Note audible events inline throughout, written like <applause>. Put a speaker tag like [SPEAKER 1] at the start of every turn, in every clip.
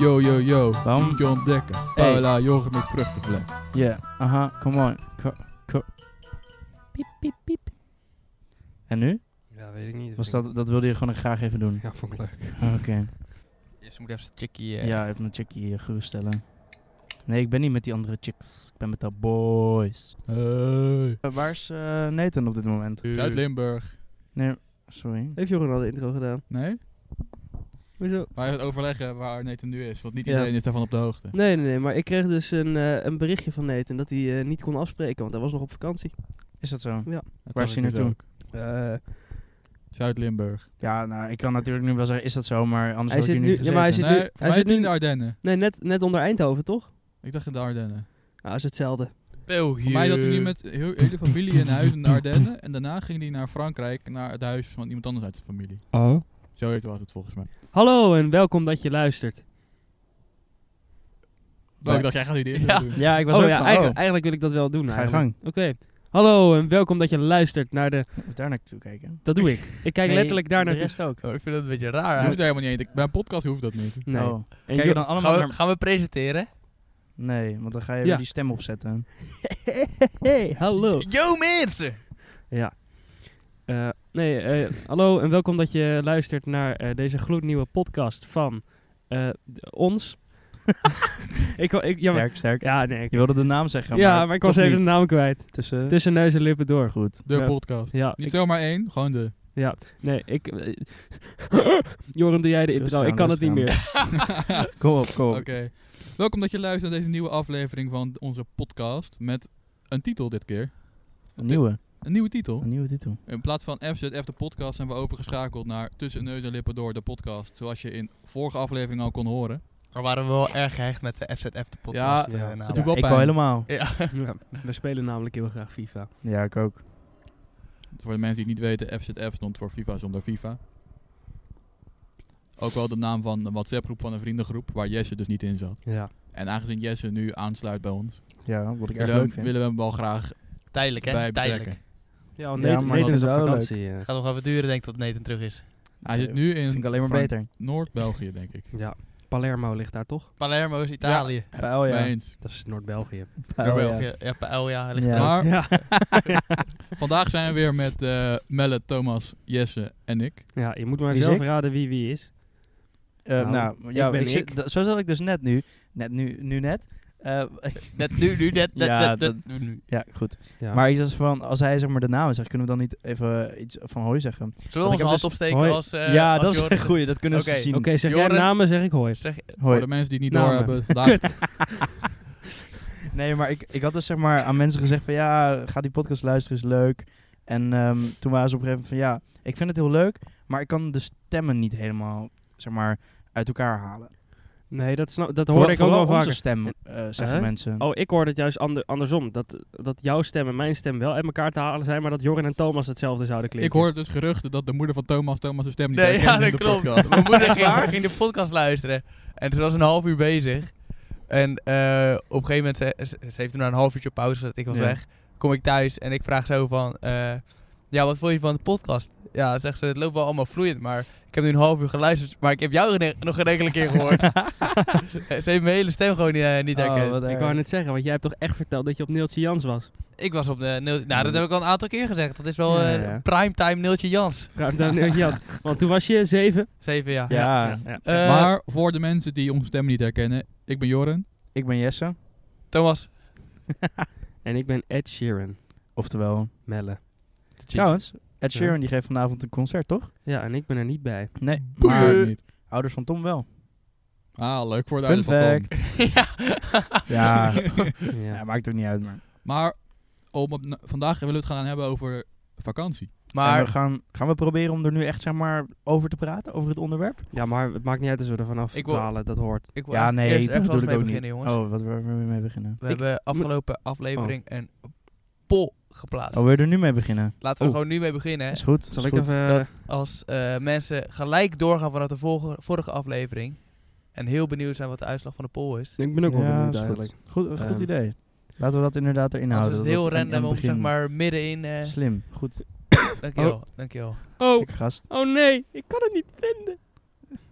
[SPEAKER 1] Yo, yo, yo.
[SPEAKER 2] Waarom-
[SPEAKER 1] Moet je ontdekken.
[SPEAKER 2] Hey.
[SPEAKER 1] Paula, yoghurt met vruchtenvlek.
[SPEAKER 2] Yeah, aha, uh-huh, come on. Ko- ko- Piep, piep, piep. En nu?
[SPEAKER 3] Ja, weet ik niet.
[SPEAKER 2] Was
[SPEAKER 3] Vind ik-
[SPEAKER 2] dat, dat wilde je gewoon graag even doen.
[SPEAKER 3] Ja, vond ik leuk.
[SPEAKER 2] Oké.
[SPEAKER 4] <laughs> Eerst moet even chickie. eh,
[SPEAKER 2] Ja, even een chickie eh, geruststellen. Nee, ik ben niet met die andere chicks. Ik ben met de boys.
[SPEAKER 1] Hey.
[SPEAKER 2] Eh, waar is eh, Nathan op dit moment?
[SPEAKER 1] Zuid-Limburg.
[SPEAKER 2] Nee, sorry.
[SPEAKER 5] Heeft Joran al de intro gedaan?
[SPEAKER 1] Nee?
[SPEAKER 5] Hoezo?
[SPEAKER 1] Maar even overleggen waar Nathan nu is, want niet
[SPEAKER 5] Ja.
[SPEAKER 1] iedereen is daarvan op de hoogte.
[SPEAKER 5] Nee, nee, nee. Maar ik kreeg dus een, eh, een berichtje van Nathan dat hij eh, niet kon afspreken, want hij was nog op vakantie.
[SPEAKER 2] Is dat zo?
[SPEAKER 1] Dat
[SPEAKER 2] Waar
[SPEAKER 1] zag
[SPEAKER 2] is
[SPEAKER 1] ik
[SPEAKER 2] hij
[SPEAKER 1] dus
[SPEAKER 2] naartoe?
[SPEAKER 1] ook.
[SPEAKER 5] Eh,
[SPEAKER 1] Zuid-Limburg.
[SPEAKER 2] Ja, nou, ik kan natuurlijk nu wel zeggen, is dat zo, maar anders
[SPEAKER 5] Hij
[SPEAKER 2] had ik
[SPEAKER 5] zit
[SPEAKER 2] hier
[SPEAKER 5] nu-
[SPEAKER 2] niet
[SPEAKER 5] ja,
[SPEAKER 2] gezeten.
[SPEAKER 5] maar hij zit
[SPEAKER 1] nee,
[SPEAKER 5] nu-
[SPEAKER 1] voor
[SPEAKER 5] hij
[SPEAKER 1] mij
[SPEAKER 5] zit
[SPEAKER 1] is het in
[SPEAKER 5] nu-
[SPEAKER 1] de Ardennen.
[SPEAKER 5] nee, net, net onder Eindhoven, toch?
[SPEAKER 1] Ik dacht in de Ardennen.
[SPEAKER 5] Nou, is hetzelfde.
[SPEAKER 4] België.
[SPEAKER 1] Voor mij zat hij nu met heel, hele familie in huis in de Ardennen. En daarna ging hij naar Frankrijk, naar het huis van iemand anders uit de familie.
[SPEAKER 3] Oh.
[SPEAKER 1] Zoiets was het volgens mij.
[SPEAKER 5] Hallo en welkom dat je luistert.
[SPEAKER 1] Oh, ik dacht, jij gaat hier de intro
[SPEAKER 4] Ja.
[SPEAKER 1] doen.
[SPEAKER 2] Ja, ik was
[SPEAKER 5] oh
[SPEAKER 2] ook
[SPEAKER 5] ja,
[SPEAKER 2] van,
[SPEAKER 5] eigenlijk,
[SPEAKER 2] oh,
[SPEAKER 5] eigenlijk wil ik dat wel doen.
[SPEAKER 2] Ga je
[SPEAKER 5] eigenlijk.
[SPEAKER 2] gang.
[SPEAKER 5] Oké. Hallo en welkom dat je luistert naar de...
[SPEAKER 2] Moet daar naartoe kijken.
[SPEAKER 5] Dat doe ik. Ik kijk
[SPEAKER 2] Nee,
[SPEAKER 5] letterlijk daar
[SPEAKER 2] De
[SPEAKER 5] naartoe.
[SPEAKER 2] rest ook.
[SPEAKER 4] Oh, ik vind dat een beetje raar.
[SPEAKER 1] Je hoeft
[SPEAKER 4] eigenlijk.
[SPEAKER 1] er helemaal niet heen. Bij een podcast hoeft dat niet.
[SPEAKER 5] Nee.
[SPEAKER 2] Oh.
[SPEAKER 5] En
[SPEAKER 2] Kijken we
[SPEAKER 5] Jo-
[SPEAKER 2] dan allemaal
[SPEAKER 4] Gaan we,
[SPEAKER 2] naar-
[SPEAKER 4] gaan we presenteren?
[SPEAKER 2] Nee, want dan ga je
[SPEAKER 5] Ja.
[SPEAKER 2] weer die stem opzetten.
[SPEAKER 5] <laughs> Hey, hallo.
[SPEAKER 2] Oh.
[SPEAKER 4] Yo mensen!
[SPEAKER 5] Ja. Eh, nee, eh, hallo en welkom dat je luistert naar eh, deze gloednieuwe podcast van eh, d-
[SPEAKER 2] <laughs>
[SPEAKER 5] ons. ik, wou- ik, ja, maar-
[SPEAKER 2] Sterk, sterk.
[SPEAKER 5] ja, nee. ik-
[SPEAKER 2] Je wilde de naam zeggen,
[SPEAKER 5] ja,
[SPEAKER 2] maar
[SPEAKER 5] maar ik was
[SPEAKER 2] toch
[SPEAKER 5] even
[SPEAKER 2] niet. eh,
[SPEAKER 5] de naam kwijt.
[SPEAKER 2] tussen...
[SPEAKER 5] Tussen neus en lippen door.
[SPEAKER 2] Goed.
[SPEAKER 1] De
[SPEAKER 5] Ja.
[SPEAKER 1] podcast.
[SPEAKER 5] Ja,
[SPEAKER 1] Niet
[SPEAKER 5] ik-
[SPEAKER 1] zomaar één, gewoon de.
[SPEAKER 5] ja. Nee, ik... <laughs> eh, Joram, doe jij de
[SPEAKER 2] Rustig
[SPEAKER 5] intro.
[SPEAKER 2] aan,
[SPEAKER 5] Ik kan het
[SPEAKER 2] rustig
[SPEAKER 5] niet meer.
[SPEAKER 2] Kom op, kom op.
[SPEAKER 1] Oké. Welkom dat je luistert naar deze nieuwe aflevering van onze podcast. Met een titel dit keer.
[SPEAKER 2] Een nieuwe.
[SPEAKER 1] Een nieuwe titel.
[SPEAKER 2] Een nieuwe titel.
[SPEAKER 1] In plaats van FZF de podcast zijn we overgeschakeld naar Tussen Neus en Lippen Door de podcast. Zoals je in vorige aflevering al kon horen.
[SPEAKER 4] Maar waren we wel erg gehecht met de FZF de podcast.
[SPEAKER 1] Ja,
[SPEAKER 4] eh,
[SPEAKER 5] ja.
[SPEAKER 4] naam.
[SPEAKER 1] Het doet wel
[SPEAKER 2] ik
[SPEAKER 1] pijn.
[SPEAKER 2] al helemaal.
[SPEAKER 4] Ja.
[SPEAKER 2] <laughs>
[SPEAKER 5] Ja, we spelen namelijk heel graag FIFA.
[SPEAKER 2] Ja, ik ook.
[SPEAKER 1] Voor de mensen die het niet weten, FZF stond voor FIFA zonder FIFA. Ook wel de naam van een WhatsApp groep van een vriendengroep, waar Jesse dus niet in zat.
[SPEAKER 5] Ja.
[SPEAKER 1] En aangezien Jesse nu aansluit bij ons,
[SPEAKER 2] Ja, wat ik erg
[SPEAKER 1] willen we,
[SPEAKER 2] leuk
[SPEAKER 1] hem-
[SPEAKER 2] vind.
[SPEAKER 1] willen we hem wel graag
[SPEAKER 4] Tijdelijk hè?
[SPEAKER 1] bij
[SPEAKER 4] Tijdelijk.
[SPEAKER 1] betrekken.
[SPEAKER 5] Ja, want
[SPEAKER 2] Ja,
[SPEAKER 5] Nathan,
[SPEAKER 2] maar
[SPEAKER 5] Nathan
[SPEAKER 2] dat
[SPEAKER 5] is
[SPEAKER 2] is
[SPEAKER 5] op
[SPEAKER 2] wel leuk.
[SPEAKER 5] vakantie. eh.
[SPEAKER 4] Het gaat nog even duren denk ik tot Nathan terug is.
[SPEAKER 1] Hij zit nu in
[SPEAKER 2] Eh, vind ik alleen maar
[SPEAKER 1] Frank-
[SPEAKER 2] beter.
[SPEAKER 1] Noord-België, denk ik.
[SPEAKER 5] Ja, Palermo ligt daar toch?
[SPEAKER 4] Palermo is Italië.
[SPEAKER 2] Pijl, Oh ja.
[SPEAKER 1] Mee eens.
[SPEAKER 5] Dat is Noord-België.
[SPEAKER 2] Pijl, ja.
[SPEAKER 4] België. Ja, Paella ligt
[SPEAKER 2] Ja.
[SPEAKER 4] er ook.
[SPEAKER 1] Maar
[SPEAKER 5] Ja.
[SPEAKER 1] <laughs> vandaag zijn we weer met eh Melle, Thomas, Jesse en ik.
[SPEAKER 5] ja, je moet maar
[SPEAKER 2] Wie is
[SPEAKER 5] zelf
[SPEAKER 2] ik?
[SPEAKER 5] raden wie wie is.
[SPEAKER 2] Eh,
[SPEAKER 5] Nou,
[SPEAKER 2] nou, ja,
[SPEAKER 5] ik ben
[SPEAKER 2] ik zit-
[SPEAKER 5] ik.
[SPEAKER 2] da- zo zat ik dus net nu. Net nu, nu net. Eh, <laughs>
[SPEAKER 4] Net nu, nu, net, net,
[SPEAKER 2] Ja,
[SPEAKER 4] net, net,
[SPEAKER 2] dat-
[SPEAKER 4] nu, nu.
[SPEAKER 2] ja, goed.
[SPEAKER 5] Ja.
[SPEAKER 2] Maar iets als van, als hij zeg maar de naam zegt, kunnen we dan niet even iets van hoi zeggen?
[SPEAKER 4] Zullen we
[SPEAKER 2] ik
[SPEAKER 4] ons
[SPEAKER 2] heb
[SPEAKER 4] hand
[SPEAKER 2] dus-
[SPEAKER 4] opsteken
[SPEAKER 5] Hoi.
[SPEAKER 4] als... eh,
[SPEAKER 2] ja,
[SPEAKER 4] als
[SPEAKER 2] dat is
[SPEAKER 4] Joris-
[SPEAKER 2] een goeie, dat kunnen
[SPEAKER 4] Oké,
[SPEAKER 2] ze zien.
[SPEAKER 5] Oké, zeg
[SPEAKER 4] Joren-
[SPEAKER 5] jij namen, zeg ik hoi.
[SPEAKER 4] Zeg,
[SPEAKER 2] Hoi.
[SPEAKER 1] Voor de mensen die het niet
[SPEAKER 5] Namen. <laughs>
[SPEAKER 1] doorhebben, vandaag
[SPEAKER 2] Nee, maar ik, ik had dus zeg maar aan mensen gezegd van ja, ga die podcast luisteren, is leuk. En ehm, toen waren ze op een gegeven moment van ja, ik vind het heel leuk, maar ik kan de stemmen niet helemaal zeg maar uit elkaar halen.
[SPEAKER 5] Nee, dat, snap, dat
[SPEAKER 2] Vooral-
[SPEAKER 5] hoorde ik ook
[SPEAKER 2] vooral
[SPEAKER 5] wel vaker.
[SPEAKER 2] onze stem, eh, zeggen
[SPEAKER 5] Eh?
[SPEAKER 2] mensen.
[SPEAKER 5] Oh, ik hoorde het juist ander- andersom. Dat, dat jouw stem en mijn stem wel uit elkaar te halen zijn, maar dat Jorin en Thomas hetzelfde zouden klinken.
[SPEAKER 1] Ik hoor dus geruchten dat de moeder van Thomas Thomas' stem niet
[SPEAKER 4] Nee,
[SPEAKER 1] herkende
[SPEAKER 4] ja,
[SPEAKER 1] in
[SPEAKER 4] dat
[SPEAKER 1] de
[SPEAKER 4] klopt.
[SPEAKER 1] podcast.
[SPEAKER 4] Mijn moeder ging, ging de podcast luisteren. En ze was een half uur bezig. En eh, op een gegeven moment, ze, ze- ze heeft toen een half uurtje op pauze gezet. Ik was
[SPEAKER 2] Ja.
[SPEAKER 4] weg. Kom ik thuis en ik vraag zo van... eh, ja, wat vond je van de podcast? Ja, zegt ze, het loopt wel allemaal vloeiend, maar ik heb nu een half uur geluisterd, maar ik heb jou gene- nog geen enkele keer gehoord. ze heeft mijn hele stem gewoon eh, niet
[SPEAKER 2] Oh,
[SPEAKER 4] herkend.
[SPEAKER 2] wat
[SPEAKER 5] Ik
[SPEAKER 2] erg.
[SPEAKER 5] wou net zeggen, want jij hebt toch echt verteld dat je op Neeltje Jans was?
[SPEAKER 4] Ik was op de... Neel- nou, dat heb ik al een aantal keer gezegd. Dat is wel
[SPEAKER 5] Ja,
[SPEAKER 4] eh,
[SPEAKER 5] ja.
[SPEAKER 4] primetime Neeltje Jans.
[SPEAKER 2] <laughs>
[SPEAKER 5] Ruim dan Neeltje Jans. Want toen was je zeven.
[SPEAKER 4] Zeven jaar.
[SPEAKER 2] Ja,
[SPEAKER 5] ja.
[SPEAKER 4] <laughs> Eh,
[SPEAKER 1] maar voor de mensen die onze stem niet herkennen, ik ben Joren.
[SPEAKER 2] ik ben Jesse,
[SPEAKER 4] Thomas.
[SPEAKER 5] En ik ben Ed Sheeran.
[SPEAKER 2] oftewel.
[SPEAKER 5] Melle.
[SPEAKER 2] Trouwens, Ed
[SPEAKER 5] Ja.
[SPEAKER 2] Sheeran die geeft vanavond een concert, toch?
[SPEAKER 5] Ja, en ik ben er niet
[SPEAKER 2] <laughs>
[SPEAKER 5] bij.
[SPEAKER 2] Nee,
[SPEAKER 1] Maar
[SPEAKER 2] maar
[SPEAKER 1] niet.
[SPEAKER 2] ouders van Tom wel.
[SPEAKER 1] Ah, leuk voor de
[SPEAKER 2] Fun
[SPEAKER 1] ouders van Tom.
[SPEAKER 2] fact.
[SPEAKER 4] Ah. <laughs> ja.
[SPEAKER 2] Ja. Ja,
[SPEAKER 5] Ja.
[SPEAKER 2] maakt ook niet uit, maar.
[SPEAKER 1] Maar om op, na- vandaag willen we het gaan hebben over vakantie.
[SPEAKER 2] En
[SPEAKER 4] Maar
[SPEAKER 2] we gaan, gaan we proberen om er nu echt zeg maar over te praten, over het onderwerp?
[SPEAKER 5] ja, maar het maakt niet uit als we er vanaf
[SPEAKER 4] Ik wil-
[SPEAKER 5] dwalen, dat hoort.
[SPEAKER 4] ik wil
[SPEAKER 2] Ja,
[SPEAKER 4] echt-
[SPEAKER 2] nee,
[SPEAKER 4] eerst
[SPEAKER 2] dat
[SPEAKER 4] echt wel
[SPEAKER 2] bedoel
[SPEAKER 4] eens
[SPEAKER 2] ik
[SPEAKER 4] mee
[SPEAKER 2] ook
[SPEAKER 4] beginnen,
[SPEAKER 2] niet.
[SPEAKER 4] jongens.
[SPEAKER 2] Oh, wat waar we mee beginnen?
[SPEAKER 4] We hebben afgelopen aflevering een poll geplaatst.
[SPEAKER 2] Oh, wil je er nu mee beginnen?
[SPEAKER 4] Laten we er
[SPEAKER 5] Oh.
[SPEAKER 4] gewoon nu mee beginnen. hè.
[SPEAKER 2] Is goed.
[SPEAKER 5] Zal
[SPEAKER 2] is
[SPEAKER 5] ik
[SPEAKER 2] goed.
[SPEAKER 5] even...
[SPEAKER 4] Dat als eh, mensen gelijk doorgaan vanuit de volge- vorige aflevering, En heel benieuwd zijn wat de uitslag van de poll is.
[SPEAKER 5] Ik ben ook wel
[SPEAKER 2] Ja,
[SPEAKER 5] benieuwd
[SPEAKER 2] is goed.
[SPEAKER 5] eigenlijk.
[SPEAKER 2] Goed, een goed
[SPEAKER 5] Ehm,
[SPEAKER 2] idee. Laten we dat inderdaad erin
[SPEAKER 4] Anders
[SPEAKER 2] houden. nou, dat
[SPEAKER 4] is het heel
[SPEAKER 2] dat aan-
[SPEAKER 4] random
[SPEAKER 2] aan
[SPEAKER 4] om
[SPEAKER 2] begin-
[SPEAKER 4] zeg maar middenin... eh
[SPEAKER 2] Slim, goed.
[SPEAKER 4] dankjewel, dankjewel.
[SPEAKER 5] Oh,
[SPEAKER 2] Lekker gast.
[SPEAKER 5] oh nee, ik kan het niet vinden.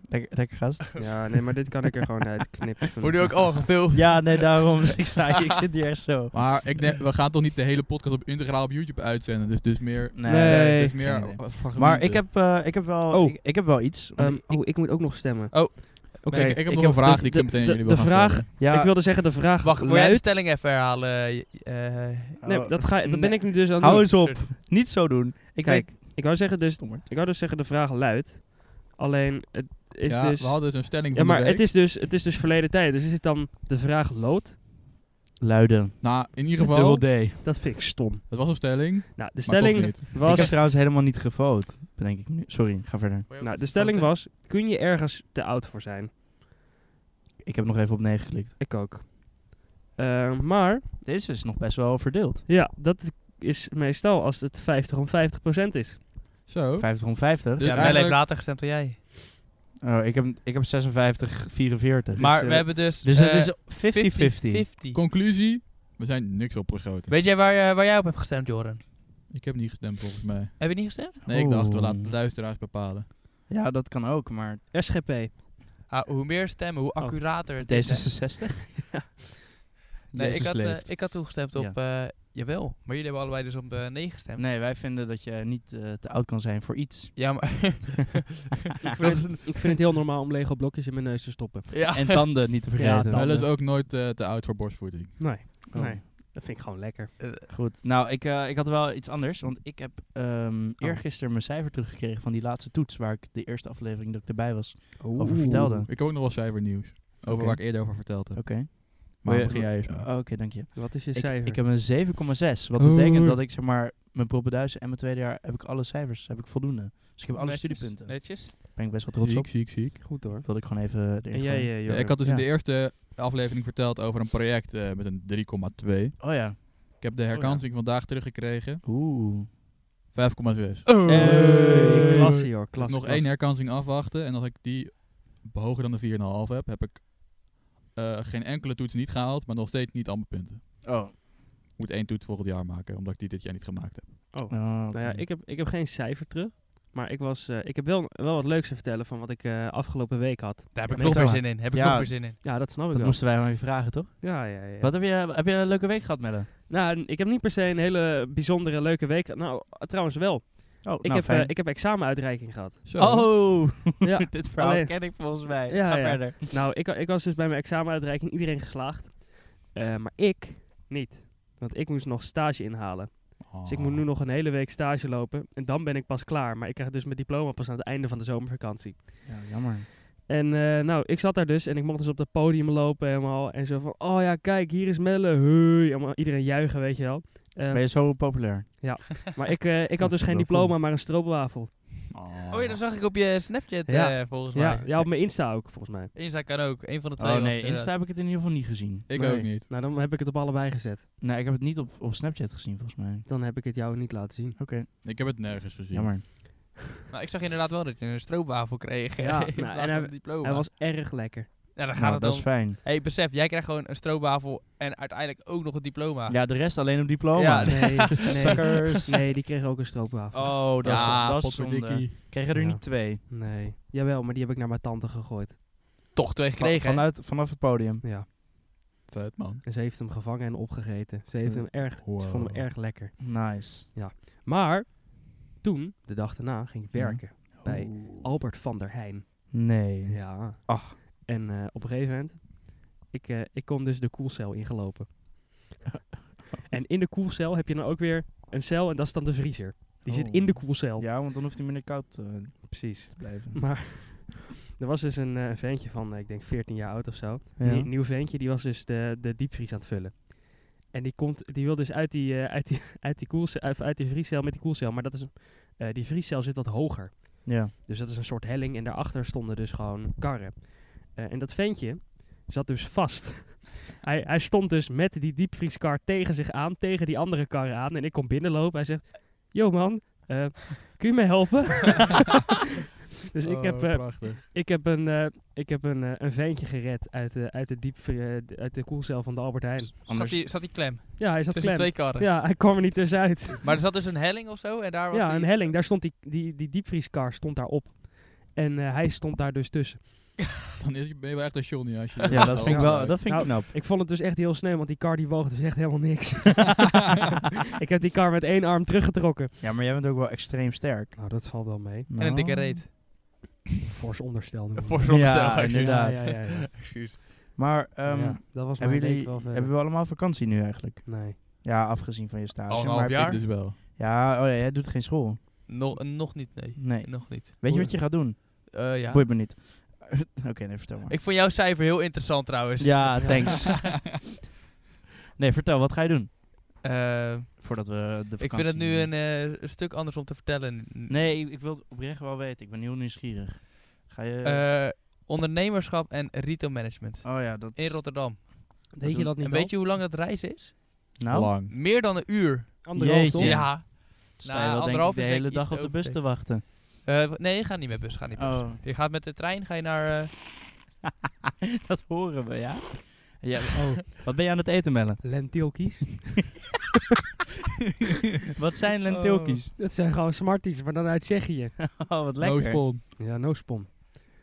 [SPEAKER 2] Lekker, lekker
[SPEAKER 4] <laughs>
[SPEAKER 2] gast.
[SPEAKER 5] Ja, nee, maar dit kan ik er gewoon uit knippen.
[SPEAKER 4] Wordt nu ook al gefilmd?
[SPEAKER 2] Ja, nee, daarom. <laughs> ik, sta, ik zit hier echt zo.
[SPEAKER 1] Maar ik denk, we gaan toch niet de hele podcast op integraal op YouTube uitzenden. Dus, dus meer.
[SPEAKER 2] Nee.
[SPEAKER 5] Nee.
[SPEAKER 1] dus meer
[SPEAKER 2] Geen idee.
[SPEAKER 1] fragmenten.
[SPEAKER 2] Maar ik heb, eh, ik, heb wel,
[SPEAKER 5] Oh.
[SPEAKER 2] ik, ik heb wel iets. Want
[SPEAKER 5] Ehm,
[SPEAKER 2] ik-
[SPEAKER 5] oh, ik moet ook nog stemmen.
[SPEAKER 4] Oh.
[SPEAKER 5] Oké.
[SPEAKER 1] ik, ik heb nog
[SPEAKER 2] heb
[SPEAKER 1] een vraag
[SPEAKER 5] de-
[SPEAKER 1] die ik
[SPEAKER 5] de-
[SPEAKER 1] zo meteen aan
[SPEAKER 5] de-
[SPEAKER 1] jullie wil
[SPEAKER 5] de
[SPEAKER 1] gaan
[SPEAKER 5] vraag-
[SPEAKER 1] stellen.
[SPEAKER 2] ja,
[SPEAKER 5] Ik wilde zeggen, de vraag
[SPEAKER 4] Wacht, wil jij de
[SPEAKER 5] luidt...
[SPEAKER 4] stelling even herhalen? eh, eh,
[SPEAKER 5] Nee, dat, ga, dat ben
[SPEAKER 2] Nee.
[SPEAKER 5] ik nu dus aan het
[SPEAKER 2] Oh. Hou
[SPEAKER 5] doen.
[SPEAKER 2] eens op. Niet zo doen. Ik
[SPEAKER 5] Kijk,
[SPEAKER 2] weet-
[SPEAKER 5] Ik wou, zeggen dus,
[SPEAKER 2] Stommerd.
[SPEAKER 5] ik wou dus zeggen, de vraag luidt. Alleen, het is
[SPEAKER 1] ja,
[SPEAKER 5] dus...
[SPEAKER 1] we hadden dus een stelling
[SPEAKER 5] Ja,
[SPEAKER 1] van
[SPEAKER 5] maar
[SPEAKER 1] de
[SPEAKER 5] het
[SPEAKER 1] week.
[SPEAKER 5] is, dus, het is dus verleden tijd. Dus is het dan de vraag lood?
[SPEAKER 2] Luiden.
[SPEAKER 1] Nou, in ieder
[SPEAKER 2] Dubbel
[SPEAKER 1] geval,
[SPEAKER 2] D. Ik
[SPEAKER 5] Dat vind ik stom.
[SPEAKER 1] het was een stelling,
[SPEAKER 5] Nou, de
[SPEAKER 1] maar
[SPEAKER 5] stelling
[SPEAKER 1] toch niet.
[SPEAKER 5] was...
[SPEAKER 2] heb trouwens helemaal niet gevoot. Bedenk ik me nu. Sorry, ga verder.
[SPEAKER 5] Nou, de stelling was, kun je ergens te oud voor zijn?
[SPEAKER 2] Ik heb nog even op 9 geklikt.
[SPEAKER 5] Ik ook. Eh, maar,
[SPEAKER 2] Deze is nog best wel verdeeld.
[SPEAKER 5] ja, dat is meestal als het 50 om 50 is.
[SPEAKER 1] Zo.
[SPEAKER 2] 50 om 50.
[SPEAKER 1] Dus
[SPEAKER 4] Ja, Melle heeft
[SPEAKER 1] eigenlijk-
[SPEAKER 4] later gestemd dan jij.
[SPEAKER 2] Oh, ik, heb, ik heb 56, 44.
[SPEAKER 4] Maar
[SPEAKER 5] eh,
[SPEAKER 4] we hebben dus...
[SPEAKER 2] dus het
[SPEAKER 4] eh,
[SPEAKER 2] is 50-50.
[SPEAKER 4] 50-50.
[SPEAKER 1] Conclusie, we zijn niks opgeschoten.
[SPEAKER 4] Weet jij waar, eh, waar jij op hebt gestemd, Joren?
[SPEAKER 1] Ik heb niet gestemd volgens mij.
[SPEAKER 4] Heb je niet gestemd?
[SPEAKER 1] Nee, ik dacht, we
[SPEAKER 2] Oh.
[SPEAKER 1] laten de luisteraars bepalen.
[SPEAKER 2] Ja, dat kan ook, maar
[SPEAKER 5] SGP.
[SPEAKER 4] Ah, hoe meer stemmen, hoe
[SPEAKER 5] Oh.
[SPEAKER 4] accurater het is. hè?
[SPEAKER 2] D66?
[SPEAKER 5] <laughs>
[SPEAKER 4] Nee, ik
[SPEAKER 2] Jezus
[SPEAKER 4] had, eh,
[SPEAKER 2] leeft.
[SPEAKER 4] ik had toegestemd op... eh, jawel, maar jullie hebben allebei dus op eh, nee gestemd.
[SPEAKER 2] Nee, wij vinden dat je niet eh, te oud kan zijn voor iets. <laughs>
[SPEAKER 4] Ja, maar... ik
[SPEAKER 5] <laughs> Ik
[SPEAKER 4] wil-
[SPEAKER 5] vind, het- ik vind het heel normaal om Lego blokjes in mijn neus te stoppen.
[SPEAKER 4] ja.
[SPEAKER 2] En tanden niet te vergeten.
[SPEAKER 5] Ja,
[SPEAKER 1] Wel is
[SPEAKER 5] tanden.
[SPEAKER 1] ook nooit eh, te oud voor borstvoeding.
[SPEAKER 5] Nee,
[SPEAKER 2] Oh,
[SPEAKER 5] nee. dat vind ik gewoon lekker.
[SPEAKER 2] Goed. Nou, ik, eh, ik had wel iets anders, want ik heb ehm
[SPEAKER 5] Oh.
[SPEAKER 2] eergisteren mijn cijfer teruggekregen van die laatste toets waar ik de eerste aflevering dat ik erbij was over vertelde. Oké.
[SPEAKER 1] Ik heb ook nog wel cijfernieuws. Over
[SPEAKER 2] Oké.
[SPEAKER 1] waar ik eerder over verteld heb.
[SPEAKER 2] Wil
[SPEAKER 1] Maar
[SPEAKER 2] je-
[SPEAKER 1] begin jij eerst maar.
[SPEAKER 2] Oh, Oké, dank je.
[SPEAKER 5] Wat is je
[SPEAKER 2] Ik,
[SPEAKER 5] cijfer?
[SPEAKER 2] ik heb een 7,6. Wat
[SPEAKER 5] Oeh.
[SPEAKER 2] betekent dat ik zeg maar mijn propenduizen en mijn tweede jaar heb ik alle cijfers, heb ik voldoende. Dus ik heb alle
[SPEAKER 4] Netjes,
[SPEAKER 2] studiepunten. Daar
[SPEAKER 4] Netjes.
[SPEAKER 2] ben ik best wel trots
[SPEAKER 1] ziek,
[SPEAKER 2] op.
[SPEAKER 1] ziek, ziek.
[SPEAKER 5] Goed hoor.
[SPEAKER 2] Dat wilde ik gewoon even erin
[SPEAKER 5] En jij,
[SPEAKER 2] gooien.
[SPEAKER 5] eh,
[SPEAKER 1] Ja,
[SPEAKER 5] Jorrit?
[SPEAKER 1] ik had dus in
[SPEAKER 2] Ja.
[SPEAKER 1] de eerste aflevering verteld over een project eh, met een 3,2.
[SPEAKER 5] eh?
[SPEAKER 2] Oh ja.
[SPEAKER 1] Ik heb de herkansing vandaag teruggekregen. 5,6.
[SPEAKER 2] Oeh.
[SPEAKER 5] Hey,
[SPEAKER 2] Hey.
[SPEAKER 5] Klassie hoor,
[SPEAKER 1] Dus
[SPEAKER 5] klassie.
[SPEAKER 1] nog één herkansing afwachten. En als ik die hoger dan de 4,5 heb, heb ik eh, geen enkele toets niet gehaald, maar nog steeds niet al mijn punten.
[SPEAKER 2] Oh.
[SPEAKER 1] Ik moet één toets volgend jaar maken, omdat ik die dit jaar niet gemaakt heb.
[SPEAKER 5] Oh. Nou ja, ik heb, ik heb geen cijfer terug. Maar ik, was, eh, ik heb wel, wel wat leuks te vertellen van wat ik eh, afgelopen week had.
[SPEAKER 4] Daar heb ik
[SPEAKER 2] Ja,
[SPEAKER 4] nog
[SPEAKER 2] nee,
[SPEAKER 4] meer
[SPEAKER 2] toch
[SPEAKER 4] zin in. Heb ik
[SPEAKER 2] Ja.
[SPEAKER 4] nog meer zin in.
[SPEAKER 5] Ja, dat snap ik
[SPEAKER 2] dat
[SPEAKER 5] wel.
[SPEAKER 2] moesten wij maar even vragen, toch?
[SPEAKER 5] Ja, ja, ja.
[SPEAKER 2] Wat heb je, heb je een leuke week gehad, Melle?
[SPEAKER 5] Nou, n- ik heb niet per se een hele bijzondere leuke week. Nou, eh, trouwens wel.
[SPEAKER 2] Oh,
[SPEAKER 5] Ik, heb, eh, ik heb
[SPEAKER 2] <laughs>
[SPEAKER 5] examenuitreiking gehad.
[SPEAKER 1] Zo.
[SPEAKER 2] Oh,
[SPEAKER 5] <laughs> ja,
[SPEAKER 2] <laughs> dit verhaal
[SPEAKER 5] Alleen-
[SPEAKER 2] ken ik volgens mij.
[SPEAKER 5] Ja,
[SPEAKER 2] Ga
[SPEAKER 5] ja.
[SPEAKER 2] verder.
[SPEAKER 5] nou, ik, ik was dus bij mijn examenuitreiking iedereen geslaagd. Eh, maar ik niet. Want ik moest nog stage inhalen.
[SPEAKER 1] Ah.
[SPEAKER 5] Dus ik
[SPEAKER 2] Oh.
[SPEAKER 5] moet nu nog een hele week stage lopen. En dan ben ik pas klaar. Maar ik krijg dus mijn diploma pas aan het einde van de zomervakantie.
[SPEAKER 2] Ja, jammer.
[SPEAKER 5] En eh, nou, ik zat daar dus. En ik mocht dus op dat podium lopen helemaal. En zo van, oh ja, kijk, hier is Melle. Hoi. Allemaal Iedereen juichen, weet je wel. Eh,
[SPEAKER 2] Ben je zo populair?
[SPEAKER 5] maar ik, eh, ik had dus geen
[SPEAKER 2] Welkom.
[SPEAKER 5] diploma, maar een stroopwafel.
[SPEAKER 4] Oh ja, dat zag ik op je Snapchat
[SPEAKER 5] Ja.
[SPEAKER 4] eh, volgens
[SPEAKER 5] Ja,
[SPEAKER 4] mij.
[SPEAKER 5] ja, op mijn Insta ook, volgens mij.
[SPEAKER 4] Insta kan ook. Een van de twee
[SPEAKER 2] Oh
[SPEAKER 4] was
[SPEAKER 2] nee,
[SPEAKER 4] het,
[SPEAKER 2] Insta heb ik het in ieder geval niet gezien.
[SPEAKER 1] Ik
[SPEAKER 5] Nee.
[SPEAKER 1] ook niet.
[SPEAKER 5] Nou, dan heb ik het op allebei gezet.
[SPEAKER 2] Nee, ik heb het niet op, op Snapchat gezien, volgens mij.
[SPEAKER 5] Dan heb ik het jou niet laten
[SPEAKER 1] Oh,
[SPEAKER 5] zien.
[SPEAKER 2] Oké,
[SPEAKER 1] Ik heb het nergens gezien.
[SPEAKER 2] jammer.
[SPEAKER 4] inderdaad. Nou, ik zag inderdaad wel dat je een stroopwafel kreeg.
[SPEAKER 5] Ja,
[SPEAKER 4] eh,
[SPEAKER 5] nou,
[SPEAKER 4] <laughs> in plaats
[SPEAKER 5] en
[SPEAKER 4] van
[SPEAKER 5] hij-
[SPEAKER 4] een diploma.
[SPEAKER 5] Hij was erg lekker.
[SPEAKER 1] <laughs>
[SPEAKER 4] ja, dan gaat
[SPEAKER 2] Nou,
[SPEAKER 4] het
[SPEAKER 2] dat
[SPEAKER 4] om.
[SPEAKER 2] is fijn.
[SPEAKER 4] hey, besef, jij krijgt gewoon een stroopwafel en uiteindelijk ook nog een diploma.
[SPEAKER 2] Ja, de rest alleen op diploma. <laughs>
[SPEAKER 4] Ja,
[SPEAKER 5] Nee, nee,
[SPEAKER 2] Suckers.
[SPEAKER 5] nee, die kreeg ook een stroopwafel.
[SPEAKER 2] Oh, dat
[SPEAKER 1] Ja,
[SPEAKER 2] is, dat is
[SPEAKER 1] potverdikkie.
[SPEAKER 2] zonde. Kregen er
[SPEAKER 5] Ja.
[SPEAKER 2] niet twee.
[SPEAKER 5] Nee. Jawel, maar die heb ik naar mijn tante gegooid.
[SPEAKER 4] Toch twee gekregen. hè?
[SPEAKER 2] Vanuit, vanaf het podium.
[SPEAKER 5] Ja.
[SPEAKER 1] Vet man.
[SPEAKER 5] En ze heeft hem gevangen en opgegeten. Ze heeft hem erg... Ze vond hem
[SPEAKER 1] Wow.
[SPEAKER 5] erg lekker.
[SPEAKER 2] Nice.
[SPEAKER 5] Maar toen, de dag daarna, ging ik
[SPEAKER 2] Ja.
[SPEAKER 5] werken. Bij Albert van der Heijn.
[SPEAKER 2] Oh. Nee.
[SPEAKER 5] Ja.
[SPEAKER 2] Ach.
[SPEAKER 5] En eh, op een gegeven moment, ik, eh, ik kom dus de koelcel
[SPEAKER 2] <laughs>
[SPEAKER 5] ingelopen. en in de koelcel heb je dan ook weer een cel en dat is dan de vriezer. Die zit
[SPEAKER 2] Oh.
[SPEAKER 5] in de koelcel.
[SPEAKER 2] Ja, want dan hoeft hij minder koud eh,
[SPEAKER 5] Precies.
[SPEAKER 2] te blijven.
[SPEAKER 5] Maar er was dus een eh, ventje van, eh, ik denk 14 jaar oud of zo.
[SPEAKER 2] Ja.
[SPEAKER 5] Een nieuw ventje, die was dus de, de diepvries aan het vullen. En die, komt, die wil dus uit die, eh, uit die, <laughs> uit die, koelcel, uit, uit die vriescel met die koelcel. Maar dat is, een- eh, die vriescel zit wat hoger.
[SPEAKER 2] Ja.
[SPEAKER 5] Dus dat is een soort helling en daarachter stonden dus gewoon karren. Eh, en dat ventje zat dus vast. <laughs> hij, hij stond dus met die diepvrieskar tegen zich aan, tegen die andere karren aan. En ik kom binnenlopen. Hij zegt, yo man, eh, kun je me helpen? <laughs> Dus ik
[SPEAKER 4] Oh,
[SPEAKER 5] heb, eh,
[SPEAKER 1] prachtig.
[SPEAKER 5] ik heb, een, eh, ik heb een, eh, een veentje gered uit, de uit, de diep, eh, uit de koelcel van de Albert Heijn.
[SPEAKER 4] Zat
[SPEAKER 2] Anders,
[SPEAKER 4] die, zat die klem
[SPEAKER 5] Ja, hij zat
[SPEAKER 4] Dus tussen twee
[SPEAKER 5] klem.
[SPEAKER 4] karren.
[SPEAKER 5] Ja, hij kwam er niet tussenuit.
[SPEAKER 4] Maar er zat dus een helling of zo en daar was
[SPEAKER 5] Ja,
[SPEAKER 4] die-
[SPEAKER 5] een helling. Daar stond die, die, die diepvrieskar stond daar op. En eh, hij stond daar dus tussen.
[SPEAKER 1] Dan is- ben je wel echt een Johnny als je...
[SPEAKER 5] <laughs>
[SPEAKER 2] ja, dat vind ik wel dat vind ik
[SPEAKER 5] Nou,
[SPEAKER 2] knap.
[SPEAKER 5] Ik vond het dus echt heel sneu, want die kar die woog dus echt helemaal <laughs> niks. ik heb die kar met één arm teruggetrokken.
[SPEAKER 2] Ja, maar jij bent ook wel extreem sterk.
[SPEAKER 5] Nou, dat valt wel mee.
[SPEAKER 4] en een dikke reet. <laughs>
[SPEAKER 5] Fors onderstel. noemen we
[SPEAKER 4] Voor
[SPEAKER 5] dat.
[SPEAKER 4] zo'n
[SPEAKER 2] Nou. Ja,
[SPEAKER 4] stel, excuus.
[SPEAKER 2] inderdaad.
[SPEAKER 5] Ja, ja, ja, ja.
[SPEAKER 4] Excuus.
[SPEAKER 2] Maar <laughs> ehm,
[SPEAKER 5] Ja, dat was mijn
[SPEAKER 2] hebben,
[SPEAKER 5] week
[SPEAKER 2] jullie,
[SPEAKER 5] wel verder.
[SPEAKER 2] hebben we allemaal vakantie nu eigenlijk?
[SPEAKER 5] Nee.
[SPEAKER 2] Ja, afgezien van je stage.
[SPEAKER 4] Al een
[SPEAKER 2] maar
[SPEAKER 4] half
[SPEAKER 2] heb je-
[SPEAKER 1] Ik
[SPEAKER 4] jaar?
[SPEAKER 1] dus wel.
[SPEAKER 2] Ja, oh ja, jij doet geen school.
[SPEAKER 4] Nog, nog niet, nee.
[SPEAKER 2] Nee.
[SPEAKER 4] Nog niet.
[SPEAKER 2] Weet je wat je gaat doen?
[SPEAKER 4] Eh, ja.
[SPEAKER 2] Boeit me niet. <laughs> Oké, nee, vertel maar.
[SPEAKER 4] Ik vond jouw cijfer heel interessant trouwens. <laughs>
[SPEAKER 2] Ja, thanks. nee, vertel, wat ga je doen?
[SPEAKER 4] Eh,
[SPEAKER 2] Voordat we de vakantie...
[SPEAKER 4] ik vind het nu een, eh, een stuk anders om te vertellen.
[SPEAKER 2] Nee, ik, ik wil het oprecht wel weten. Ik ben heel nieuwsgierig. Ga je...
[SPEAKER 4] Eh, ondernemerschap en retail management.
[SPEAKER 2] oh ja, dat...
[SPEAKER 4] In Rotterdam.
[SPEAKER 5] Deed je dat niet
[SPEAKER 4] En weet je hoe lang dat reis is?
[SPEAKER 2] nou,
[SPEAKER 1] Lang.
[SPEAKER 4] Meer dan een uur.
[SPEAKER 5] Anderhalf, toch?
[SPEAKER 2] Jeetje.
[SPEAKER 5] Ja.
[SPEAKER 4] Ja.
[SPEAKER 2] sta je
[SPEAKER 4] Nou,
[SPEAKER 2] wel denk ik
[SPEAKER 4] anderhalf
[SPEAKER 2] de
[SPEAKER 4] is
[SPEAKER 2] hele
[SPEAKER 4] denk ik
[SPEAKER 2] dag
[SPEAKER 4] iets
[SPEAKER 2] op
[SPEAKER 4] te
[SPEAKER 2] de bus te wachten.
[SPEAKER 4] Eh, nee, je gaat niet met bus. Ga niet met bus.
[SPEAKER 2] Oh,
[SPEAKER 4] <laughs> Je gaat met de trein ga je naar... eh,
[SPEAKER 2] dat horen we, ja? ja oh. Wat ben je aan het eten, Mellen?
[SPEAKER 5] Lentilkies.
[SPEAKER 2] <laughs> Wat zijn lentilkies?
[SPEAKER 5] Dat zijn gewoon smarties, maar dan uit Tsjechië.
[SPEAKER 2] <laughs> Oh, wat lekker.
[SPEAKER 1] spawn. Nou,
[SPEAKER 5] Ja, no spon.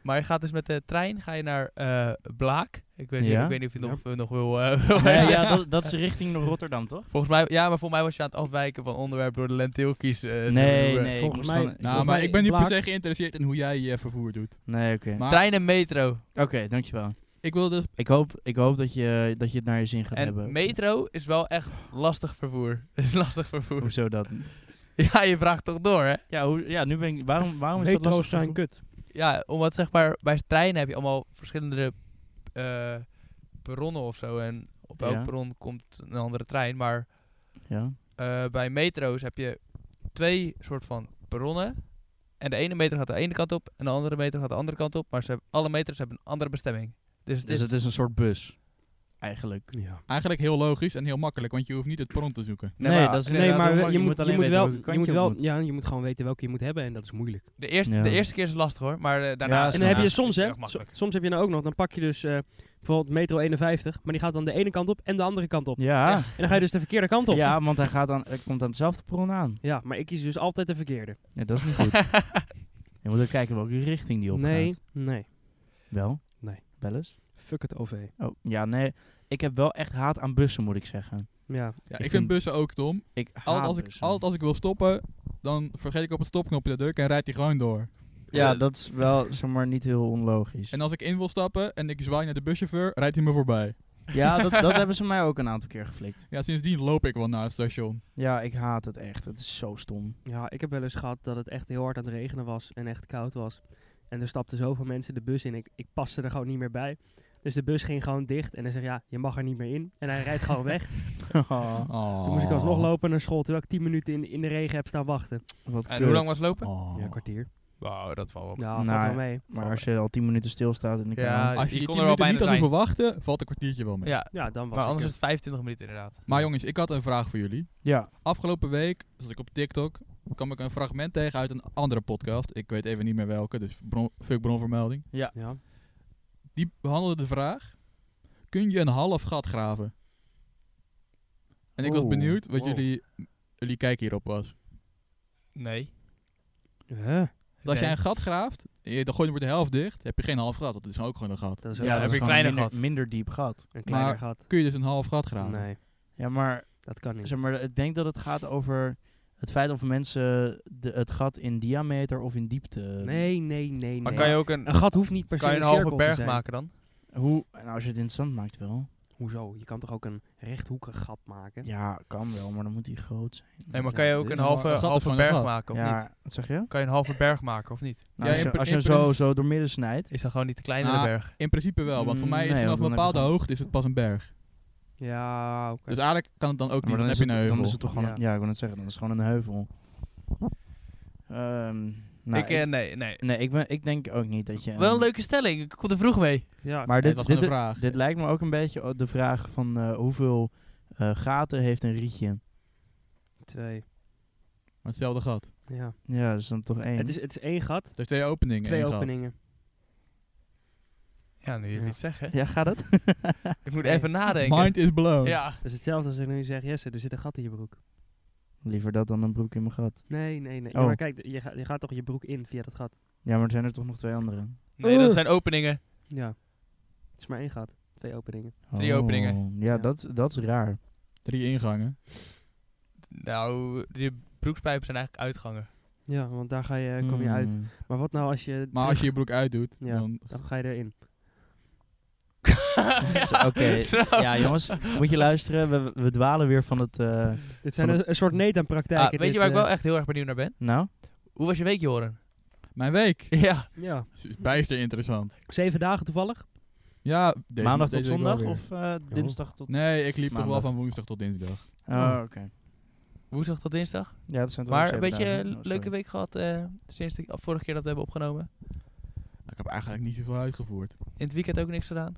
[SPEAKER 4] maar je gaat dus met de trein ga je naar eh, Blaak. Ik weet, niet-
[SPEAKER 2] Ja.
[SPEAKER 4] ik weet niet of je nog, nog wil... eh, <laughs>
[SPEAKER 2] Nee, <laughs> ja, dat, dat is richting Rotterdam, toch?
[SPEAKER 4] Volgens mij, ja, maar voor mij was je aan het afwijken van onderwerp door de lentilkies. eh, te
[SPEAKER 2] nee,
[SPEAKER 4] doen.
[SPEAKER 2] nee. ik
[SPEAKER 5] Volgens
[SPEAKER 2] moest
[SPEAKER 5] mij-
[SPEAKER 2] dan- ik
[SPEAKER 1] Nou,
[SPEAKER 5] Volgens
[SPEAKER 2] moest-
[SPEAKER 1] maar
[SPEAKER 5] mij
[SPEAKER 1] ik ben niet per
[SPEAKER 5] Blaak-
[SPEAKER 1] se geïnteresseerd in hoe jij je vervoer doet.
[SPEAKER 2] Nee, oké.
[SPEAKER 1] Maar
[SPEAKER 4] Trein en metro.
[SPEAKER 2] Oké, dankjewel.
[SPEAKER 1] ik wil dus...
[SPEAKER 2] Ik hoop, ik hoop dat, je, dat je het naar je zin gaat
[SPEAKER 4] En
[SPEAKER 2] hebben.
[SPEAKER 4] metro is wel echt lastig vervoer. <laughs> is lastig vervoer.
[SPEAKER 2] Hoezo dat?
[SPEAKER 4] <laughs> Ja, je vraagt toch door, hè?
[SPEAKER 2] Ja, hoe, ja, nu ben ik... Waarom, waarom is dat
[SPEAKER 5] Metro's
[SPEAKER 2] lastig?
[SPEAKER 5] zijn kut.
[SPEAKER 4] Ja, omdat zeg maar bij treinen heb je allemaal verschillende eh, perronnen of zo. En op elk
[SPEAKER 2] Ja.
[SPEAKER 4] perron komt een andere trein. Maar
[SPEAKER 2] Ja.
[SPEAKER 4] eh, bij metro's heb je twee soort van perronnen. En de ene metro gaat de ene kant op en de andere metro gaat de andere kant op. Maar ze hebben, alle metro's hebben een andere bestemming. Dus het
[SPEAKER 2] Dus
[SPEAKER 4] is,
[SPEAKER 2] het is een soort bus. Eigenlijk.
[SPEAKER 5] Ja.
[SPEAKER 1] Eigenlijk heel logisch en heel makkelijk, want je hoeft niet het perron te zoeken.
[SPEAKER 2] Nee, dat is
[SPEAKER 5] Nee, maar
[SPEAKER 2] inderdaad
[SPEAKER 5] je
[SPEAKER 2] heel
[SPEAKER 5] moet, je
[SPEAKER 2] makkelijk.
[SPEAKER 5] moet
[SPEAKER 2] Je
[SPEAKER 5] wel,
[SPEAKER 2] alleen weten
[SPEAKER 5] je moet
[SPEAKER 2] welke
[SPEAKER 5] wel,
[SPEAKER 2] kant je op
[SPEAKER 5] ja, je moet gewoon weten welke je moet hebben en dat is moeilijk.
[SPEAKER 4] de, eerste,
[SPEAKER 2] Ja.
[SPEAKER 4] de eerste keer is het lastig hoor, maar eh, daarna...
[SPEAKER 2] Ja,
[SPEAKER 5] En
[SPEAKER 2] Als
[SPEAKER 5] dan
[SPEAKER 2] je
[SPEAKER 5] heb je
[SPEAKER 2] naast
[SPEAKER 5] soms,
[SPEAKER 4] is het
[SPEAKER 5] hè,
[SPEAKER 4] echt makkelijk.
[SPEAKER 5] so- soms heb je nou ook nog, dan pak je dus eh, bijvoorbeeld metro 51, maar die gaat dan de ene kant op en de andere kant op.
[SPEAKER 2] Ja.
[SPEAKER 5] En dan ga je dus de verkeerde kant op.
[SPEAKER 2] ja, want hij, gaat aan, hij komt aan hetzelfde perron aan.
[SPEAKER 5] Ja, maar ik kies dus altijd de verkeerde.
[SPEAKER 2] Nee, dat is niet <laughs> goed. je moet ook kijken welke richting die op
[SPEAKER 5] nee,
[SPEAKER 2] gaat.
[SPEAKER 5] nee.
[SPEAKER 2] Wel?
[SPEAKER 5] Nee.
[SPEAKER 2] Wel eens?
[SPEAKER 5] Fuck het OV.
[SPEAKER 2] Oh, ja, nee. Ik heb wel echt haat aan bussen, moet ik zeggen.
[SPEAKER 5] Ja,
[SPEAKER 1] Ja, ik,
[SPEAKER 2] vind-
[SPEAKER 1] vind, bussen ook dom.
[SPEAKER 2] Ik haat
[SPEAKER 1] Altijd als, ik,
[SPEAKER 2] bussen.
[SPEAKER 1] altijd als ik wil stoppen, dan vergeet ik op het stopknopje te drukken en rijdt hij gewoon door.
[SPEAKER 2] Ja,
[SPEAKER 4] Eh,
[SPEAKER 2] dat is wel, zeg maar, niet heel onlogisch.
[SPEAKER 1] En als ik in wil stappen en ik zwaai naar de buschauffeur, rijdt hij me voorbij.
[SPEAKER 2] Ja, dat,
[SPEAKER 4] <laughs>
[SPEAKER 2] dat hebben ze mij ook een aantal keer geflikt.
[SPEAKER 1] Ja, sindsdien loop ik wel naar het station.
[SPEAKER 2] Ja, ik haat het echt. Het is zo stom. <laughs>
[SPEAKER 5] ja, ik heb wel eens gehad dat het echt heel hard aan het regenen was en echt koud was. En er stapten zoveel mensen de bus in. Ik, ik paste er gewoon niet meer bij. Dus de bus ging gewoon dicht en hij zegt ja, je mag er niet meer in. En hij rijdt gewoon weg.
[SPEAKER 1] Oh.
[SPEAKER 5] Toen moest ik
[SPEAKER 2] Oh.
[SPEAKER 5] alsnog lopen naar school terwijl ik 10 minuten in, in de regen heb staan wachten.
[SPEAKER 2] Wat
[SPEAKER 4] En hoe
[SPEAKER 2] kut.
[SPEAKER 4] lang was het lopen?
[SPEAKER 1] Oh.
[SPEAKER 5] Ja, een kwartier.
[SPEAKER 4] Wauw, dat valt op.
[SPEAKER 5] Ja, valt
[SPEAKER 2] Oh. Nou,
[SPEAKER 5] wel mee.
[SPEAKER 2] Maar als je al 10 minuten stilstaat in de
[SPEAKER 4] Ja,
[SPEAKER 2] kou-
[SPEAKER 1] Als je
[SPEAKER 4] Je
[SPEAKER 1] die
[SPEAKER 4] kon
[SPEAKER 1] 10
[SPEAKER 4] er wel
[SPEAKER 1] minuten niet had
[SPEAKER 4] bijna
[SPEAKER 1] hoeven wachten, valt een kwartiertje wel mee.
[SPEAKER 4] Ja,
[SPEAKER 5] Ja, dan was
[SPEAKER 4] maar
[SPEAKER 5] ik
[SPEAKER 4] anders is
[SPEAKER 5] er.
[SPEAKER 4] het 25 minuten inderdaad.
[SPEAKER 1] Maar jongens, ik had een vraag voor jullie.
[SPEAKER 2] Ja.
[SPEAKER 1] Afgelopen week zat ik op TikTok, kwam ik een fragment tegen uit een andere podcast. Ik weet even niet meer welke, dus bron, fuck bronvermelding.
[SPEAKER 5] Ja.
[SPEAKER 1] Die behandelde de vraag, kun je een half gat graven? En ik was
[SPEAKER 2] Oeh,
[SPEAKER 1] benieuwd wat
[SPEAKER 2] Oh, wow.
[SPEAKER 1] jullie, jullie kijk hierop was.
[SPEAKER 4] Nee.
[SPEAKER 5] Huh,
[SPEAKER 1] Want als jij een gat graaft, en je, dan gooi je wordt de helft dicht, heb je geen half gat. Dat is ook gewoon een gat.
[SPEAKER 5] dat is
[SPEAKER 2] Ja,
[SPEAKER 5] ook
[SPEAKER 2] dat
[SPEAKER 5] wel
[SPEAKER 4] Dus heb
[SPEAKER 2] is
[SPEAKER 4] je
[SPEAKER 2] gewoon
[SPEAKER 4] kleiner
[SPEAKER 2] minder,
[SPEAKER 4] gat.
[SPEAKER 2] minder diep gat.
[SPEAKER 5] een kleiner
[SPEAKER 1] maar-
[SPEAKER 5] gat.
[SPEAKER 1] Kun je dus een half gat graven?
[SPEAKER 5] Nee,
[SPEAKER 2] Ja, maar,
[SPEAKER 5] dat kan niet.
[SPEAKER 2] zeg maar ik denk dat het gaat over het feit of mensen de, het gat in diameter of in diepte...
[SPEAKER 5] Nee, nee, nee,
[SPEAKER 4] Maar
[SPEAKER 5] nee.
[SPEAKER 4] kan je ook
[SPEAKER 5] Een
[SPEAKER 4] een,
[SPEAKER 5] gat hoeft niet per se
[SPEAKER 4] kan je een halve
[SPEAKER 5] cirkel te
[SPEAKER 4] berg
[SPEAKER 5] zijn.
[SPEAKER 4] maken dan?
[SPEAKER 2] Hoe, nou, als je het in het zand maakt wel.
[SPEAKER 5] Hoezo? Je kan toch ook een rechthoekig gat maken?
[SPEAKER 2] Ja, kan wel, maar dan moet die groot zijn.
[SPEAKER 4] Nee, maar kan je ook
[SPEAKER 1] dit
[SPEAKER 4] een
[SPEAKER 1] is
[SPEAKER 4] halve,
[SPEAKER 1] wel- een gat is
[SPEAKER 4] halve
[SPEAKER 1] gewoon een
[SPEAKER 4] berg
[SPEAKER 1] gat.
[SPEAKER 4] maken of
[SPEAKER 2] ja,
[SPEAKER 4] niet?
[SPEAKER 2] wat zeg je?
[SPEAKER 4] Kan je een halve berg maken of niet?
[SPEAKER 2] Nou, als
[SPEAKER 1] in
[SPEAKER 2] je,
[SPEAKER 1] pr-
[SPEAKER 2] als je
[SPEAKER 1] in
[SPEAKER 2] hem zo, zo door midden snijdt.
[SPEAKER 4] Is dat gewoon niet de kleinere
[SPEAKER 2] Nou,
[SPEAKER 1] Ah.
[SPEAKER 4] berg?
[SPEAKER 1] In principe wel, want voor
[SPEAKER 2] Mm,
[SPEAKER 1] mij is
[SPEAKER 2] nee,
[SPEAKER 1] vanaf
[SPEAKER 2] want
[SPEAKER 1] een
[SPEAKER 2] dan heb je
[SPEAKER 1] bepaalde
[SPEAKER 2] gewoon-
[SPEAKER 1] hoogte is het pas een berg.
[SPEAKER 5] Ja, oké.
[SPEAKER 1] Dus eigenlijk kan het dan ook niet, dan,
[SPEAKER 2] dan,
[SPEAKER 1] heb
[SPEAKER 2] is
[SPEAKER 1] je een
[SPEAKER 2] het,
[SPEAKER 1] heuvel.
[SPEAKER 2] dan is het toch gewoon...
[SPEAKER 5] Ja.
[SPEAKER 2] Een, ja, ik wil net zeggen, dan is het gewoon een heuvel. Ehm, nou,
[SPEAKER 4] ik, eh, nee, nee.
[SPEAKER 2] nee, ik, ben, ik denk ook niet dat je...
[SPEAKER 4] Wel een
[SPEAKER 2] een-
[SPEAKER 4] leuke stelling. Ik kom er vroeg mee.
[SPEAKER 5] ja.
[SPEAKER 2] Maar
[SPEAKER 1] Nee,
[SPEAKER 2] dit,
[SPEAKER 1] het was
[SPEAKER 2] dit,
[SPEAKER 1] gewoon een vraag.
[SPEAKER 2] Dit lijkt me ook een beetje o- de vraag van eh, hoeveel eh, gaten heeft een rietje.
[SPEAKER 5] twee.
[SPEAKER 1] Maar hetzelfde gat. Het
[SPEAKER 5] Ja.
[SPEAKER 2] Ja, dus dan toch één.
[SPEAKER 5] Het, is, het is één gat,
[SPEAKER 1] heeft twee openingen.
[SPEAKER 5] twee
[SPEAKER 1] één
[SPEAKER 5] openingen.
[SPEAKER 4] Ja, nu je
[SPEAKER 5] Ja.
[SPEAKER 4] het zeggen.
[SPEAKER 2] Ja, gaat het?
[SPEAKER 4] Ik moet
[SPEAKER 5] Hey,
[SPEAKER 4] even
[SPEAKER 1] Gat.
[SPEAKER 4] nadenken.
[SPEAKER 1] Mind is blown.
[SPEAKER 4] Ja.
[SPEAKER 5] Dat is hetzelfde als ik nu zeg, Jesse, er zit een gat in je broek.
[SPEAKER 2] <laughs> Liever dat dan een broek in mijn gat.
[SPEAKER 5] Nee, nee, nee. Ja,
[SPEAKER 2] Oh.
[SPEAKER 5] maar kijk, je, ga- je gaat toch je broek in via dat gat?
[SPEAKER 2] Ja, maar er zijn er toch nog twee andere.
[SPEAKER 4] Nee, dat zijn openingen.
[SPEAKER 5] Ja. Het is maar één gat, twee openingen.
[SPEAKER 4] Drie
[SPEAKER 2] Oh,
[SPEAKER 4] openingen.
[SPEAKER 2] Ja,
[SPEAKER 5] Ja.
[SPEAKER 2] Dat, dat is raar.
[SPEAKER 1] Drie ingangen.
[SPEAKER 4] Nou, die broekspijpen zijn eigenlijk uitgangen.
[SPEAKER 5] Ja, want daar ga je, kom je uit.
[SPEAKER 2] Hmm.
[SPEAKER 5] Maar wat nou als je...
[SPEAKER 1] Maar als je je broek uitdoet,
[SPEAKER 5] Ja.
[SPEAKER 1] dan...
[SPEAKER 5] Dan ga je erin.
[SPEAKER 2] <laughs> Zo, Oké,
[SPEAKER 4] <laughs> Zo.
[SPEAKER 2] ja jongens, moet je luisteren. We, we dwalen weer van het... eh,
[SPEAKER 5] Dit zijn
[SPEAKER 2] Van
[SPEAKER 5] een, een soort eh,
[SPEAKER 4] Ah,
[SPEAKER 5] Nathan-praktijken.
[SPEAKER 4] weet je waar ik
[SPEAKER 2] eh,
[SPEAKER 4] wel echt heel erg benieuwd naar ben?
[SPEAKER 2] nou?
[SPEAKER 4] Hoe was je week, Joren?
[SPEAKER 1] Mijn week.
[SPEAKER 4] Ja.
[SPEAKER 5] Ja,
[SPEAKER 1] Is bijster interessant.
[SPEAKER 5] zeven dagen toevallig.
[SPEAKER 1] Ja, deze,
[SPEAKER 2] Maandag tot
[SPEAKER 1] deze week wel
[SPEAKER 2] zondag
[SPEAKER 1] weer.
[SPEAKER 2] of eh, dinsdag tot...
[SPEAKER 1] Nee, ik liep toch wel
[SPEAKER 2] Maandag.
[SPEAKER 1] van woensdag tot dinsdag.
[SPEAKER 2] Oh, oké.
[SPEAKER 4] Woensdag tot dinsdag.
[SPEAKER 2] Ja, dat zijn toch ook
[SPEAKER 4] Maar een
[SPEAKER 2] zeven
[SPEAKER 4] beetje
[SPEAKER 2] dagen,
[SPEAKER 4] een
[SPEAKER 2] hè? Oh,
[SPEAKER 4] leuke
[SPEAKER 2] sorry.
[SPEAKER 4] week gehad eh, sinds de af- vorige keer dat we hebben opgenomen.
[SPEAKER 1] Nou, Ik heb eigenlijk niet zoveel uitgevoerd.
[SPEAKER 4] In het weekend ook niks gedaan.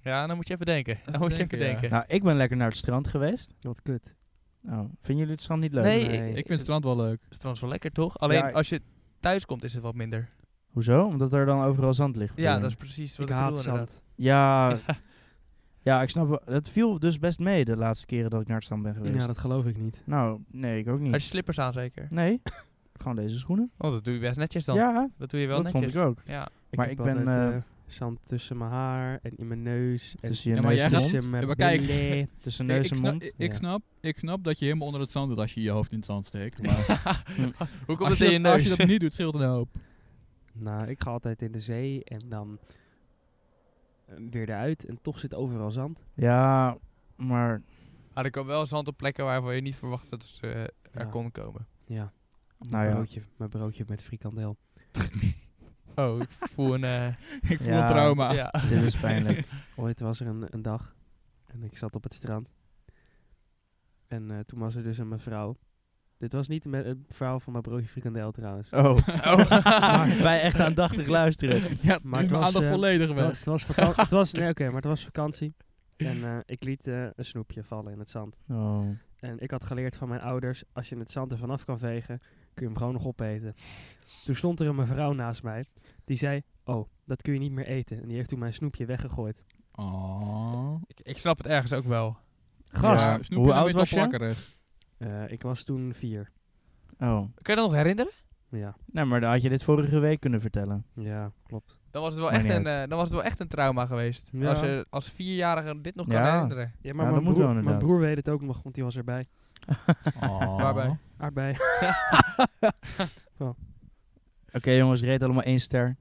[SPEAKER 4] Ja, dan moet je even denken. Dan moet je even
[SPEAKER 1] denken, ja.
[SPEAKER 4] denken.
[SPEAKER 2] Nou, ik ben lekker naar het strand geweest.
[SPEAKER 5] Wat kut.
[SPEAKER 2] Oh, vinden jullie het strand niet leuk?
[SPEAKER 4] Nee,
[SPEAKER 5] nee.
[SPEAKER 4] ik,
[SPEAKER 1] Ik vind het strand wel leuk.
[SPEAKER 4] Het is trouwens wel lekker, toch? Alleen
[SPEAKER 2] ik-
[SPEAKER 4] als je thuis komt is het wat minder.
[SPEAKER 2] Hoezo? Omdat er dan overal zand ligt. bedoel
[SPEAKER 4] Ja,
[SPEAKER 2] je?
[SPEAKER 4] dat is precies wat
[SPEAKER 5] Ik
[SPEAKER 4] ik,
[SPEAKER 5] haat
[SPEAKER 4] bedoel inderdaad.
[SPEAKER 5] zand.
[SPEAKER 2] <laughs> Ja, ja, ik snap wel. Het viel dus best mee de laatste keren dat ik naar het strand ben geweest.
[SPEAKER 5] Ja, dat geloof ik niet.
[SPEAKER 2] Nou, nee, ik ook niet.
[SPEAKER 4] Als je slippers aan zeker.
[SPEAKER 2] Nee, <coughs> gewoon deze schoenen.
[SPEAKER 4] Oh, dat doe je best netjes dan.
[SPEAKER 2] Hm. Ja,
[SPEAKER 4] Dat doe je wel
[SPEAKER 2] dat
[SPEAKER 4] netjes.
[SPEAKER 2] vond ik ook.
[SPEAKER 4] Ja. <laughs>
[SPEAKER 2] Maar
[SPEAKER 5] heb
[SPEAKER 2] ik ben,
[SPEAKER 5] altijd,
[SPEAKER 2] eh,
[SPEAKER 5] eh, zand tussen mijn haar en in mijn neus. En
[SPEAKER 2] Tussen je
[SPEAKER 1] Ja, maar
[SPEAKER 2] neus
[SPEAKER 1] jij
[SPEAKER 2] en
[SPEAKER 1] gaat-
[SPEAKER 2] mond.
[SPEAKER 5] tussen mijn
[SPEAKER 1] Ja, maar kijk. <laughs>
[SPEAKER 5] billen.
[SPEAKER 2] Tussen
[SPEAKER 1] Ik-
[SPEAKER 2] neus
[SPEAKER 1] ik,
[SPEAKER 2] en
[SPEAKER 1] snap,
[SPEAKER 2] mond.
[SPEAKER 1] ik, ik
[SPEAKER 5] Ja.
[SPEAKER 1] snap, ik snap dat je helemaal onder het zand doet als je je hoofd in het zand
[SPEAKER 2] <laughs>
[SPEAKER 1] steekt. Maar
[SPEAKER 4] Hoe komt
[SPEAKER 1] als,
[SPEAKER 4] het
[SPEAKER 1] je
[SPEAKER 4] in je
[SPEAKER 1] dat, als je
[SPEAKER 4] neus?
[SPEAKER 1] dat niet doet, scheelt het een hoop.
[SPEAKER 5] <laughs> Nou, ik ga altijd in de zee en dan eh, weer eruit. En toch zit overal zand.
[SPEAKER 2] Ja, maar
[SPEAKER 4] Ah, er komt wel zand op plekken waarvan je niet verwacht dat ze eh, er
[SPEAKER 5] Ja.
[SPEAKER 4] kon komen.
[SPEAKER 5] Ja. Oh,
[SPEAKER 2] Nou ja.
[SPEAKER 5] broodje, mijn broodje met frikandel.
[SPEAKER 4] Oh, <laughs> ik voel een... eh,
[SPEAKER 1] Ik voel
[SPEAKER 2] Ja.
[SPEAKER 1] trauma. <laughs>
[SPEAKER 4] ja.
[SPEAKER 2] dit is pijnlijk.
[SPEAKER 5] Ooit was er een, een dag en ik zat op het strand. En eh, toen was er dus een mevrouw. Dit was niet me- het verhaal van mijn broodje frikandel trouwens.
[SPEAKER 2] Oh, <laughs>
[SPEAKER 4] Oh.
[SPEAKER 2] maar wij echt aandachtig luisteren.
[SPEAKER 1] <laughs> Ja,
[SPEAKER 5] Maar
[SPEAKER 1] maar
[SPEAKER 5] het
[SPEAKER 1] mijn
[SPEAKER 5] was,
[SPEAKER 1] aandacht
[SPEAKER 5] eh,
[SPEAKER 1] volledig
[SPEAKER 5] Het wa-
[SPEAKER 1] weg.
[SPEAKER 5] het was, vakan- het <laughs> was, nee, oké, maar het was vakantie. En <laughs> eh, ik liet eh, een snoepje vallen in het zand.
[SPEAKER 2] Oh.
[SPEAKER 5] En ik had geleerd van mijn ouders, als je het zand er vanaf kan vegen, kun je hem gewoon nog opeten. Toen stond er een mevrouw naast mij, die zei, oh, dat kun je niet meer eten. En die heeft toen mijn snoepje weggegooid.
[SPEAKER 1] Oh.
[SPEAKER 4] ik, ik snap het ergens ook wel.
[SPEAKER 5] Gast.
[SPEAKER 1] Ja,
[SPEAKER 2] Hoe
[SPEAKER 1] Snoepje
[SPEAKER 2] oud
[SPEAKER 1] is wel
[SPEAKER 2] was je? <laughs>
[SPEAKER 1] plakkerig.
[SPEAKER 5] Eh, ik was toen vier.
[SPEAKER 2] Oh.
[SPEAKER 4] Kun je dat nog herinneren?
[SPEAKER 5] Ja,
[SPEAKER 2] Nou, maar dan had je dit vorige week kunnen vertellen.
[SPEAKER 5] ja, klopt.
[SPEAKER 4] Dan was het wel,
[SPEAKER 2] Maakt
[SPEAKER 4] echt
[SPEAKER 2] niet
[SPEAKER 4] een, eh, dan was het wel echt een trauma geweest.
[SPEAKER 5] Ja.
[SPEAKER 4] Als je als vierjarige dit nog kan
[SPEAKER 2] Ja.
[SPEAKER 4] herinneren.
[SPEAKER 5] Ja,
[SPEAKER 2] Ja,
[SPEAKER 5] maar
[SPEAKER 2] dat
[SPEAKER 5] mijn,
[SPEAKER 2] moet
[SPEAKER 5] broer,
[SPEAKER 2] wel
[SPEAKER 5] mijn
[SPEAKER 2] inderdaad.
[SPEAKER 5] broer weet het ook nog, want die was erbij.
[SPEAKER 1] Oh.
[SPEAKER 4] Waarbij?
[SPEAKER 5] Aardbei. <laughs>
[SPEAKER 2] Oké jongens, reed allemaal één ster.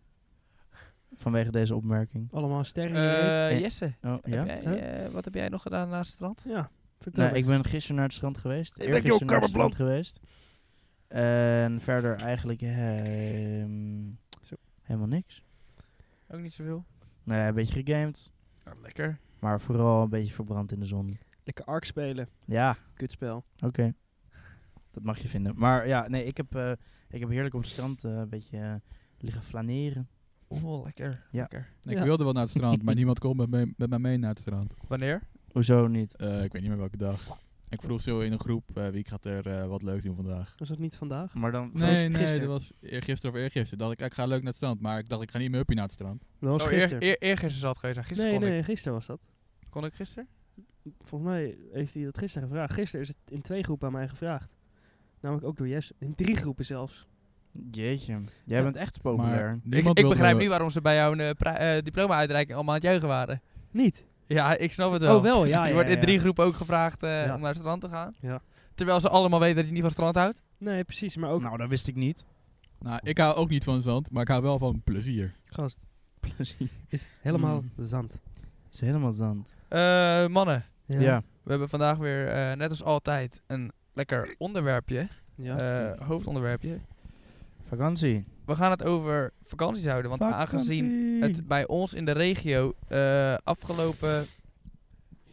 [SPEAKER 2] Vanwege deze opmerking.
[SPEAKER 5] Allemaal sterren in je reet.
[SPEAKER 4] Eh,
[SPEAKER 2] Eh,
[SPEAKER 4] Jesse,
[SPEAKER 2] Oh, ja?
[SPEAKER 4] heb jij, eh, wat heb jij nog gedaan naast het strand?
[SPEAKER 5] Ja, vertel
[SPEAKER 2] Nou, ik
[SPEAKER 5] eens.
[SPEAKER 2] ben gisteren naar het strand geweest.
[SPEAKER 4] Ik ben
[SPEAKER 2] Eergisteren
[SPEAKER 4] ook
[SPEAKER 2] naar het strand
[SPEAKER 4] kamerplant.
[SPEAKER 2] geweest. En verder eigenlijk ehm,
[SPEAKER 5] Zo.
[SPEAKER 2] helemaal niks.
[SPEAKER 4] Ook niet zoveel.
[SPEAKER 2] Nee, een beetje gegamed.
[SPEAKER 4] lekker.
[SPEAKER 2] Maar vooral een beetje verbrand in de zon.
[SPEAKER 5] Lekker ark spelen,
[SPEAKER 2] Ja, oké.
[SPEAKER 5] kutspel.
[SPEAKER 2] Dat mag je vinden. Maar ja, nee, ik heb, eh, ik heb heerlijk op het strand eh, een beetje eh, liggen flaneren.
[SPEAKER 4] Oh, lekker.
[SPEAKER 2] Ja.
[SPEAKER 4] lekker.
[SPEAKER 1] Ik
[SPEAKER 5] Ja.
[SPEAKER 1] wilde wel naar het
[SPEAKER 2] <laughs>
[SPEAKER 1] strand, maar niemand kon met, me, met mij mee naar het strand.
[SPEAKER 4] Wanneer?
[SPEAKER 2] Hoezo niet?
[SPEAKER 1] Eh, ik weet niet meer welke dag. Ik vroeg zo in een groep, eh, wie gaat er eh, wat leuks doen vandaag?
[SPEAKER 5] Was dat niet vandaag?
[SPEAKER 2] Maar dan...
[SPEAKER 1] Nee, nee,
[SPEAKER 5] gisteren.
[SPEAKER 1] dat was eergisteren of eergisteren. Dacht ik, ik ga leuk naar het strand, maar ik dacht, ik ga niet meer uppie naar het strand.
[SPEAKER 5] Dat was
[SPEAKER 4] Oh, eer-
[SPEAKER 5] gisteren.
[SPEAKER 4] eer- Eergisteren zal het geweest zijn. Gisteren
[SPEAKER 5] nee,
[SPEAKER 4] kon,
[SPEAKER 5] nee, gisteren was dat.
[SPEAKER 4] Ik, kon ik gisteren.
[SPEAKER 5] Volgens mij heeft hij dat gisteren gevraagd. Gisteren is het in twee groepen aan mij gevraagd. Namelijk ook door Jess. In drie groepen zelfs.
[SPEAKER 2] Jeetje, jij
[SPEAKER 5] Ja.
[SPEAKER 2] bent echt populair.
[SPEAKER 1] Maar
[SPEAKER 4] Ik,
[SPEAKER 1] niemand
[SPEAKER 4] ik
[SPEAKER 1] wilde
[SPEAKER 4] begrijp
[SPEAKER 1] me-
[SPEAKER 4] niet waarom ze bij jouw eh, pra- eh, diploma-uitreiking allemaal aan het juichen waren.
[SPEAKER 5] Niet.
[SPEAKER 4] Ja, ik snap het wel.
[SPEAKER 5] Oh, wel, ja.
[SPEAKER 4] je
[SPEAKER 5] ja,
[SPEAKER 4] wordt
[SPEAKER 5] ja,
[SPEAKER 4] in drie
[SPEAKER 5] ja.
[SPEAKER 4] groepen ook gevraagd eh,
[SPEAKER 5] Ja.
[SPEAKER 4] om naar het strand te gaan.
[SPEAKER 5] Ja.
[SPEAKER 4] Terwijl ze allemaal weten dat je niet van het strand houdt.
[SPEAKER 5] Nee, precies. Maar ook.
[SPEAKER 2] Nou, dat wist ik niet.
[SPEAKER 1] Nou, ik hou ook niet van zand, maar ik hou wel van plezier.
[SPEAKER 5] Gast.
[SPEAKER 2] Plezier.
[SPEAKER 5] Is helemaal
[SPEAKER 2] Mm.
[SPEAKER 5] zand.
[SPEAKER 2] Het is helemaal zand.
[SPEAKER 4] Eh, mannen,
[SPEAKER 5] Ja.
[SPEAKER 2] ja.
[SPEAKER 4] we hebben vandaag weer, eh, net als altijd, een lekker onderwerpje.
[SPEAKER 5] Ja.
[SPEAKER 4] Eh, hoofdonderwerpje.
[SPEAKER 2] Vakantie.
[SPEAKER 4] We gaan het over vakanties houden. Want aangezien
[SPEAKER 2] Vakantie.
[SPEAKER 4] het bij ons in de regio eh, afgelopen...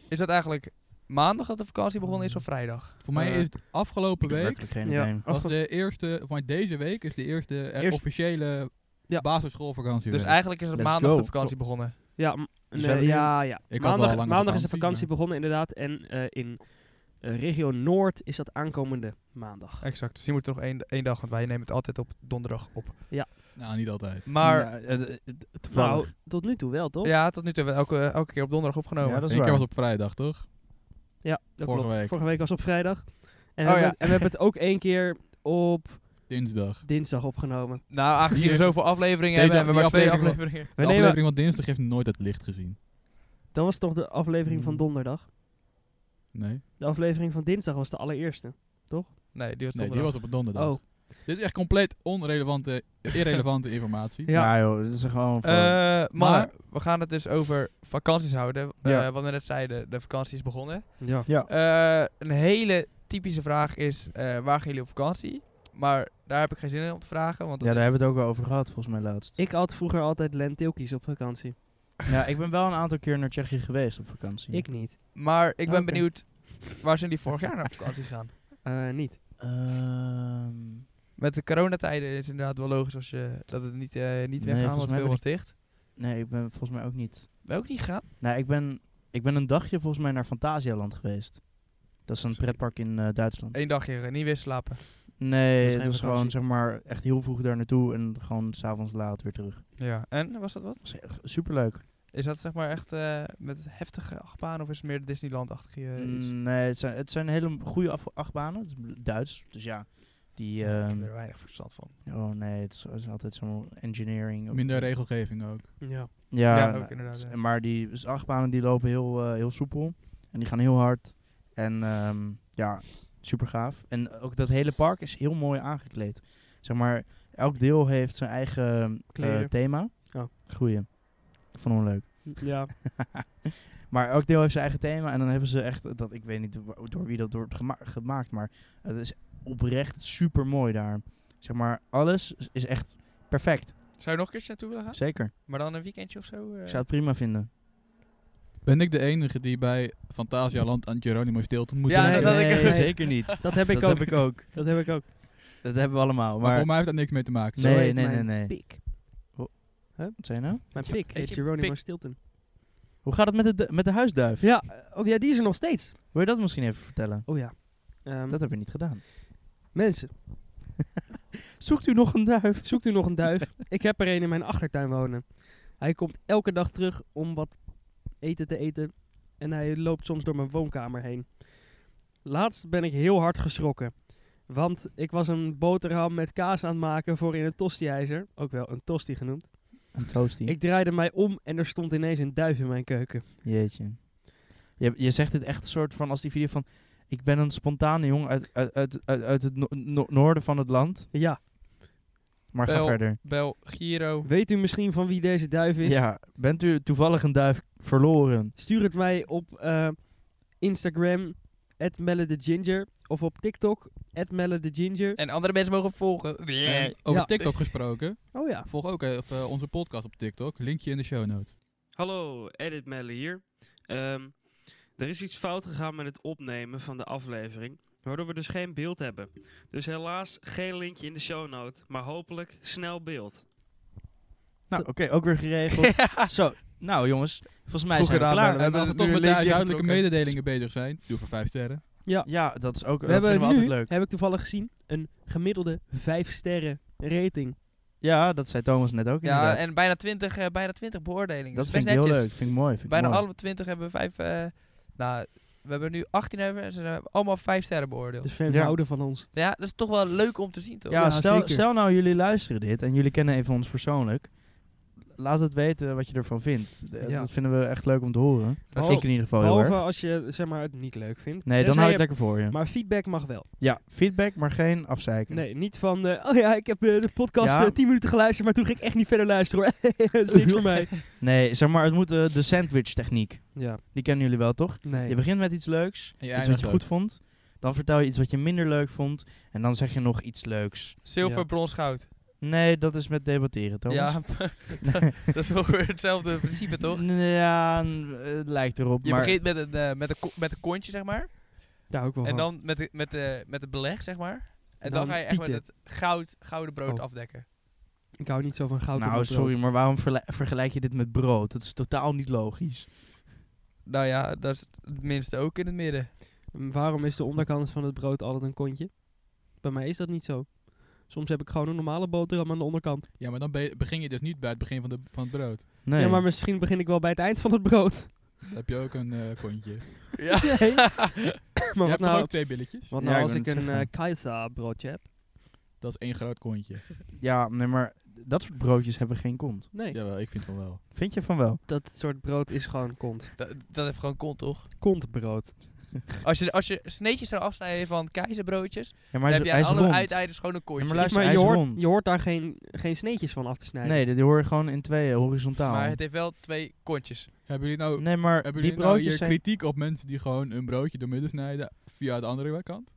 [SPEAKER 4] Is dat eigenlijk maandag dat de vakantie begonnen is of vrijdag?
[SPEAKER 1] Voor mij
[SPEAKER 4] Eh,
[SPEAKER 1] is het afgelopen week,
[SPEAKER 2] Werkelijk geen
[SPEAKER 5] Ja. Oh,
[SPEAKER 2] idee.
[SPEAKER 1] was
[SPEAKER 5] Afge-
[SPEAKER 1] de eerste, van deze week is de eerste eh,
[SPEAKER 5] Eerst-
[SPEAKER 1] officiële
[SPEAKER 5] Ja.
[SPEAKER 1] basisschoolvakantie.
[SPEAKER 4] Dus
[SPEAKER 1] weer.
[SPEAKER 4] eigenlijk is het
[SPEAKER 2] Let's
[SPEAKER 4] maandag
[SPEAKER 2] go.
[SPEAKER 4] de vakantie begonnen.
[SPEAKER 5] Ja, m-
[SPEAKER 2] Dus
[SPEAKER 5] nee,
[SPEAKER 2] hebben jullie-
[SPEAKER 5] ja, ja.
[SPEAKER 1] Ik had wel
[SPEAKER 5] maandag
[SPEAKER 1] een lange
[SPEAKER 5] maandag is de
[SPEAKER 1] vakantie,
[SPEAKER 5] vakantie begonnen, inderdaad. En eh, in eh, Eh, regio Noord is dat aankomende maandag.
[SPEAKER 4] Exact. Dus die moet er nog één, één dag, want wij nemen het altijd op donderdag op.
[SPEAKER 1] Nou, niet altijd.
[SPEAKER 4] Maar
[SPEAKER 2] Ja, het- het- het-
[SPEAKER 5] Nou,
[SPEAKER 2] toevallig.
[SPEAKER 5] tot nu toe wel, toch?
[SPEAKER 4] ja, tot nu toe hebben we elke, elke keer op donderdag opgenomen.
[SPEAKER 2] Ja, dat is
[SPEAKER 1] Eén keer
[SPEAKER 2] waar.
[SPEAKER 1] was op vrijdag, toch?
[SPEAKER 5] Ja, dat
[SPEAKER 1] Vorige
[SPEAKER 5] klopt.
[SPEAKER 1] week.
[SPEAKER 5] Vorige week was op vrijdag. En,
[SPEAKER 4] Oh
[SPEAKER 5] we,
[SPEAKER 4] ja.
[SPEAKER 5] hebben, en we hebben het ook één keer op
[SPEAKER 1] Dinsdag.
[SPEAKER 5] dinsdag opgenomen.
[SPEAKER 4] Nou, aangezien we
[SPEAKER 1] Hier-
[SPEAKER 4] zoveel afleveringen
[SPEAKER 1] Deze-
[SPEAKER 4] hebben, hebben we maar
[SPEAKER 1] die
[SPEAKER 4] twee
[SPEAKER 1] aflevering-
[SPEAKER 4] afleveringen. <laughs>
[SPEAKER 1] De
[SPEAKER 5] We nemen,
[SPEAKER 1] aflevering van dinsdag heeft nooit het licht gezien.
[SPEAKER 5] dat was toch de aflevering van
[SPEAKER 2] Mm.
[SPEAKER 1] Hmm.
[SPEAKER 5] donderdag?
[SPEAKER 1] Nee?
[SPEAKER 5] De aflevering van dinsdag was de allereerste.
[SPEAKER 4] Nee, die was
[SPEAKER 1] Nee,
[SPEAKER 4] donderdag.
[SPEAKER 1] die was op een donderdag.
[SPEAKER 5] Oh,
[SPEAKER 1] Dit is echt compleet onrelevante, irrelevante informatie.
[SPEAKER 5] Ja.
[SPEAKER 2] Ja, joh, dat is gewoon... voor-
[SPEAKER 4] Eh, maar,
[SPEAKER 1] Maar-
[SPEAKER 4] we gaan het dus over vakanties houden. Eh
[SPEAKER 2] Ja.
[SPEAKER 4] wat we net zeiden, de vakantie is begonnen.
[SPEAKER 5] ja.
[SPEAKER 2] ja.
[SPEAKER 4] Eh, een hele typische vraag is, eh, waar gaan jullie op vakantie? Maar daar heb ik geen zin in om te vragen. Want dat
[SPEAKER 2] ja, daar
[SPEAKER 4] is-
[SPEAKER 2] hebben we het ook al over gehad, volgens mij laatst.
[SPEAKER 5] Ik had vroeger altijd lentilkies op vakantie.
[SPEAKER 2] Ja, ik ben wel een aantal keer naar Tsjechië geweest op vakantie.
[SPEAKER 5] Ik niet.
[SPEAKER 4] Maar ik ben
[SPEAKER 5] Oké.
[SPEAKER 4] benieuwd, waar zijn die vorig jaar naar op vakantie gegaan?
[SPEAKER 5] Eh, niet.
[SPEAKER 2] Ehm,
[SPEAKER 4] Met de coronatijden is het inderdaad wel logisch als je, dat het niet, eh niet
[SPEAKER 2] Nee,
[SPEAKER 4] weggaan,
[SPEAKER 2] volgens
[SPEAKER 4] want
[SPEAKER 2] mij
[SPEAKER 4] veel
[SPEAKER 2] ben
[SPEAKER 4] was dicht.
[SPEAKER 2] nee, ik ben volgens mij ook niet...
[SPEAKER 4] Ben je ook niet gegaan?
[SPEAKER 2] Nou, ik ben, ik ben een dagje volgens mij naar Fantasialand geweest. Dat is een
[SPEAKER 4] Sorry.
[SPEAKER 2] pretpark in eh, Duitsland.
[SPEAKER 4] Eén dagje, eh, niet weer slapen.
[SPEAKER 2] Nee,
[SPEAKER 5] Dat is
[SPEAKER 2] het
[SPEAKER 5] geen
[SPEAKER 2] was gewoon
[SPEAKER 5] vakantie.
[SPEAKER 2] zeg maar echt heel vroeg daar naartoe en gewoon s'avonds laat weer terug.
[SPEAKER 4] Ja. En, was dat wat?
[SPEAKER 2] Dat was echt superleuk.
[SPEAKER 4] Is dat zeg maar echt eh, met heftige achtbaan of is het meer Disneyland-achtige eh, iets?
[SPEAKER 2] Mm, Nee, het zijn, het zijn hele goede af- achtbanen. Het is bl- Duits, dus ja. Die,
[SPEAKER 4] Ja, ik
[SPEAKER 2] ehm,
[SPEAKER 4] heb er weinig verstand van.
[SPEAKER 2] oh nee, het is, het is altijd zo'n engineering. of-
[SPEAKER 1] Minder regelgeving ook.
[SPEAKER 5] Ja.
[SPEAKER 2] Ja,
[SPEAKER 4] Ja, ook
[SPEAKER 2] nou,
[SPEAKER 4] inderdaad,
[SPEAKER 2] het-
[SPEAKER 4] ja.
[SPEAKER 2] maar die dus achtbanen die lopen heel, eh, heel soepel. En die gaan heel hard. En ehm, ja, super gaaf. En ook dat hele park is heel mooi aangekleed. Zeg maar, elk deel heeft zijn eigen eh
[SPEAKER 5] Kleren.
[SPEAKER 2] thema.
[SPEAKER 5] Oh.
[SPEAKER 2] Goeie. Ik vond hem leuk.
[SPEAKER 5] Ja.
[SPEAKER 2] Maar elk deel heeft zijn eigen thema. En dan hebben ze echt, dat, ik weet niet wa- door wie dat wordt gema- gemaakt, maar het is oprecht super mooi daar. Zeg maar, alles is- is echt perfect.
[SPEAKER 4] Zou je nog een keertje naartoe willen gaan?
[SPEAKER 2] Zeker.
[SPEAKER 4] Maar dan een weekendje of zo? eh?
[SPEAKER 2] Ik zou het prima vinden.
[SPEAKER 1] Ben ik de enige die bij Fantasialand aan Geronimo Stilton moet
[SPEAKER 4] Ja,
[SPEAKER 1] denken?
[SPEAKER 4] nee, dat had ik-
[SPEAKER 2] nee, zeker niet.
[SPEAKER 5] Dat heb
[SPEAKER 2] <laughs>
[SPEAKER 5] ik
[SPEAKER 2] dat
[SPEAKER 5] ook.
[SPEAKER 2] heb ik ook.
[SPEAKER 5] dat heb ik ook.
[SPEAKER 2] Dat hebben we allemaal.
[SPEAKER 1] Maar
[SPEAKER 2] Maar
[SPEAKER 1] voor mij heeft dat niks mee te maken.
[SPEAKER 2] Nee,
[SPEAKER 5] Zo heet
[SPEAKER 2] nee,
[SPEAKER 5] mijn
[SPEAKER 2] nee, nee.
[SPEAKER 5] Pik.
[SPEAKER 2] wat zei je nou?
[SPEAKER 5] Mijn
[SPEAKER 4] Ja,
[SPEAKER 5] pik
[SPEAKER 4] heet
[SPEAKER 5] heet
[SPEAKER 4] je
[SPEAKER 5] Geronimo
[SPEAKER 4] pik?
[SPEAKER 5] Stilton.
[SPEAKER 2] Hoe gaat het met de, du- met de huisduif?
[SPEAKER 5] Ja, eh, oh ja, die is er nog steeds.
[SPEAKER 2] Wil je dat misschien even vertellen?
[SPEAKER 5] Oh ja. Ehm,
[SPEAKER 2] Dat heb je niet gedaan.
[SPEAKER 5] Mensen,
[SPEAKER 2] Zoekt u nog een duif?
[SPEAKER 5] zoekt u nog een <laughs> duif? ik heb er een in mijn achtertuin wonen. Hij komt elke dag terug om wat eten te eten. En hij loopt soms door mijn woonkamer heen. Laatst ben ik heel hard geschrokken. Want ik was een boterham met kaas aan het maken voor in een tostiijzer. Ook wel een tosti genoemd.
[SPEAKER 2] Een toastie.
[SPEAKER 5] Ik draaide mij om en er stond ineens een duif in mijn keuken.
[SPEAKER 2] Jeetje. Je, je zegt dit echt een soort van als die video van... Ik ben een spontane jongen uit, uit, uit, uit, uit het no- no- noorden van het land.
[SPEAKER 5] Ja,
[SPEAKER 2] Maar ga
[SPEAKER 4] Wel.
[SPEAKER 2] verder.
[SPEAKER 4] Bel, Giro.
[SPEAKER 5] weet u misschien van wie deze duif is?
[SPEAKER 2] Ja, bent u toevallig een duif verloren?
[SPEAKER 5] Stuur het mij op eh, Instagram, @melletheginger of op TikTok, @melletheginger.
[SPEAKER 4] En andere mensen mogen volgen.
[SPEAKER 1] En over
[SPEAKER 5] Ja.
[SPEAKER 1] TikTok gesproken.
[SPEAKER 5] Oh ja.
[SPEAKER 1] Volg ook even onze podcast op TikTok. Linkje in de show notes.
[SPEAKER 3] Hallo, Edit Melle hier. Ehm, er is iets fout gegaan met het opnemen van de aflevering, waardoor we dus geen beeld hebben. Dus helaas geen linkje in de show note, maar hopelijk snel beeld.
[SPEAKER 2] Nou, oké, ook weer geregeld. <laughs> Zo, nou jongens, volgens mij
[SPEAKER 4] Goed
[SPEAKER 2] zijn we
[SPEAKER 4] gedaan,
[SPEAKER 2] klaar.
[SPEAKER 4] Merle.
[SPEAKER 1] En als
[SPEAKER 4] hebben
[SPEAKER 1] we toch
[SPEAKER 4] nu
[SPEAKER 1] met
[SPEAKER 4] een
[SPEAKER 1] de
[SPEAKER 4] linkje
[SPEAKER 1] huishoudelijke
[SPEAKER 4] getrokken.
[SPEAKER 1] mededelingen bezig zijn, doe voor vijf sterren.
[SPEAKER 2] Ja, dat is ook
[SPEAKER 5] We
[SPEAKER 2] dat vinden we
[SPEAKER 5] hebben
[SPEAKER 2] altijd
[SPEAKER 5] nu,
[SPEAKER 2] leuk.
[SPEAKER 5] heb ik toevallig gezien, een gemiddelde 5 sterren rating.
[SPEAKER 2] Ja, dat zei Thomas net ook inderdaad.
[SPEAKER 4] Ja, en bijna 20, eh, bijna 20 beoordelingen.
[SPEAKER 2] Dat
[SPEAKER 4] is
[SPEAKER 2] vind ik
[SPEAKER 4] best
[SPEAKER 2] heel
[SPEAKER 4] netjes.
[SPEAKER 2] leuk. Vind ik mooi. Vind ik
[SPEAKER 4] Bijna
[SPEAKER 2] mooi.
[SPEAKER 4] alle 20 hebben vijf. eh, nou, we hebben nu 18 hebben en ze hebben allemaal vijf sterren beoordeeld.
[SPEAKER 5] Dus fans
[SPEAKER 2] Ja.
[SPEAKER 5] houden van
[SPEAKER 2] Oh,
[SPEAKER 5] ons.
[SPEAKER 4] Ja, dat is toch wel leuk om te zien, toch?
[SPEAKER 2] Ja,
[SPEAKER 5] Ja,
[SPEAKER 2] stel,
[SPEAKER 5] zeker.
[SPEAKER 2] stel nou jullie luisteren dit en jullie kennen even ons persoonlijk. Laat het weten wat je ervan vindt. De-
[SPEAKER 5] Ja.
[SPEAKER 2] Dat vinden we echt leuk om te horen.
[SPEAKER 5] Behalve-
[SPEAKER 2] ik in ieder geval heel
[SPEAKER 5] Behalve
[SPEAKER 2] erg.
[SPEAKER 5] als je zeg maar, het niet leuk vindt.
[SPEAKER 2] Nee, dan
[SPEAKER 5] Tenzij
[SPEAKER 2] hou
[SPEAKER 5] je-
[SPEAKER 2] ik lekker voor je.
[SPEAKER 5] Maar feedback mag wel.
[SPEAKER 2] ja, feedback, maar geen afzeiken.
[SPEAKER 5] Nee, niet van, eh, oh ja, ik heb eh, de podcast
[SPEAKER 2] Ja.
[SPEAKER 5] eh, 10 minuten geluisterd, maar toen ging ik echt niet verder luisteren hoor. <laughs> dat is niks
[SPEAKER 2] <laughs>
[SPEAKER 5] voor mij.
[SPEAKER 2] Nee, zeg maar, het moet eh, de sandwich techniek.
[SPEAKER 5] Ja,
[SPEAKER 2] Die kennen jullie wel, toch?
[SPEAKER 5] nee.
[SPEAKER 2] Je begint met iets leuks,
[SPEAKER 1] En je
[SPEAKER 2] iets wat
[SPEAKER 1] eindigt
[SPEAKER 2] je
[SPEAKER 1] ook.
[SPEAKER 2] goed vond. Dan vertel je iets wat je minder leuk vond. En dan zeg je nog iets leuks.
[SPEAKER 4] Zilver,
[SPEAKER 5] Ja.
[SPEAKER 4] brons, goud.
[SPEAKER 2] Nee, dat is met debatteren, Thomas.
[SPEAKER 4] Ja, <laughs> dat is ongeveer hetzelfde principe,
[SPEAKER 2] <laughs>
[SPEAKER 4] toch?
[SPEAKER 2] Ja, n- het lijkt erop.
[SPEAKER 4] Je
[SPEAKER 2] maar
[SPEAKER 4] begint met een, eh, met, een ko- met een kontje, zeg maar.
[SPEAKER 5] Daar hou ik wel
[SPEAKER 4] En
[SPEAKER 5] van.
[SPEAKER 4] dan met, de, met, de, met het beleg, zeg maar. En dan,
[SPEAKER 5] Dan
[SPEAKER 4] ga je echt met
[SPEAKER 5] pieten.
[SPEAKER 4] het goud, gouden brood
[SPEAKER 5] Oh.
[SPEAKER 4] afdekken.
[SPEAKER 5] Ik hou niet zo van goud op
[SPEAKER 2] nou,
[SPEAKER 5] mijn brood.
[SPEAKER 2] sorry, maar waarom verle- vergelijk je dit met brood? Dat is totaal niet logisch. <laughs>
[SPEAKER 4] Nou ja, dat is het minste ook in het midden.
[SPEAKER 5] M, Waarom is de onderkant van het brood altijd een kontje? Bij mij is dat niet zo. Soms heb ik gewoon een normale boterham aan de onderkant.
[SPEAKER 1] Ja, maar dan be- begin je dus niet bij het begin van, de, van het brood.
[SPEAKER 2] Nee.
[SPEAKER 5] Ja, maar misschien begin ik wel bij het eind van het brood. <laughs>
[SPEAKER 1] Dan heb je ook een eh, kontje.
[SPEAKER 4] Ja.
[SPEAKER 5] Nee. maar
[SPEAKER 1] je
[SPEAKER 5] wat
[SPEAKER 1] hebt toch
[SPEAKER 5] nou,
[SPEAKER 1] ook twee billetjes?
[SPEAKER 5] wat
[SPEAKER 2] Ja,
[SPEAKER 5] nou
[SPEAKER 2] ik
[SPEAKER 5] als
[SPEAKER 2] wou
[SPEAKER 5] ik
[SPEAKER 2] net
[SPEAKER 5] een
[SPEAKER 2] zeggen.
[SPEAKER 5] eh kaiza broodje heb?
[SPEAKER 1] Dat is één groot kontje.
[SPEAKER 2] ja, nee, maar dat soort broodjes hebben geen kont.
[SPEAKER 5] Nee,
[SPEAKER 1] Jawel, ik vind van wel.
[SPEAKER 2] Vind je van wel?
[SPEAKER 5] dat soort brood is gewoon
[SPEAKER 4] <laughs>
[SPEAKER 5] kont.
[SPEAKER 4] Dat, dat heeft gewoon kont, toch?
[SPEAKER 5] Kontbrood.
[SPEAKER 4] Als je, als je sneetjes zou afsnijden van keizebroodjes,
[SPEAKER 2] Ja,
[SPEAKER 4] dan
[SPEAKER 2] maar hij
[SPEAKER 4] heb
[SPEAKER 2] is,
[SPEAKER 4] je
[SPEAKER 2] hij
[SPEAKER 4] aan
[SPEAKER 2] is
[SPEAKER 4] alle
[SPEAKER 2] rond.
[SPEAKER 4] uiteinders gewoon een kontje.
[SPEAKER 2] Ja, maar luister,
[SPEAKER 5] maar
[SPEAKER 2] hij
[SPEAKER 5] je
[SPEAKER 2] is
[SPEAKER 5] hoort,
[SPEAKER 2] rond.
[SPEAKER 5] je hoort daar geen, geen sneetjes van af te snijden.
[SPEAKER 2] Nee, dit hoor je gewoon in tweeën, horizontaal.
[SPEAKER 4] Maar het heeft wel twee kontjes.
[SPEAKER 1] Hebben jullie nou,
[SPEAKER 2] nee, maar
[SPEAKER 1] hebben
[SPEAKER 2] die
[SPEAKER 1] jullie nou
[SPEAKER 2] broodjes
[SPEAKER 1] hier
[SPEAKER 2] zijn...
[SPEAKER 1] kritiek op mensen die gewoon een broodje door midden snijden via de andere kant?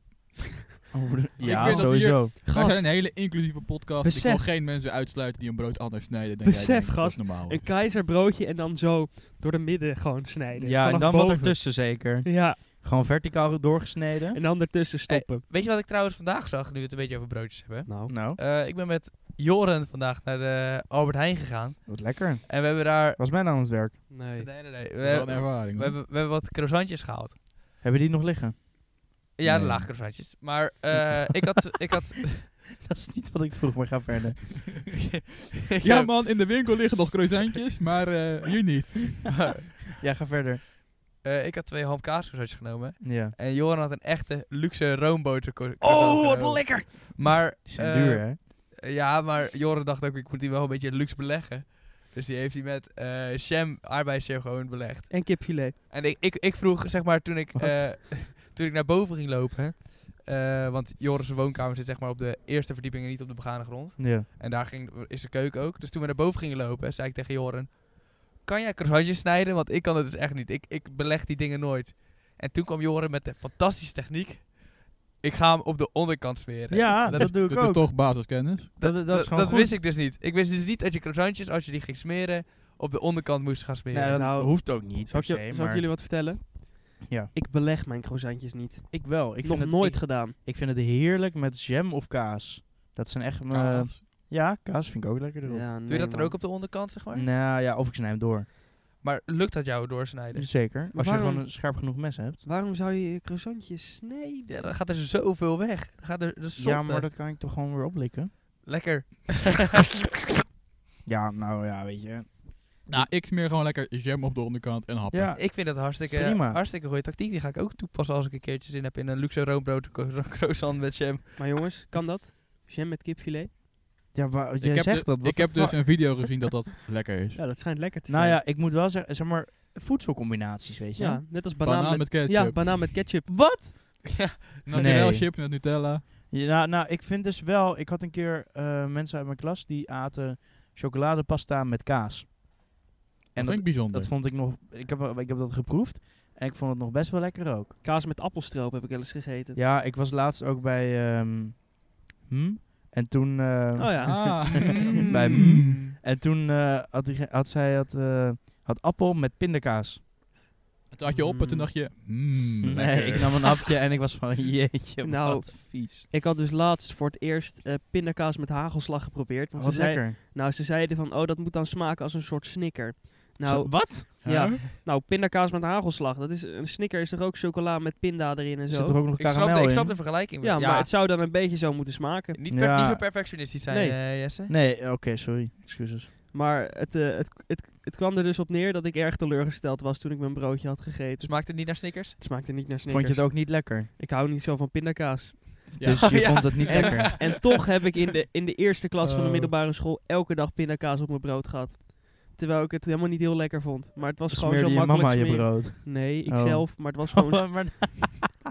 [SPEAKER 2] Oh, broer, ja,
[SPEAKER 1] vind dat
[SPEAKER 2] sowieso.
[SPEAKER 1] Wij zijn
[SPEAKER 5] Gast,
[SPEAKER 1] een hele inclusieve podcast. dus
[SPEAKER 5] Besef.
[SPEAKER 1] Ik wil geen mensen uitsluiten die een brood anders snijden dan jij
[SPEAKER 5] Besef,
[SPEAKER 1] denkt dat
[SPEAKER 5] gast.
[SPEAKER 1] normaal
[SPEAKER 5] een
[SPEAKER 1] is.
[SPEAKER 5] keizerbroodje en dan zo door de midden gewoon snijden.
[SPEAKER 2] Ja, en
[SPEAKER 5] Vanaf
[SPEAKER 2] dan wat
[SPEAKER 5] boven.
[SPEAKER 2] ertussen zeker.
[SPEAKER 5] Ja,
[SPEAKER 2] Gewoon verticaal doorgesneden.
[SPEAKER 5] en dan ertussen stoppen.
[SPEAKER 4] Weet je wat ik trouwens vandaag zag, nu we het een beetje over broodjes hebben?
[SPEAKER 5] Nou,
[SPEAKER 2] Nou,
[SPEAKER 4] Eh, ik ben met Joren vandaag naar de Albert Heijn gegaan.
[SPEAKER 2] Eh, wat lekker.
[SPEAKER 4] En we hebben daar...
[SPEAKER 2] Was mij aan het werk.
[SPEAKER 5] nee.
[SPEAKER 4] Nee, nee, nee. We,
[SPEAKER 1] Dat is wel een
[SPEAKER 4] we,
[SPEAKER 1] ervaring. hoor.
[SPEAKER 4] hebben, we hebben wat croissantjes gehaald.
[SPEAKER 2] Hebben die nog liggen?
[SPEAKER 4] Ja, de
[SPEAKER 1] Nee.
[SPEAKER 4] laag croissantjes. Maar eh, ik had... Ik
[SPEAKER 1] <laughs>
[SPEAKER 4] had
[SPEAKER 2] <laughs> Dat is niet wat ik vroeg, maar ga verder.
[SPEAKER 4] ik
[SPEAKER 1] Ja
[SPEAKER 4] heb-
[SPEAKER 1] man, in de winkel liggen nog croissantjes, maar eh, hier niet.
[SPEAKER 2] Ja, ga verder.
[SPEAKER 4] eh, ik had twee hamkaascroissantjes genomen.
[SPEAKER 2] Ja.
[SPEAKER 4] En Joren had een echte luxe roomboter cro- croissant
[SPEAKER 5] Oh, wat
[SPEAKER 4] genomen.
[SPEAKER 5] lekker!
[SPEAKER 4] Maar...
[SPEAKER 2] Die zijn
[SPEAKER 4] eh,
[SPEAKER 2] duur, hè?
[SPEAKER 4] Ja, maar Joren dacht ook, ik moet die wel een beetje luxe beleggen. Dus die heeft hij met eh sham, arbeidsjam gewoon belegd.
[SPEAKER 5] En kipfilet.
[SPEAKER 4] En ik, ik, ik vroeg, zeg maar, toen ik,
[SPEAKER 2] Wat?
[SPEAKER 4] eh, <laughs> toen ik naar boven ging lopen... eh, want Joris' woonkamer zit zeg maar op de eerste verdieping en niet op de begane grond.
[SPEAKER 2] Ja.
[SPEAKER 4] En daar ging, is de keuken ook. Dus toen we naar boven gingen lopen, zei ik tegen Joren... Kan jij croissantjes snijden? Want ik kan het dus echt niet. Ik, ik beleg die dingen nooit. En toen kwam Joren met de fantastische techniek. Ik ga hem op de onderkant smeren.
[SPEAKER 2] Ja,
[SPEAKER 4] dat
[SPEAKER 2] dat,
[SPEAKER 4] is-
[SPEAKER 2] doe ik
[SPEAKER 1] Dit
[SPEAKER 2] ook.
[SPEAKER 1] is toch basiskennis?
[SPEAKER 2] dat, dat, is gewoon goed.
[SPEAKER 4] wist ik dus niet. Ik wist dus niet dat je croissantjes, als je die ging smeren, op de onderkant moest gaan smeren.
[SPEAKER 2] Nee, dat
[SPEAKER 5] Nou,
[SPEAKER 2] hoeft ook niet.
[SPEAKER 5] Zal ik, je-
[SPEAKER 2] per se,
[SPEAKER 5] zal ik
[SPEAKER 2] maar-
[SPEAKER 5] jullie wat vertellen?
[SPEAKER 2] Ja.
[SPEAKER 5] Ik beleg mijn croissantjes niet.
[SPEAKER 2] Ik wel. Ik
[SPEAKER 5] Nog
[SPEAKER 2] vind
[SPEAKER 5] nooit
[SPEAKER 2] Het,
[SPEAKER 5] gedaan.
[SPEAKER 2] ik, ik vind het heerlijk met jam of kaas. Dat zijn echt... mijn-
[SPEAKER 1] Kaas.
[SPEAKER 2] Ja, kaas vind ik ook lekker erop.
[SPEAKER 4] Doe je dat dan ook op de onderkant, zeg maar?
[SPEAKER 2] Nou ja, of ik snij hem door.
[SPEAKER 4] Maar lukt dat jou doorsnijden?
[SPEAKER 2] Zeker. Als je
[SPEAKER 5] waarom-
[SPEAKER 2] gewoon een scherp genoeg mes hebt.
[SPEAKER 5] Waarom zou je je croissantjes snijden?
[SPEAKER 4] Ja, dan gaat er zoveel weg. Dan gaat er, dat is
[SPEAKER 2] Ja,
[SPEAKER 4] zotte.
[SPEAKER 2] maar dat kan ik toch gewoon weer oplikken?
[SPEAKER 4] Lekker.
[SPEAKER 2] Ja, nou ja, weet je.
[SPEAKER 1] Nou, ik smeer gewoon lekker jam op de onderkant en happen.
[SPEAKER 2] Ja,
[SPEAKER 4] Ik vind dat hartstikke,
[SPEAKER 2] Ah, Prima.
[SPEAKER 4] hartstikke goede tactiek. Die ga ik ook toepassen als ik een keertje zin heb in een luxe roombrood cro- croissant met jam.
[SPEAKER 5] Maar jongens, kan dat? Jam met kipfilet?
[SPEAKER 2] ja maar
[SPEAKER 1] ik
[SPEAKER 2] jij
[SPEAKER 1] heb,
[SPEAKER 2] zegt
[SPEAKER 1] dus-
[SPEAKER 2] dat. what
[SPEAKER 1] ik
[SPEAKER 2] the
[SPEAKER 1] heb dus
[SPEAKER 2] fuck?
[SPEAKER 1] een video gezien dat <laughs> dat lekker is.
[SPEAKER 5] Ja, dat schijnt lekker te
[SPEAKER 2] Nou
[SPEAKER 5] zijn.
[SPEAKER 2] ja, ik moet wel zeggen, zeg maar, voedselcombinaties, weet je.
[SPEAKER 5] ja, net als banaan,
[SPEAKER 1] Banaan met ketchup.
[SPEAKER 5] Ja, banaan met ketchup.
[SPEAKER 2] Wat?
[SPEAKER 4] ja,
[SPEAKER 1] Naturel
[SPEAKER 2] Nee.
[SPEAKER 1] chip met Nutella.
[SPEAKER 2] Ja, nou, nou, ik vind dus wel, ik had een keer eh, mensen uit mijn klas die aten chocoladepasta met kaas.
[SPEAKER 1] En
[SPEAKER 2] En
[SPEAKER 1] dat vind
[SPEAKER 2] dat,
[SPEAKER 1] ik bijzonder.
[SPEAKER 2] dat vond ik nog, ik heb, ik heb dat geproefd en ik vond het nog best wel lekker ook.
[SPEAKER 5] Kaas met appelstroop heb ik wel eens gegeten.
[SPEAKER 2] Ja, ik was laatst ook bij, ehm, hm? En toen, eh, <laughs>
[SPEAKER 5] Oh
[SPEAKER 4] <laughs>
[SPEAKER 5] ja. Hmm.
[SPEAKER 1] Ah.
[SPEAKER 2] Bij hmm?
[SPEAKER 1] Mm.
[SPEAKER 2] en toen eh, had, die, had zij, had, eh, had appel met pindakaas.
[SPEAKER 1] Toen had je op en toen dacht je... mm,
[SPEAKER 2] Nee,
[SPEAKER 1] lekker.
[SPEAKER 2] ik nam een hapje en ik was van, <laughs> jeetje,
[SPEAKER 5] Nou,
[SPEAKER 2] wat vies.
[SPEAKER 5] Ik had dus laatst voor het eerst eh, pindakaas met hagelslag geprobeerd. Want
[SPEAKER 2] Wat
[SPEAKER 5] ze, zei,
[SPEAKER 2] Oh, lekker.
[SPEAKER 5] nou, ze zeiden van, oh, dat moet dan smaken als een soort snicker.
[SPEAKER 2] Zo-
[SPEAKER 5] Nou,
[SPEAKER 2] wat?
[SPEAKER 5] ja, nou, pindakaas met hagelslag. Dat is, een snicker is toch ook chocola met pinda erin en
[SPEAKER 2] Er zit
[SPEAKER 5] zo?
[SPEAKER 2] er ook nog
[SPEAKER 4] ik, snap de,
[SPEAKER 2] karamel
[SPEAKER 4] ik snap
[SPEAKER 2] nou in?
[SPEAKER 4] de vergelijking.
[SPEAKER 5] Ja,
[SPEAKER 4] wel.
[SPEAKER 5] maar het zou dan een beetje zo moeten smaken.
[SPEAKER 4] niet, per-
[SPEAKER 2] Ja.
[SPEAKER 4] niet zo perfectionistisch zijn,
[SPEAKER 5] Nee.
[SPEAKER 4] eh, Jesse.
[SPEAKER 2] Nee, oké, sorry. Excuses.
[SPEAKER 5] Maar het, eh, het, het, het kwam er dus op neer dat ik erg teleurgesteld was toen ik mijn broodje had gegeten.
[SPEAKER 4] Smaakt Dus het niet naar Snickers?
[SPEAKER 5] Het smaakte niet naar
[SPEAKER 2] Vond
[SPEAKER 5] snickers.
[SPEAKER 2] je het ook niet lekker?
[SPEAKER 5] Ik hou niet zo van pindakaas.
[SPEAKER 1] Ja.
[SPEAKER 2] Dus je
[SPEAKER 5] <laughs>
[SPEAKER 4] Ja.
[SPEAKER 2] vond het niet
[SPEAKER 5] En-
[SPEAKER 2] lekker?
[SPEAKER 5] En toch heb ik in de, in de eerste klas van de
[SPEAKER 4] Oh.
[SPEAKER 5] middelbare school elke dag pindakaas op mijn brood gehad. Terwijl ik het helemaal niet heel lekker vond. Maar het was gewoon
[SPEAKER 2] Smeerde
[SPEAKER 5] zo
[SPEAKER 2] je
[SPEAKER 5] makkelijk
[SPEAKER 2] mama je
[SPEAKER 5] smeren.
[SPEAKER 2] brood?
[SPEAKER 5] Nee, ik
[SPEAKER 2] Oh.
[SPEAKER 5] zelf. <laughs> Maar het was gewoon...
[SPEAKER 2] <laughs> Oh, maar-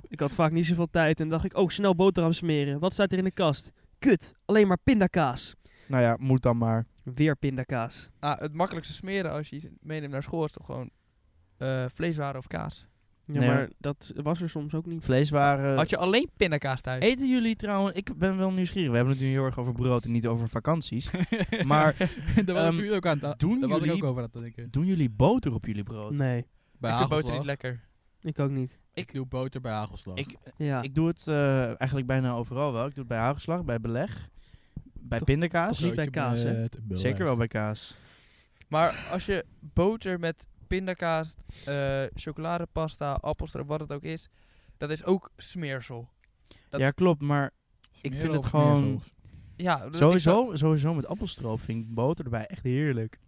[SPEAKER 5] ik had vaak niet zoveel tijd. En dacht ik, oh, snel boterham smeren. Wat staat er in de kast? Kut, alleen maar pindakaas.
[SPEAKER 2] nou ja, moet dan maar.
[SPEAKER 5] Weer pindakaas.
[SPEAKER 4] Ah, het makkelijkste smeren als je iets meeneemt naar school is toch gewoon eh, vleeswaren of kaas.
[SPEAKER 5] Ja,
[SPEAKER 2] Nee.
[SPEAKER 5] maar dat was er soms ook niet.
[SPEAKER 2] Vleeswaren...
[SPEAKER 4] Had je alleen pindakaas thuis?
[SPEAKER 2] Eten jullie trouwens... Ik ben wel nieuwsgierig. We hebben het nu heel erg over brood en niet over vakanties.
[SPEAKER 1] <laughs>
[SPEAKER 2] maar
[SPEAKER 1] daar was
[SPEAKER 2] Ehm,
[SPEAKER 1] ik jullie ook aan. het-
[SPEAKER 2] doen
[SPEAKER 1] daar was ik
[SPEAKER 2] jullie-
[SPEAKER 1] ook over aan het denken.
[SPEAKER 2] doen jullie boter op jullie brood?
[SPEAKER 5] Nee,
[SPEAKER 1] Bij
[SPEAKER 4] ik vind boter niet
[SPEAKER 1] hagelslag.
[SPEAKER 4] lekker.
[SPEAKER 5] ik ook niet.
[SPEAKER 1] Ik doe boter bij hagelslag.
[SPEAKER 2] Ik,
[SPEAKER 5] Ja.
[SPEAKER 2] ik doe het eh, eigenlijk bijna overal wel. Ik doe het bij hagelslag, bij beleg, bij
[SPEAKER 5] Toch-
[SPEAKER 2] pindakaas.
[SPEAKER 5] toch niet bij kaas, hè?
[SPEAKER 1] Met beleg.
[SPEAKER 2] Zeker wel bij kaas.
[SPEAKER 4] Maar als je boter met pindakaas, eh chocoladepasta, appelstroop, wat het ook is, dat is ook smeersel. Dat-
[SPEAKER 2] ja, klopt, maar ik
[SPEAKER 1] Smeren
[SPEAKER 2] vind het
[SPEAKER 1] op
[SPEAKER 2] gewoon...
[SPEAKER 1] smeersels.
[SPEAKER 4] Ja, dat- ik zou-
[SPEAKER 2] Sowieso, sowieso met appelstroop vind ik boter erbij echt heerlijk.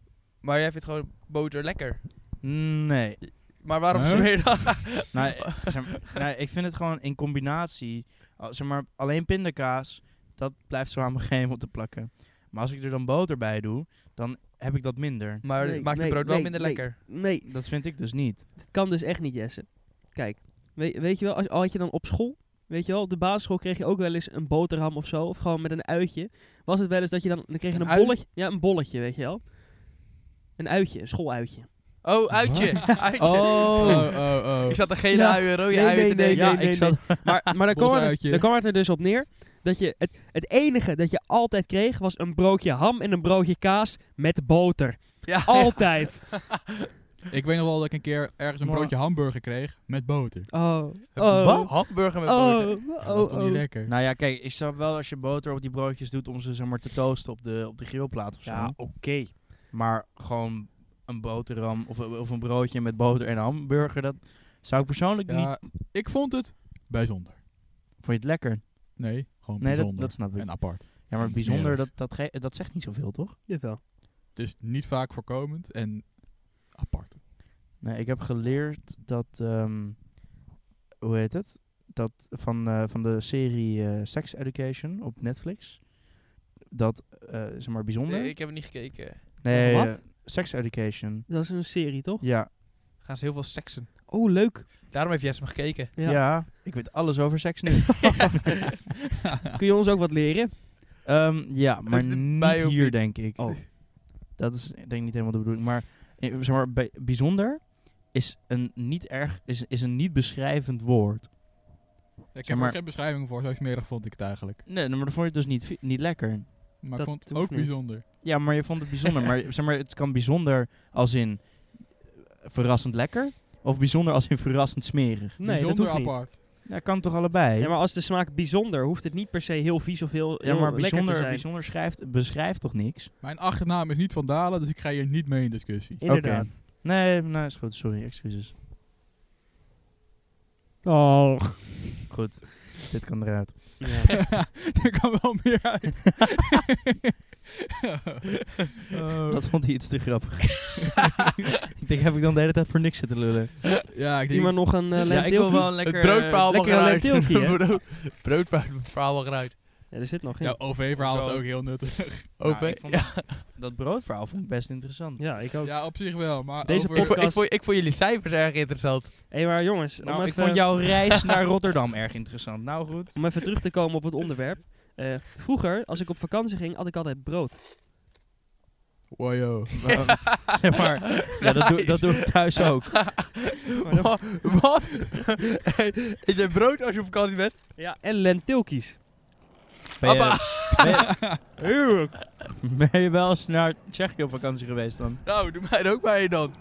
[SPEAKER 4] Maar jij vindt gewoon boter lekker.
[SPEAKER 2] Nee.
[SPEAKER 4] Maar waarom
[SPEAKER 1] Huh?
[SPEAKER 4] smeer je
[SPEAKER 5] <laughs>
[SPEAKER 4] dan?
[SPEAKER 2] nou, eh, zeg maar- nou, ik vind het gewoon in combinatie. al- Zeg maar, alleen pindakaas, dat blijft zo aan mijn geheim te plakken. Maar als ik er dan boter bij doe, dan heb ik dat minder.
[SPEAKER 4] Maar
[SPEAKER 5] Nee,
[SPEAKER 4] maakt je
[SPEAKER 5] nee,
[SPEAKER 4] brood wel
[SPEAKER 5] nee,
[SPEAKER 4] minder
[SPEAKER 5] nee.
[SPEAKER 4] lekker.
[SPEAKER 5] Nee,
[SPEAKER 2] Dat vind ik dus niet.
[SPEAKER 5] Het kan dus echt niet, Jesse. Kijk, we- weet je wel, als, al had je dan op school, weet je wel, op de basisschool kreeg je ook wel eens een boterham of zo, of gewoon met een uitje. Was het wel eens dat je dan, dan kreeg je
[SPEAKER 4] Een
[SPEAKER 5] een,
[SPEAKER 4] ui?
[SPEAKER 5] bolletje, ja, een bolletje, weet je wel. Een uitje, een schooluitje.
[SPEAKER 4] Oh, uitje. <laughs> uitje.
[SPEAKER 1] Oh, oh, oh.
[SPEAKER 4] Ik zat een gele
[SPEAKER 5] Ja.
[SPEAKER 4] ui, een rode
[SPEAKER 5] Nee,
[SPEAKER 4] ui
[SPEAKER 5] nee,
[SPEAKER 4] te
[SPEAKER 5] nee,
[SPEAKER 4] denken.
[SPEAKER 2] ja, ik zat.
[SPEAKER 5] Maar, maar dan, kwam het,
[SPEAKER 1] Bosuitje.
[SPEAKER 5] dan kwam het er dus op neer dat je het, het enige dat je altijd kreeg was een broodje ham en een broodje kaas met boter.
[SPEAKER 4] Ja,
[SPEAKER 5] Oh,
[SPEAKER 4] <laughs> ja.
[SPEAKER 5] Altijd.
[SPEAKER 1] Ik weet nog wel dat ik een keer ergens een
[SPEAKER 2] Maar-
[SPEAKER 1] broodje hamburger kreeg met boter.
[SPEAKER 5] Oh, oh,
[SPEAKER 2] Wat?
[SPEAKER 4] Hamburger met
[SPEAKER 5] Oh,
[SPEAKER 4] boter.
[SPEAKER 5] oh,
[SPEAKER 1] dat was toch niet
[SPEAKER 5] oh.
[SPEAKER 1] lekker?
[SPEAKER 2] Nou ja, kijk, ik snap wel als je boter op die broodjes doet om ze zeg maar te toasten op de, op de grillplaat of zo.
[SPEAKER 5] Ja, oké.
[SPEAKER 2] Maar gewoon een boterham of, of een broodje met boter en hamburger, dat zou ik persoonlijk niet...
[SPEAKER 1] ja, ik vond het bijzonder.
[SPEAKER 2] Vond je het lekker?
[SPEAKER 1] Nee, gewoon
[SPEAKER 2] Nee, dat,
[SPEAKER 1] bijzonder.
[SPEAKER 2] dat snap ik.
[SPEAKER 1] en apart.
[SPEAKER 2] Ja, maar bijzonder,
[SPEAKER 1] Smerig.
[SPEAKER 2] dat, dat, ge- dat zegt niet zoveel, toch?
[SPEAKER 5] Jawel.
[SPEAKER 1] Het is niet vaak voorkomend en apart.
[SPEAKER 2] Nee, ik heb geleerd dat, ehm, hoe heet het? Dat van, eh, van de serie eh, Sex Education op Netflix. Dat, eh, zeg maar, bijzonder.
[SPEAKER 4] Nee,
[SPEAKER 2] Nee,
[SPEAKER 4] ik heb het niet gekeken.
[SPEAKER 5] Wat?
[SPEAKER 2] eh, Sex Education.
[SPEAKER 5] Dat is een serie, toch?
[SPEAKER 2] Ja,
[SPEAKER 4] Gaan ze heel veel seksen.
[SPEAKER 5] Oh, leuk.
[SPEAKER 4] Daarom heeft Jesse me gekeken.
[SPEAKER 2] ja.
[SPEAKER 5] Ja.
[SPEAKER 2] ik weet alles over seks <laughs> nu.
[SPEAKER 5] Kun je ons ook wat leren?
[SPEAKER 2] Ehm, ja, maar
[SPEAKER 4] Eh,
[SPEAKER 2] niet
[SPEAKER 4] mij ook
[SPEAKER 2] hier,
[SPEAKER 4] niet.
[SPEAKER 2] denk ik.
[SPEAKER 5] Oh.
[SPEAKER 2] Dat is denk ik niet helemaal de bedoeling. Maar, eh, zeg maar bij- bijzonder is een niet erg, is, is een niet beschrijvend woord.
[SPEAKER 1] Ik
[SPEAKER 2] Zeg
[SPEAKER 1] heb
[SPEAKER 2] maar-
[SPEAKER 1] er geen beschrijving voor, zo smerig vond ik het eigenlijk.
[SPEAKER 2] Nee, maar dat vond je dus niet, vi- niet lekker.
[SPEAKER 1] Maar
[SPEAKER 5] Dat
[SPEAKER 1] ik vond het
[SPEAKER 5] hoeft
[SPEAKER 1] ook
[SPEAKER 5] niet.
[SPEAKER 1] bijzonder.
[SPEAKER 2] Ja, maar je vond het bijzonder. maar, zeg maar het kan bijzonder als in eh, verrassend lekker. Of bijzonder als in verrassend smerig.
[SPEAKER 5] Nee,
[SPEAKER 1] bijzonder
[SPEAKER 5] dat hoeft niet.
[SPEAKER 1] apart.
[SPEAKER 2] Ja, kan toch allebei?
[SPEAKER 5] Ja, maar als de smaak bijzonder, hoeft het niet per se heel vies of heel, heel lekker
[SPEAKER 2] bijzonder,
[SPEAKER 5] te zijn.
[SPEAKER 2] bijzonder schrijft, beschrijft toch niks?
[SPEAKER 1] Mijn achternaam is niet Van Dalen, dus ik ga hier niet mee in discussie.
[SPEAKER 5] Inderdaad.
[SPEAKER 2] Nee, nee, is goed. Sorry, excuses.
[SPEAKER 5] Oh.
[SPEAKER 2] Goed, dit kan
[SPEAKER 5] <laughs>
[SPEAKER 2] eruit. <laughs>
[SPEAKER 1] er <laughs> kan wel meer uit. Oh.
[SPEAKER 2] Dat vond hij iets te
[SPEAKER 5] <laughs>
[SPEAKER 2] grappig. ik denk, heb ik dan de hele tijd voor niks zitten lullen?
[SPEAKER 1] ja, ik denk,
[SPEAKER 5] Iemand nog een eh
[SPEAKER 2] ja, ik wil
[SPEAKER 5] lentilkie?
[SPEAKER 2] wel een lekker...
[SPEAKER 4] het broodverhaal mag
[SPEAKER 5] lekker een
[SPEAKER 4] eruit.
[SPEAKER 5] lentilkie,
[SPEAKER 4] <laughs>
[SPEAKER 5] hè?
[SPEAKER 4] Brood- broodverhaal mag eruit.
[SPEAKER 5] Ja, er zit nog in.
[SPEAKER 1] ja,
[SPEAKER 5] Ja,
[SPEAKER 1] OV-verhaal is
[SPEAKER 2] Zo.
[SPEAKER 1] ook heel nuttig.
[SPEAKER 2] Nou,
[SPEAKER 4] Open.
[SPEAKER 2] ik vond
[SPEAKER 4] Ja,
[SPEAKER 2] Dat broodverhaal vond ik best interessant.
[SPEAKER 5] ik ook.
[SPEAKER 1] Ja, op zich wel, maar
[SPEAKER 5] Deze
[SPEAKER 1] over...
[SPEAKER 4] ik, vond, ik,
[SPEAKER 5] podcast.
[SPEAKER 4] vond, ik vond jullie cijfers erg interessant.
[SPEAKER 5] Hé, maar jongens,
[SPEAKER 2] Nou,
[SPEAKER 5] om,
[SPEAKER 2] ik
[SPEAKER 5] even,
[SPEAKER 2] vond jouw
[SPEAKER 5] <laughs>
[SPEAKER 2] reis naar Rotterdam erg interessant. Nou goed.
[SPEAKER 5] om even terug te komen op het onderwerp. Eh, vroeger, als ik op vakantie ging, had ik altijd brood.
[SPEAKER 1] Wow, yo.
[SPEAKER 2] Waarom- Ehm, <laughs> zeg maar, ja, dat, doe, dat doe ik thuis ook.
[SPEAKER 4] Wa- Wat? Hey, Eet jij brood als je op vakantie bent?
[SPEAKER 5] Ja, en lentilkies.
[SPEAKER 2] Ben
[SPEAKER 4] Appa.
[SPEAKER 2] je,
[SPEAKER 5] Heerlijk.
[SPEAKER 2] ben je wel eens naar Tsjechië op vakantie geweest dan?
[SPEAKER 4] Nou, doe mij er ook maar één dan.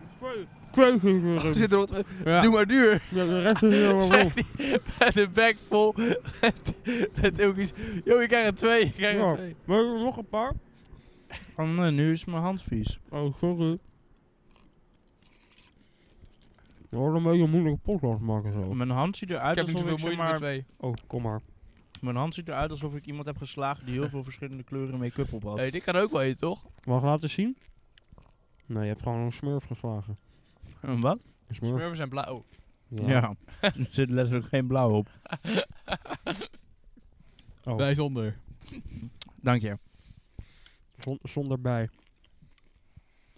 [SPEAKER 5] Crazy.
[SPEAKER 4] Zit erop.
[SPEAKER 5] Ja,
[SPEAKER 4] Doe maar duur.
[SPEAKER 5] ja, de rest
[SPEAKER 2] <laughs>
[SPEAKER 5] is helemaal
[SPEAKER 4] Zegt hij met een bek vol met, met ilkies. Yo, ik krijg er twee. Ik krijg
[SPEAKER 5] Ja.
[SPEAKER 4] er twee.
[SPEAKER 5] Maar nog een paar?
[SPEAKER 2] Van, eh, nu is mijn hand vies.
[SPEAKER 5] Oh, sorry. We hadden een beetje een moeilijke podcast maken zo.
[SPEAKER 2] Mijn hand ziet
[SPEAKER 4] Ik
[SPEAKER 2] eruit
[SPEAKER 4] heb niet
[SPEAKER 2] alsof
[SPEAKER 4] zoveel
[SPEAKER 2] ik,
[SPEAKER 4] moeite
[SPEAKER 2] zeg
[SPEAKER 4] met
[SPEAKER 2] maar,
[SPEAKER 4] twee.
[SPEAKER 5] Oh, kom maar.
[SPEAKER 2] mijn hand ziet eruit alsof ik iemand heb geslagen die heel veel verschillende kleuren make-up op had.
[SPEAKER 4] Hey, dit kan ook wel je, toch?
[SPEAKER 5] Mag ik laten zien? Nee, je hebt gewoon een smurf geslagen.
[SPEAKER 2] Een wat?
[SPEAKER 5] Een smurf?
[SPEAKER 4] Smurfen zijn oh. blauw.
[SPEAKER 2] Ja. er zit letterlijk geen blauw op.
[SPEAKER 5] Oh,
[SPEAKER 1] Bijzonder.
[SPEAKER 2] Dank je.
[SPEAKER 5] zon- zonder bij.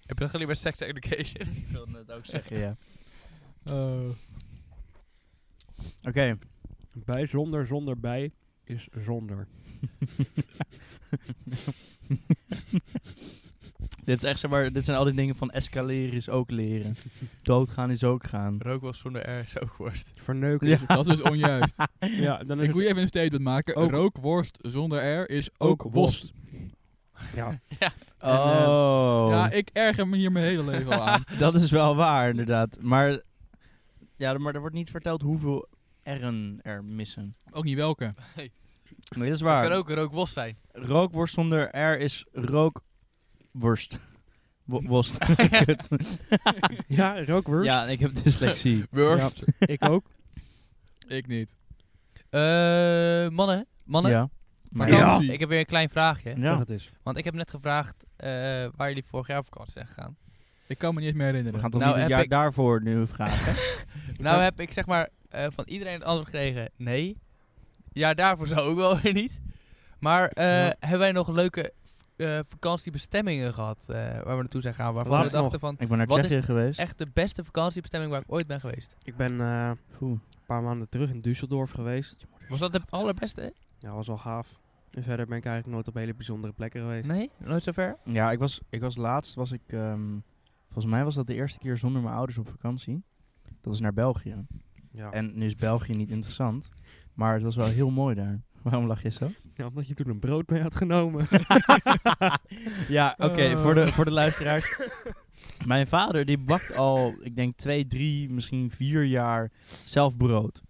[SPEAKER 4] Heb je dat geleerd bij Sex Education?
[SPEAKER 2] Ik wilde net ook zeggen, ja.
[SPEAKER 1] Eh,
[SPEAKER 2] Oké, <laughs>
[SPEAKER 5] Bij zonder zonder bij is zonder.
[SPEAKER 2] dit, is echt, zeg maar, dit zijn al die dingen van escaleren is ook leren. Doodgaan is ook gaan.
[SPEAKER 4] Rook was zonder R, zo worst.
[SPEAKER 5] Verneuken. Ja,
[SPEAKER 1] dat is
[SPEAKER 5] <laughs>
[SPEAKER 1] onjuist.
[SPEAKER 5] ja dan is
[SPEAKER 1] ik moet je
[SPEAKER 5] het...
[SPEAKER 1] even een statement maken.
[SPEAKER 5] Ook-
[SPEAKER 1] Rookworst zonder R is ook,
[SPEAKER 5] Ook
[SPEAKER 1] worst.
[SPEAKER 5] Ja. En, eh,
[SPEAKER 2] Oh.
[SPEAKER 1] Ja, ik erger me hier mijn hele leven al
[SPEAKER 5] <laughs>
[SPEAKER 1] aan.
[SPEAKER 2] Dat is wel waar, inderdaad. Maar, ja, maar er wordt niet verteld hoeveel R'en er missen.
[SPEAKER 1] Ook niet welke.
[SPEAKER 2] Nee, dat is
[SPEAKER 4] Het
[SPEAKER 2] waar.
[SPEAKER 4] kan ook een rookworst zijn.
[SPEAKER 2] Rookworst zonder R is rookworst. <laughs> Wo- Worst.
[SPEAKER 4] <laughs>
[SPEAKER 2] Kut.
[SPEAKER 5] ja, rookwurst.
[SPEAKER 2] <laughs> ja, ik heb dyslexie.
[SPEAKER 4] Worst.
[SPEAKER 5] Ik ook.
[SPEAKER 1] Ik niet.
[SPEAKER 4] Eh, mannen, mannen.
[SPEAKER 2] Ja. Maar
[SPEAKER 1] Ja.
[SPEAKER 4] Vakantie. Ik heb weer een klein vraagje.
[SPEAKER 5] Zeg
[SPEAKER 2] ja.
[SPEAKER 5] het eens.
[SPEAKER 4] Want ik heb net gevraagd eh, waar jullie vorig jaar op vakantie zijn gegaan.
[SPEAKER 1] Ik kan me niet eens meer
[SPEAKER 2] We
[SPEAKER 1] herinneren.
[SPEAKER 2] gaan toch
[SPEAKER 4] Nou,
[SPEAKER 2] niet het
[SPEAKER 4] heb
[SPEAKER 2] jaar
[SPEAKER 4] ik-
[SPEAKER 2] daarvoor nu
[SPEAKER 4] <laughs>
[SPEAKER 2] vragen.
[SPEAKER 4] Nou heb ik zeg maar eh, van iedereen het antwoord gekregen, nee. Ja, daarvoor zou ook wel <laughs> weer niet. Maar eh,
[SPEAKER 5] Ja.
[SPEAKER 4] hebben wij nog leuke eh, vakantiebestemmingen gehad eh, waar we naartoe zijn gegaan? Waarvan
[SPEAKER 5] Laatst
[SPEAKER 4] we dachten van,
[SPEAKER 2] ik ben naar
[SPEAKER 4] Wat is
[SPEAKER 2] Tsjechië geweest.
[SPEAKER 4] echt de beste vakantiebestemming waar ik ooit ben geweest.
[SPEAKER 5] Ik ben eh,
[SPEAKER 2] Oeh.
[SPEAKER 5] een paar maanden terug in Düsseldorf geweest.
[SPEAKER 4] Was dat de allerbeste?
[SPEAKER 5] Ja, was wel gaaf. En verder ben ik eigenlijk nooit op hele bijzondere plekken geweest.
[SPEAKER 4] Nee, nooit zover.
[SPEAKER 2] Ja, ik was, ik was laatst, was ik, ehm, volgens mij was dat de eerste keer zonder mijn ouders op vakantie. Dat was naar België.
[SPEAKER 5] Ja.
[SPEAKER 2] En nu is België niet interessant, maar het was wel heel mooi daar. <laughs> Waarom lach je zo?
[SPEAKER 5] Ja, omdat je toen een brood mee had
[SPEAKER 2] <laughs>
[SPEAKER 5] genomen.
[SPEAKER 2] ja, oké, voor, de, voor de luisteraars. Mijn vader die bakt al, ik denk twee, drie, misschien vier jaar zelf brood.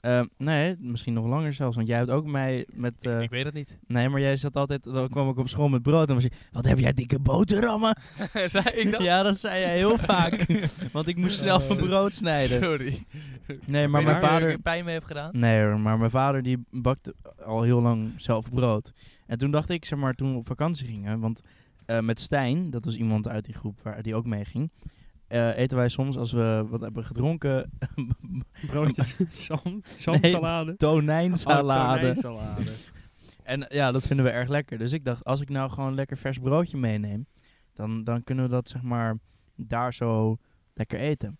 [SPEAKER 2] Ehm, nee, misschien nog langer zelfs, want jij hebt ook mij met... eh,
[SPEAKER 4] <laughs> Ik, ik weet het
[SPEAKER 2] <laughs>
[SPEAKER 4] niet.
[SPEAKER 2] nee, maar jij zat altijd, dan kwam ik op school met brood en was je... Wat heb jij dikke boterhammen?
[SPEAKER 4] Zei ik dat?
[SPEAKER 2] Ja, dat zei jij heel vaak, want ik moest zelf mijn brood snijden.
[SPEAKER 4] Sorry.
[SPEAKER 2] Nee, maar
[SPEAKER 4] Ik
[SPEAKER 2] mijn
[SPEAKER 4] weet niet of je er
[SPEAKER 2] vader...
[SPEAKER 4] een pijn mee hebt gedaan.
[SPEAKER 2] Nee hoor, maar mijn vader die bakte al heel lang zelf brood. En toen dacht ik, zeg maar, toen we op vakantie gingen, want eh, met Stijn, dat was iemand uit die groep waar die ook mee ging, eh, eten wij soms als we wat hebben gedronken, <laughs>
[SPEAKER 5] Broodjes, sam, samsalade.
[SPEAKER 2] tonijnsalade.
[SPEAKER 5] Oh, tonijnsalade.
[SPEAKER 2] en eh, ja, dat vinden we erg lekker. Dus ik dacht, als ik nou gewoon lekker vers broodje meeneem, dan, dan kunnen we dat, zeg maar, daar zo lekker eten.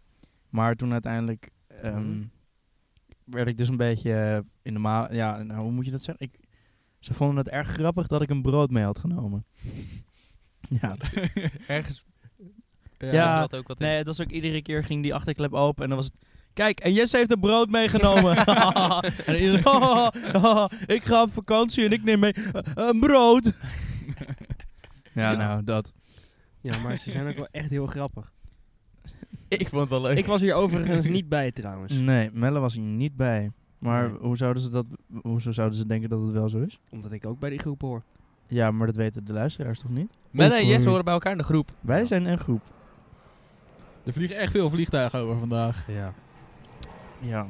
[SPEAKER 2] Maar toen uiteindelijk ehm,
[SPEAKER 5] Mhm.
[SPEAKER 2] werd ik dus een beetje eh, in de ma... Ja, nou, hoe moet je dat zeggen? Ik, ze vonden het erg grappig dat ik een brood mee had genomen. <laughs> ja,
[SPEAKER 4] Ergens
[SPEAKER 1] Ja.
[SPEAKER 2] Ja.
[SPEAKER 4] zat er ook wat in.
[SPEAKER 2] nee, dat was ook iedere keer ging die achterklep open en dan was het... Kijk, en Jesse heeft een brood <laughs> meegenomen. en iedereen, <laughs> Oh, ik ga op vakantie en ik neem mee eh, een brood. <laughs> ja, nou, dat.
[SPEAKER 5] Ja, maar ze zijn ook wel echt heel
[SPEAKER 2] <laughs>
[SPEAKER 5] grappig.
[SPEAKER 4] Ik vond het wel leuk.
[SPEAKER 5] Ik was hier overigens niet bij trouwens.
[SPEAKER 2] Nee, Melle was hier niet bij. Maar
[SPEAKER 5] Nee.
[SPEAKER 2] hoe zouden ze dat... Hoezo zouden ze denken dat het wel zo is?
[SPEAKER 5] Omdat ik ook bij die groep hoor.
[SPEAKER 2] Ja, maar dat weten de luisteraars toch niet?
[SPEAKER 4] Melle en Jesse
[SPEAKER 5] Awkward.
[SPEAKER 4] horen bij elkaar in de groep.
[SPEAKER 2] Wij
[SPEAKER 5] Ja.
[SPEAKER 2] zijn een groep.
[SPEAKER 1] Er vliegen echt veel vliegtuigen over vandaag.
[SPEAKER 5] Ja.
[SPEAKER 2] Ja.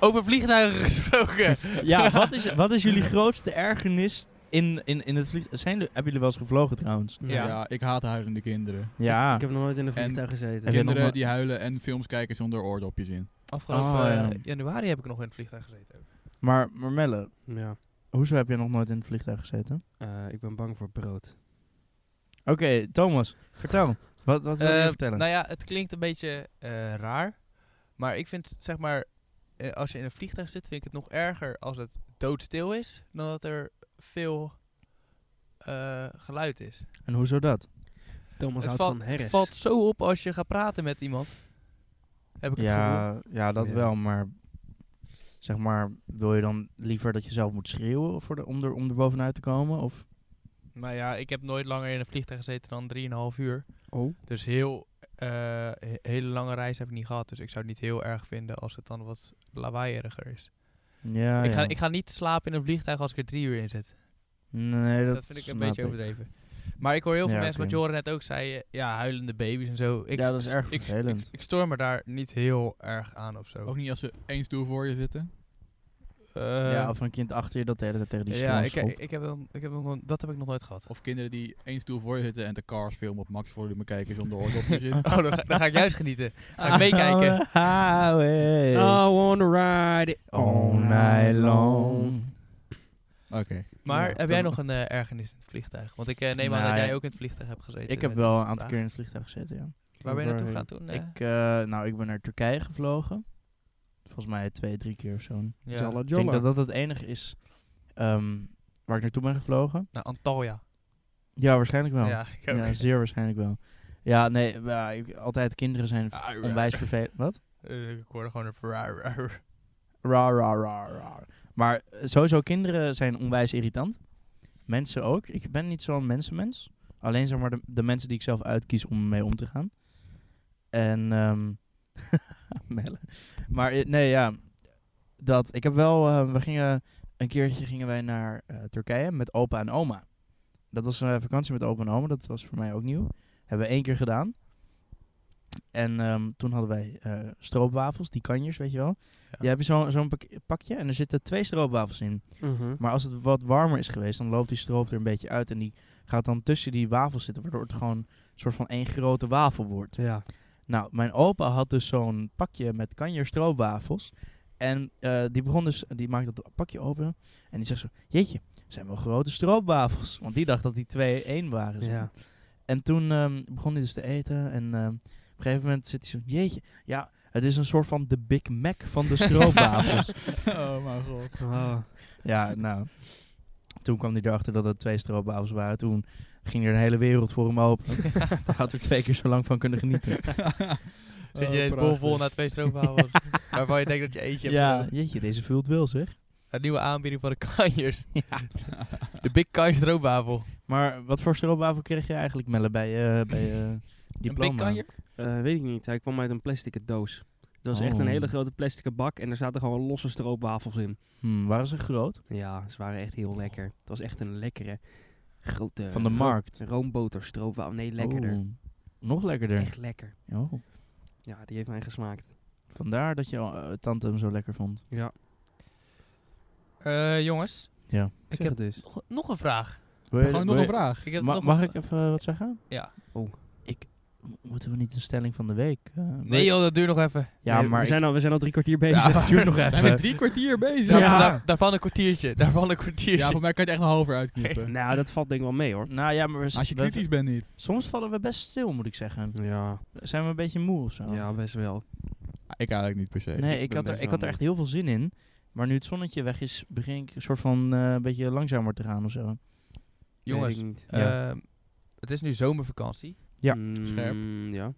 [SPEAKER 4] Over vliegtuigen gesproken.
[SPEAKER 2] <laughs> Ja, wat is, wat is jullie grootste ergernis in, in, in het vliegtuig? Zijn er- hebben jullie wel eens gevlogen trouwens?
[SPEAKER 4] Ja.
[SPEAKER 1] Ja, ik haat huilende kinderen.
[SPEAKER 2] Ja.
[SPEAKER 5] Ik heb nog nooit in een
[SPEAKER 1] En-
[SPEAKER 5] vliegtuig gezeten.
[SPEAKER 2] Heb jij nog
[SPEAKER 1] Kinderen
[SPEAKER 2] nooit-
[SPEAKER 1] die huilen en films kijken zonder oordopjes in.
[SPEAKER 4] Afgelopen
[SPEAKER 2] Oh, ja.
[SPEAKER 4] eh, januari heb ik nog in het vliegtuig gezeten. ook.
[SPEAKER 2] Maar, maar Melle,
[SPEAKER 5] Ja.
[SPEAKER 2] hoezo heb je nog nooit in het vliegtuig gezeten?
[SPEAKER 5] Eh, ik ben bang voor brood.
[SPEAKER 2] Oké, Thomas, vertel. Wat, wat wil je
[SPEAKER 4] Eh,
[SPEAKER 2] vertellen?
[SPEAKER 4] Nou ja, het klinkt een beetje eh, raar. Maar ik vind, zeg maar, eh, als je in een vliegtuig zit, vind ik het nog erger als het doodstil is. Dan dat er veel eh, geluid is.
[SPEAKER 2] En hoezo dat?
[SPEAKER 5] Thomas
[SPEAKER 4] het
[SPEAKER 5] houdt
[SPEAKER 4] valt-
[SPEAKER 5] van herres.
[SPEAKER 4] valt zo op als je gaat praten met iemand. Heb ik het gevoel.
[SPEAKER 2] Ja, ja, dat
[SPEAKER 5] Ja.
[SPEAKER 2] wel, maar zeg maar, wil je dan liever dat je zelf moet schreeuwen voor de, om, er, om er bovenuit te komen? Of?
[SPEAKER 4] Nou ja, ik heb nooit langer in een vliegtuig gezeten dan 3,5 uur.
[SPEAKER 5] Oh.
[SPEAKER 4] Dus heel, eh, he- hele lange reis heb ik niet gehad. Dus ik zou het niet heel erg vinden als het dan wat lawaaierder is.
[SPEAKER 2] Ja,
[SPEAKER 4] ik, ga,
[SPEAKER 2] Ah, ja.
[SPEAKER 4] ik ga niet slapen in een vliegtuig als ik er drie uur in zit.
[SPEAKER 2] nee, dat,
[SPEAKER 4] dat vind ik een
[SPEAKER 2] snap
[SPEAKER 4] beetje overdreven. Maar ik hoor heel veel
[SPEAKER 2] Ja,
[SPEAKER 4] mensen, wat
[SPEAKER 2] oké.
[SPEAKER 4] je hoorde net ook, zei eh, ja, huilende baby's en zo. Ik,
[SPEAKER 2] Ja, dat is erg
[SPEAKER 4] ik,
[SPEAKER 2] vervelend.
[SPEAKER 4] Ik, ik stoor me daar niet heel erg aan of zo.
[SPEAKER 1] Ook niet als ze één stoel voor je zitten.
[SPEAKER 4] Eh,
[SPEAKER 2] ja, of een kind achter je dat de hele tijd tegen die
[SPEAKER 4] ja,
[SPEAKER 2] stoel
[SPEAKER 4] ik,
[SPEAKER 2] schopt.
[SPEAKER 4] ik heb dan, ik heb nog, dat heb ik nog nooit gehad.
[SPEAKER 1] Of kinderen die één stoel voor je zitten en de Cars film op max volume kijken zonder oordopjes in.
[SPEAKER 2] <laughs>
[SPEAKER 4] Oh, dan ga, dan ga ik juist genieten. Ga
[SPEAKER 2] Ah.
[SPEAKER 4] ik
[SPEAKER 2] Oh,
[SPEAKER 4] meekijken. Oh.
[SPEAKER 2] Highway.
[SPEAKER 5] I wanna ride it
[SPEAKER 2] Eh. All night long.
[SPEAKER 1] Oké.
[SPEAKER 4] Maar
[SPEAKER 5] Ja,
[SPEAKER 4] heb jij
[SPEAKER 2] dat-
[SPEAKER 4] nog een eh, ergernis in het vliegtuig? Want ik eh, neem aan
[SPEAKER 2] Nou,
[SPEAKER 4] dat jij
[SPEAKER 2] ja.
[SPEAKER 4] ook in het vliegtuig hebt gezeten.
[SPEAKER 2] Ik heb
[SPEAKER 4] net
[SPEAKER 2] wel
[SPEAKER 4] als
[SPEAKER 2] een aantal
[SPEAKER 4] vandaag.
[SPEAKER 2] keer in het vliegtuig gezeten, ja.
[SPEAKER 4] Waar ben je naartoe
[SPEAKER 5] Waar-
[SPEAKER 4] gegaan toen? eh?
[SPEAKER 2] Ik, eh, nou, ik ben naar Turkije gevlogen. Volgens mij twee, drie keer of zo.
[SPEAKER 4] ja,
[SPEAKER 5] Jalla
[SPEAKER 2] Ik denk
[SPEAKER 5] jalla.
[SPEAKER 2] dat dat het enige is ehm, waar ik naartoe ben gevlogen.
[SPEAKER 4] naar Antalya.
[SPEAKER 2] Ja, waarschijnlijk wel. Ja,
[SPEAKER 4] Ja, ik ook.
[SPEAKER 2] zeer waarschijnlijk wel. Ja, nee, ja, ik- altijd kinderen zijn f-
[SPEAKER 4] Ah,
[SPEAKER 2] onwijs vervelend. Wat?
[SPEAKER 4] Eh, ik hoorde gewoon een <laughs> raar,
[SPEAKER 2] Oh,
[SPEAKER 4] raar.
[SPEAKER 2] Ra, ra, ra, ra. Maar eh, sowieso, kinderen zijn onwijs irritant. Mensen ook. Ik ben niet zo'n mensenmens. Alleen zeg maar de, de mensen die ik zelf uitkies om mee om te gaan. En, ehm <laughs> Melle. Maar eh, nee, ja. Dat, ik heb wel, eh, we gingen, een keertje gingen wij naar eh, Turkije met opa en oma. Dat was een vakantie met opa en oma, dat was voor mij ook nieuw. Hebben we één keer gedaan. En ehm, toen hadden wij eh, stroopwafels, die kanjers, weet je wel.
[SPEAKER 4] Ja.
[SPEAKER 2] Die heb je zo'n zo'n pak- pakje en er zitten twee stroopwafels in.
[SPEAKER 5] Mhm.
[SPEAKER 2] Maar als het wat warmer is geweest, dan loopt die stroop er een beetje uit. En die gaat dan tussen die wafels zitten, waardoor het gewoon een soort van één grote wafel wordt.
[SPEAKER 5] Ja.
[SPEAKER 2] Nou, mijn opa had dus zo'n pakje met kanjer stroopwafels. En eh, die begon dus, die maakte dat pakje open. En die zegt zo, jeetje, het zijn wel grote stroopwafels. Want die dacht dat die twee één waren. zeg
[SPEAKER 5] Ja.
[SPEAKER 2] maar. En toen ehm, begon hij dus te eten. En ehm, op een gegeven moment zit hij zo, jeetje, ja, het is een soort van de Big Mac van de stroopwafels.
[SPEAKER 1] oh mijn <laughs> god.
[SPEAKER 5] Oh.
[SPEAKER 2] Ja, nou. Toen kwam hij erachter dat het twee stroopwafels waren. Toen ging er een hele wereld voor hem open. <laughs> Daar had er twee keer zo lang van kunnen
[SPEAKER 1] <laughs>
[SPEAKER 2] genieten.
[SPEAKER 1] Oh,
[SPEAKER 4] Zit je ineens bol vol na twee stroopwafels.
[SPEAKER 2] <laughs>
[SPEAKER 4] waarvan je denkt dat je eentje hebt.
[SPEAKER 2] Ja,
[SPEAKER 4] genomen.
[SPEAKER 2] jeetje, deze vult wel zeg.
[SPEAKER 4] Een nieuwe aanbieding van de kanjers. <laughs> de Big Kanjers stroopwafel.
[SPEAKER 2] Maar wat voor stroopwafel kreeg je eigenlijk, Melle, bij je bij, je diploma?
[SPEAKER 4] Een Big Kanjer?
[SPEAKER 5] Eh, weet ik niet. Hij kwam uit een plastic doos. Dat was echt
[SPEAKER 2] Oh.
[SPEAKER 5] een hele grote plastic bak en er zaten gewoon losse stroopwafels in.
[SPEAKER 2] Hmm, waren ze groot?
[SPEAKER 5] Ja, ze waren echt heel lekker. Het was echt een lekkere grote...
[SPEAKER 2] Van de
[SPEAKER 5] ro-
[SPEAKER 2] markt. Oh,
[SPEAKER 5] Roomboter stroopwafel. Nee, lekkerder.
[SPEAKER 2] Oeh, nog lekkerder.
[SPEAKER 5] Echt lekker.
[SPEAKER 2] Oh,
[SPEAKER 5] Ja, die heeft mij gesmaakt.
[SPEAKER 2] vandaar dat je eh, tante hem zo lekker vond.
[SPEAKER 5] Ja,
[SPEAKER 4] Eh, jongens,
[SPEAKER 2] Ja.
[SPEAKER 4] ik
[SPEAKER 5] zeg
[SPEAKER 4] heb
[SPEAKER 5] het dus.
[SPEAKER 4] nog, nog een vraag.
[SPEAKER 2] Wil je-
[SPEAKER 1] Gewoon
[SPEAKER 2] wil
[SPEAKER 1] nog een
[SPEAKER 2] je-
[SPEAKER 1] vraag.
[SPEAKER 4] Ik heb
[SPEAKER 2] Ma-
[SPEAKER 4] nog
[SPEAKER 2] mag
[SPEAKER 4] een-
[SPEAKER 2] ik even eh, wat zeggen?
[SPEAKER 4] Ja.
[SPEAKER 5] Oh.
[SPEAKER 2] Ik, moeten we niet een stelling van de week? eh,
[SPEAKER 4] Nee joh, dat duurt nog even.
[SPEAKER 2] Ja,
[SPEAKER 5] Nee,
[SPEAKER 2] maar
[SPEAKER 5] We
[SPEAKER 2] ik-
[SPEAKER 5] zijn, al, we zijn al drie kwartier bezig.
[SPEAKER 2] <laughs> Ja, het duurt
[SPEAKER 4] <laughs>
[SPEAKER 2] nog
[SPEAKER 1] We zijn
[SPEAKER 2] even.
[SPEAKER 1] drie kwartier bezig.
[SPEAKER 5] Ja.
[SPEAKER 4] Daarvan,
[SPEAKER 1] Ja,
[SPEAKER 4] daar- daarvan een kwartiertje. Daarvan een kwartiertje.
[SPEAKER 1] voor mij kan je het echt een half uur uitknippen.
[SPEAKER 5] Nou, dat valt denk ik wel mee hoor.
[SPEAKER 2] Nou ja, maar we,
[SPEAKER 1] Als je
[SPEAKER 2] we-
[SPEAKER 1] kritisch bent niet.
[SPEAKER 2] soms vallen we best stil, moet ik zeggen.
[SPEAKER 5] Ja,
[SPEAKER 2] Zijn we een beetje moe of zo?
[SPEAKER 5] ja best wel.
[SPEAKER 1] Ah, Ik eigenlijk niet per se.
[SPEAKER 2] Nee, ik
[SPEAKER 5] ben
[SPEAKER 2] had, er,
[SPEAKER 5] best
[SPEAKER 2] ik had er
[SPEAKER 5] wel
[SPEAKER 2] echt heel veel zin in. Maar nu het zonnetje weg is, begin ik een soort van eh, een beetje langzamer te gaan of zo.
[SPEAKER 4] Jongens,
[SPEAKER 5] Weet ik niet.
[SPEAKER 2] Ja.
[SPEAKER 4] ehm, het is nu zomervakantie.
[SPEAKER 2] Ja.
[SPEAKER 5] Mm, ja.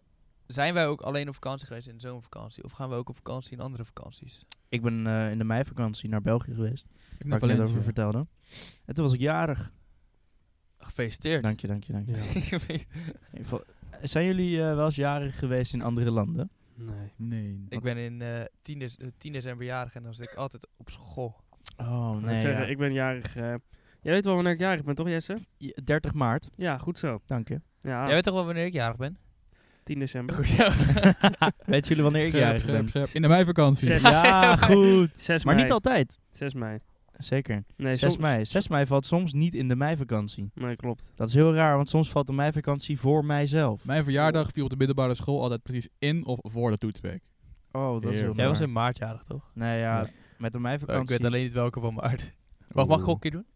[SPEAKER 4] Zijn wij ook alleen op vakantie geweest in de zomervakantie? Of gaan we ook op vakantie in andere vakanties?
[SPEAKER 2] Ik ben eh, in de meivakantie naar België geweest,
[SPEAKER 1] Ik ben
[SPEAKER 2] waar ik net
[SPEAKER 1] Valencia.
[SPEAKER 2] over vertelde. En toen was ik jarig.
[SPEAKER 4] Gefeliciteerd.
[SPEAKER 2] Dank je, dank je, dank je.
[SPEAKER 5] Ja.
[SPEAKER 4] <laughs>
[SPEAKER 2] In ieder geval, eh, Zijn jullie eh, wel eens jarig geweest in andere landen?
[SPEAKER 5] Nee.
[SPEAKER 1] Nee.
[SPEAKER 4] ik ben in eh 10, dec- eh, 10 december jarig en dan zit ik altijd op school.
[SPEAKER 2] Oh,
[SPEAKER 5] Ik, moet
[SPEAKER 2] nee.
[SPEAKER 5] zeggen,
[SPEAKER 2] ja.
[SPEAKER 5] ik ben jarig. eh, jij weet wel wanneer ik jarig ben, toch Jesse?
[SPEAKER 2] Je- 30 maart,
[SPEAKER 5] Ja, goed zo.
[SPEAKER 2] dank
[SPEAKER 5] <laughs>
[SPEAKER 2] je.
[SPEAKER 5] Ja,
[SPEAKER 4] Jij weet toch wel wanneer ik jarig ben?
[SPEAKER 5] 10 december.
[SPEAKER 4] <laughs> Goed zo.
[SPEAKER 2] Weten jullie wanneer ik
[SPEAKER 1] Scherp,
[SPEAKER 2] jarig
[SPEAKER 1] scherp,
[SPEAKER 2] ben?
[SPEAKER 1] scherp. In de meivakantie.
[SPEAKER 5] Zes-
[SPEAKER 2] <laughs> Ja, goed.
[SPEAKER 5] 6
[SPEAKER 2] Maar
[SPEAKER 5] mei.
[SPEAKER 2] niet altijd.
[SPEAKER 5] 6 mei.
[SPEAKER 2] Zeker.
[SPEAKER 5] Nee,
[SPEAKER 2] 6
[SPEAKER 5] som-
[SPEAKER 2] mei. 6 mei valt soms niet in de meivakantie.
[SPEAKER 5] Nee, klopt.
[SPEAKER 2] Dat is heel raar, want soms valt de meivakantie voor mijzelf.
[SPEAKER 1] Mijn verjaardag viel op de middelbare school altijd precies in of voor de toetsweek.
[SPEAKER 2] Oh, dat is heel
[SPEAKER 1] Heerlijk.
[SPEAKER 4] Jij
[SPEAKER 2] raar.
[SPEAKER 4] was in maart jarig, toch?
[SPEAKER 2] Nee, ja,
[SPEAKER 4] Nee.
[SPEAKER 2] met de
[SPEAKER 4] Oh, ik
[SPEAKER 2] meivakantie...
[SPEAKER 4] weet alleen niet welke van maart. Mag, mag ik gokje doen?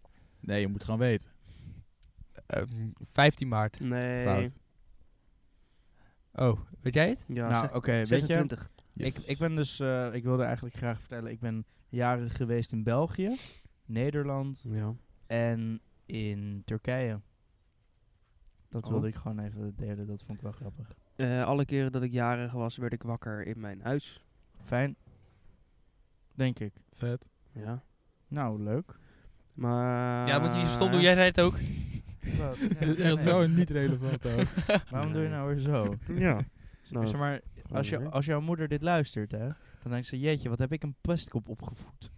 [SPEAKER 1] Nee, je moet het gewoon weten.
[SPEAKER 4] Ehm, 15 maart.
[SPEAKER 5] Nee.
[SPEAKER 1] Fout.
[SPEAKER 4] Oh, weet jij het?
[SPEAKER 5] Ja,
[SPEAKER 2] nou,
[SPEAKER 5] ze-
[SPEAKER 2] oké, weet je...
[SPEAKER 5] 26.
[SPEAKER 2] Ik, ik ben dus... eh, ik wilde eigenlijk graag vertellen, ik ben jaren geweest in België, Nederland
[SPEAKER 5] Ja.
[SPEAKER 2] en in Turkije. Dat
[SPEAKER 5] Oh.
[SPEAKER 2] wilde ik gewoon even delen, dat vond ik wel grappig.
[SPEAKER 5] Eh, alle keren dat ik jarig was, werd ik wakker in mijn huis.
[SPEAKER 2] Fijn. Denk ik.
[SPEAKER 1] Vet.
[SPEAKER 5] Ja.
[SPEAKER 2] Nou, leuk.
[SPEAKER 5] Maar...
[SPEAKER 4] Ja, moet je niet zo
[SPEAKER 2] Ah.
[SPEAKER 4] stom doen. Jij zei het ook.
[SPEAKER 1] <laughs>
[SPEAKER 2] Wat?
[SPEAKER 1] Dit is echt zo Oh, niet relevant
[SPEAKER 2] <laughs>
[SPEAKER 1] ook.
[SPEAKER 2] Waarom doe je nou weer zo? <laughs>
[SPEAKER 5] Ja. <laughs> Nou,
[SPEAKER 2] Zeg maar, als, je,
[SPEAKER 5] hoor.
[SPEAKER 2] als jouw moeder dit luistert, hè, dan denkt ze, jeetje, wat heb ik een plastic op opgevoed.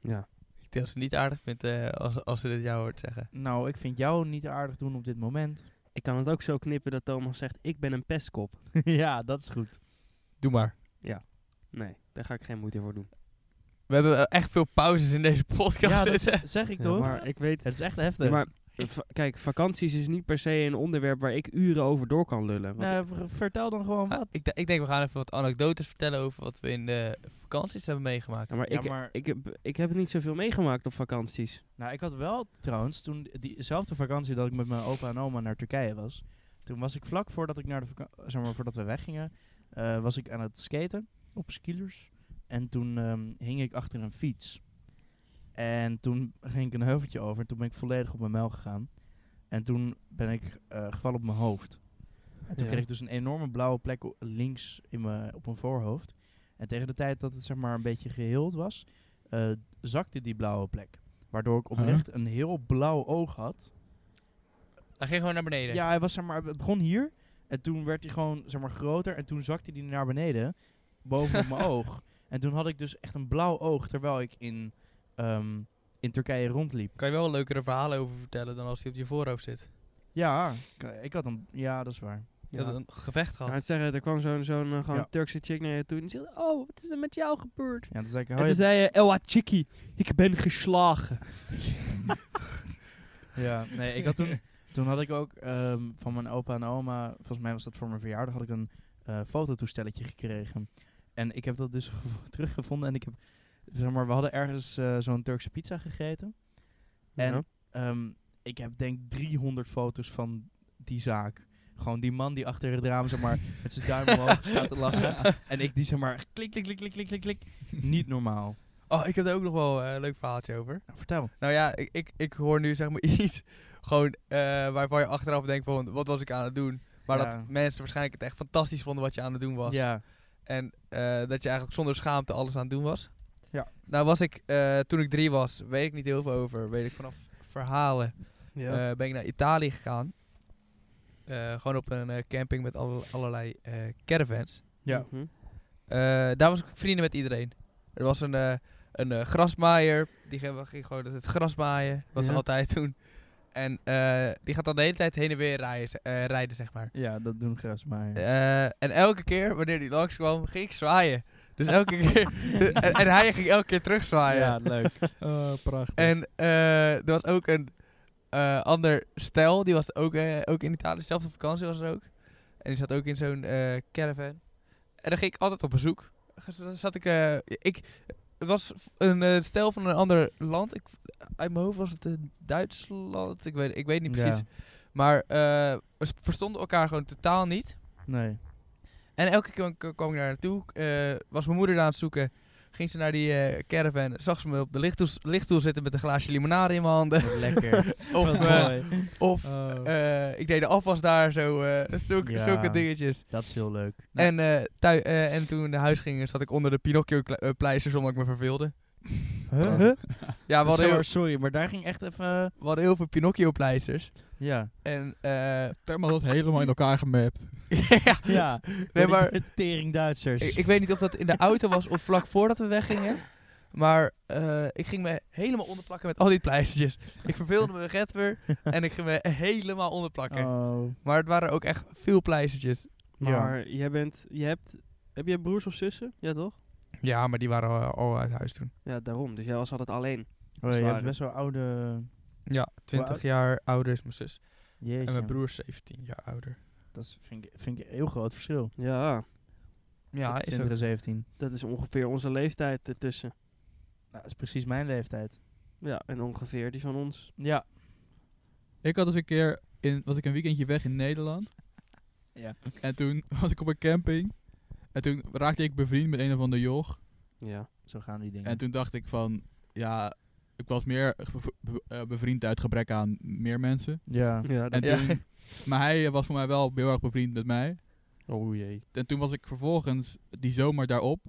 [SPEAKER 5] Ja.
[SPEAKER 4] Ik denk dat ze het niet aardig vindt eh, als, als ze dit jou hoort zeggen.
[SPEAKER 2] Nou, ik vind jou niet aardig doen op dit moment.
[SPEAKER 5] Ik kan het ook zo knippen dat Thomas zegt, ik ben een pestkop.
[SPEAKER 2] ja, dat is goed.
[SPEAKER 4] Doe maar.
[SPEAKER 5] Nee, daar ga ik geen moeite voor doen.
[SPEAKER 4] We hebben eh, echt veel pauzes in deze podcast.
[SPEAKER 2] ja, dat
[SPEAKER 4] zitten.
[SPEAKER 2] z- zeg ik
[SPEAKER 5] Ja,
[SPEAKER 2] toch?
[SPEAKER 5] Maar ik weet...
[SPEAKER 2] Het is echt
[SPEAKER 5] Ja,
[SPEAKER 2] heftig.
[SPEAKER 5] maar eh, va- kijk, vakanties is niet per se een onderwerp waar ik uren over door kan lullen. Want
[SPEAKER 2] Nou, ver- vertel dan gewoon
[SPEAKER 4] Ah,
[SPEAKER 2] wat.
[SPEAKER 4] ik, de- ik denk, we gaan even wat anekdotes vertellen over wat we in de vakanties hebben meegemaakt.
[SPEAKER 5] Ja, maar,
[SPEAKER 2] Ja,
[SPEAKER 5] ik,
[SPEAKER 2] maar-
[SPEAKER 5] Ik, heb, ik heb niet zoveel meegemaakt op vakanties.
[SPEAKER 2] Nou, ik had wel trouwens, toen diezelfde vakantie dat ik met mijn opa en oma naar Turkije was. Toen was ik vlak voordat ik naar de vaka- zeg maar, voordat we weggingen, eh, was ik aan het skaten op skielers. En toen ehm, hing ik achter een fiets. En toen ging ik een heuveltje over en toen ben ik volledig op mijn mel gegaan. En toen ben ik eh, gevallen op mijn hoofd. En toen
[SPEAKER 5] Ja.
[SPEAKER 2] kreeg ik dus een enorme blauwe plek o- links in mijn, op mijn voorhoofd. En tegen de tijd dat het zeg maar een beetje geheeld was, eh, zakte die blauwe plek. Waardoor ik oprecht een heel blauw oog had.
[SPEAKER 4] Hij ging gewoon naar beneden.
[SPEAKER 2] Ja, hij was zeg maar, het begon hier. En toen werd hij gewoon zeg maar groter. En toen zakte hij naar beneden. Boven op mijn oog. En toen had ik dus echt een blauw oog. Terwijl ik in, ehm, in Turkije rondliep.
[SPEAKER 4] Kan je wel leukere verhalen over vertellen dan als hij op je voorhoofd zit.
[SPEAKER 2] Ja, ik- ik had een. Ja, dat is waar.
[SPEAKER 4] Je had een gevecht
[SPEAKER 5] Aan
[SPEAKER 4] gehad.
[SPEAKER 5] het zeggen, er kwam zo'n zo'n eh, gewoon
[SPEAKER 2] Ja.
[SPEAKER 5] Turkse chick naar je toe en die zegt, oh, wat is er met jou gebeurd?
[SPEAKER 2] Ja, toen zei ik,
[SPEAKER 5] en
[SPEAKER 2] hou
[SPEAKER 5] toen
[SPEAKER 2] je...
[SPEAKER 5] zei je, Ewa Chiki, ik ben geslagen.
[SPEAKER 2] Ja, nee, ik had <laughs> toen... Toen had ik ook ehm, van mijn opa en oma, volgens mij was dat voor mijn verjaardag, had ik een eh, fototoestelletje gekregen. En ik heb dat dus <laughs> gevo- teruggevonden en ik heb, zeg maar, we hadden ergens eh, zo'n Turkse pizza gegeten. En
[SPEAKER 5] Ja.
[SPEAKER 2] ehm, ik heb denk 300 foto's van die zaak. Gewoon die man die achter het raam, zeg maar, met zijn duim omhoog <laughs> staat te lachen. En ik die, zeg maar, klik, klik, klik, klik, klik, klik, klik. Niet normaal.
[SPEAKER 4] Oh, ik heb er ook nog wel eh, een leuk verhaaltje over.
[SPEAKER 2] Nou, vertel.
[SPEAKER 4] Nou ja, ik, ik, ik hoor nu zeg maar <laughs> iets gewoon eh, waarvan je achteraf denkt van wat was ik aan het doen. Maar
[SPEAKER 2] Ja.
[SPEAKER 4] dat mensen waarschijnlijk het echt fantastisch vonden wat je aan het doen was.
[SPEAKER 2] Ja.
[SPEAKER 4] En eh, dat je eigenlijk zonder schaamte alles aan het doen was.
[SPEAKER 2] Ja.
[SPEAKER 4] Nou was ik, eh, toen ik drie was, weet ik niet heel veel over. Weet ik vanaf verhalen.
[SPEAKER 5] Ja.
[SPEAKER 4] eh, ben ik naar Italië gegaan. Eh, gewoon op een eh, camping met alle- allerlei eh, caravans.
[SPEAKER 2] Ja.
[SPEAKER 5] Mhm.
[SPEAKER 4] Eh, daar was ik vrienden met iedereen. Er was een, eh, een eh, grasmaaier. Die ging, ging gewoon het gras maaien. Wat ze
[SPEAKER 5] Ja.
[SPEAKER 4] altijd doen. En eh, die gaat dan de hele tijd heen en weer rijden, ze- eh, rijden zeg maar.
[SPEAKER 2] Ja, dat doen gras maar.
[SPEAKER 4] Eh, en elke keer wanneer die langskwam, ging ik zwaaien. Dus elke keer. en, en hij ging elke keer terugzwaaien.
[SPEAKER 2] ah, ja, Oh, leuk. <laughs>
[SPEAKER 1] prachtig.
[SPEAKER 4] En eh, er was ook een eh, ander stel, die was ook, eh, ook in Italië, zelfde vakantie was er ook. En die zat ook in zo'n eh, caravan. En daar ging ik altijd op bezoek. Dus dan Zat ik, eh, ik, het was v- een eh, stel van een ander land. Ik, uit mijn hoofd was het eh, Duitsland, ik weet, ik weet niet precies.
[SPEAKER 2] Ja.
[SPEAKER 4] Maar eh, we s- verstonden elkaar gewoon totaal niet.
[SPEAKER 2] Nee.
[SPEAKER 4] En elke keer k- kwam ik daar naartoe, eh, was mijn moeder daar aan het zoeken. Ging ze naar die eh, caravan, zag ze me op de lichtstoel, lichtstoel zitten met een glaasje limonade in mijn handen.
[SPEAKER 2] Wat lekker.
[SPEAKER 4] <laughs> Of,
[SPEAKER 2] Wat
[SPEAKER 4] eh,
[SPEAKER 2] mooi. Oh.
[SPEAKER 4] of eh, ik deed de afwas daar, zo, eh, zulke,
[SPEAKER 2] Ja. Nou.
[SPEAKER 4] zulke dingetjes.
[SPEAKER 2] Dat is heel leuk.
[SPEAKER 4] En, eh, thui- eh, en toen we naar huis gingen, zat ik onder de Pinocchio-pleisters omdat ik me verveelde.
[SPEAKER 2] Huh? Dus
[SPEAKER 4] Ja, we hadden, heel,
[SPEAKER 2] Oh. sorry, maar daar ging echt even... eh,
[SPEAKER 4] we hadden heel veel Pinocchio-pleisters.
[SPEAKER 2] ja.
[SPEAKER 4] En, eh,
[SPEAKER 1] Terma had dat helemaal in elkaar gemapt.
[SPEAKER 4] <laughs> ja,
[SPEAKER 2] Ja.
[SPEAKER 4] nee, maar
[SPEAKER 2] Het tering Duitsers.
[SPEAKER 4] ik, ik weet niet of dat in de auto was of vlak voordat we weggingen. Maar eh, ik ging me helemaal onderplakken met al die pleistertjes. Ik verveelde me red weer en ik ging me helemaal onderplakken.
[SPEAKER 2] oh.
[SPEAKER 4] Maar het waren ook echt veel pleistertjes.
[SPEAKER 5] Maar jij bent, je hebt, heb je broers of zussen? Ja toch?
[SPEAKER 4] Ja, maar die waren al, al uit huis toen.
[SPEAKER 5] Ja, daarom. Dus jij was altijd alleen.
[SPEAKER 2] Oh, je
[SPEAKER 5] Zware.
[SPEAKER 2] hebt best wel oude...
[SPEAKER 4] Ja, 20
[SPEAKER 2] oud?
[SPEAKER 4] jaar ouder is mijn zus.
[SPEAKER 2] Jeetje.
[SPEAKER 4] En mijn broer is 17 jaar ouder.
[SPEAKER 2] Dat is, vind, ik, vind ik een heel groot verschil.
[SPEAKER 5] Ja,
[SPEAKER 4] Ja, is
[SPEAKER 2] 20 en 17.
[SPEAKER 5] dat is ongeveer onze leeftijd ertussen.
[SPEAKER 2] Nou, dat is precies mijn leeftijd.
[SPEAKER 5] Ja, en ongeveer die van ons.
[SPEAKER 2] Ja.
[SPEAKER 1] Ik had eens een keer, in, was ik een weekendje weg in Nederland.
[SPEAKER 2] Ja.
[SPEAKER 1] En toen <laughs> was ik op een camping. En toen raakte ik bevriend met een of ander joch.
[SPEAKER 5] Ja.
[SPEAKER 2] Zo gaan die dingen.
[SPEAKER 1] En toen dacht ik van, ja, ik was meer gev- be- eh, bevriend uit gebrek aan meer mensen.
[SPEAKER 2] ja.
[SPEAKER 5] ja
[SPEAKER 1] En
[SPEAKER 5] dat,
[SPEAKER 4] Ja.
[SPEAKER 2] <laughs>
[SPEAKER 1] toen, maar hij eh, was voor mij wel heel erg bevriend met mij.
[SPEAKER 5] oh jee.
[SPEAKER 1] En toen was ik vervolgens die zomer daarop.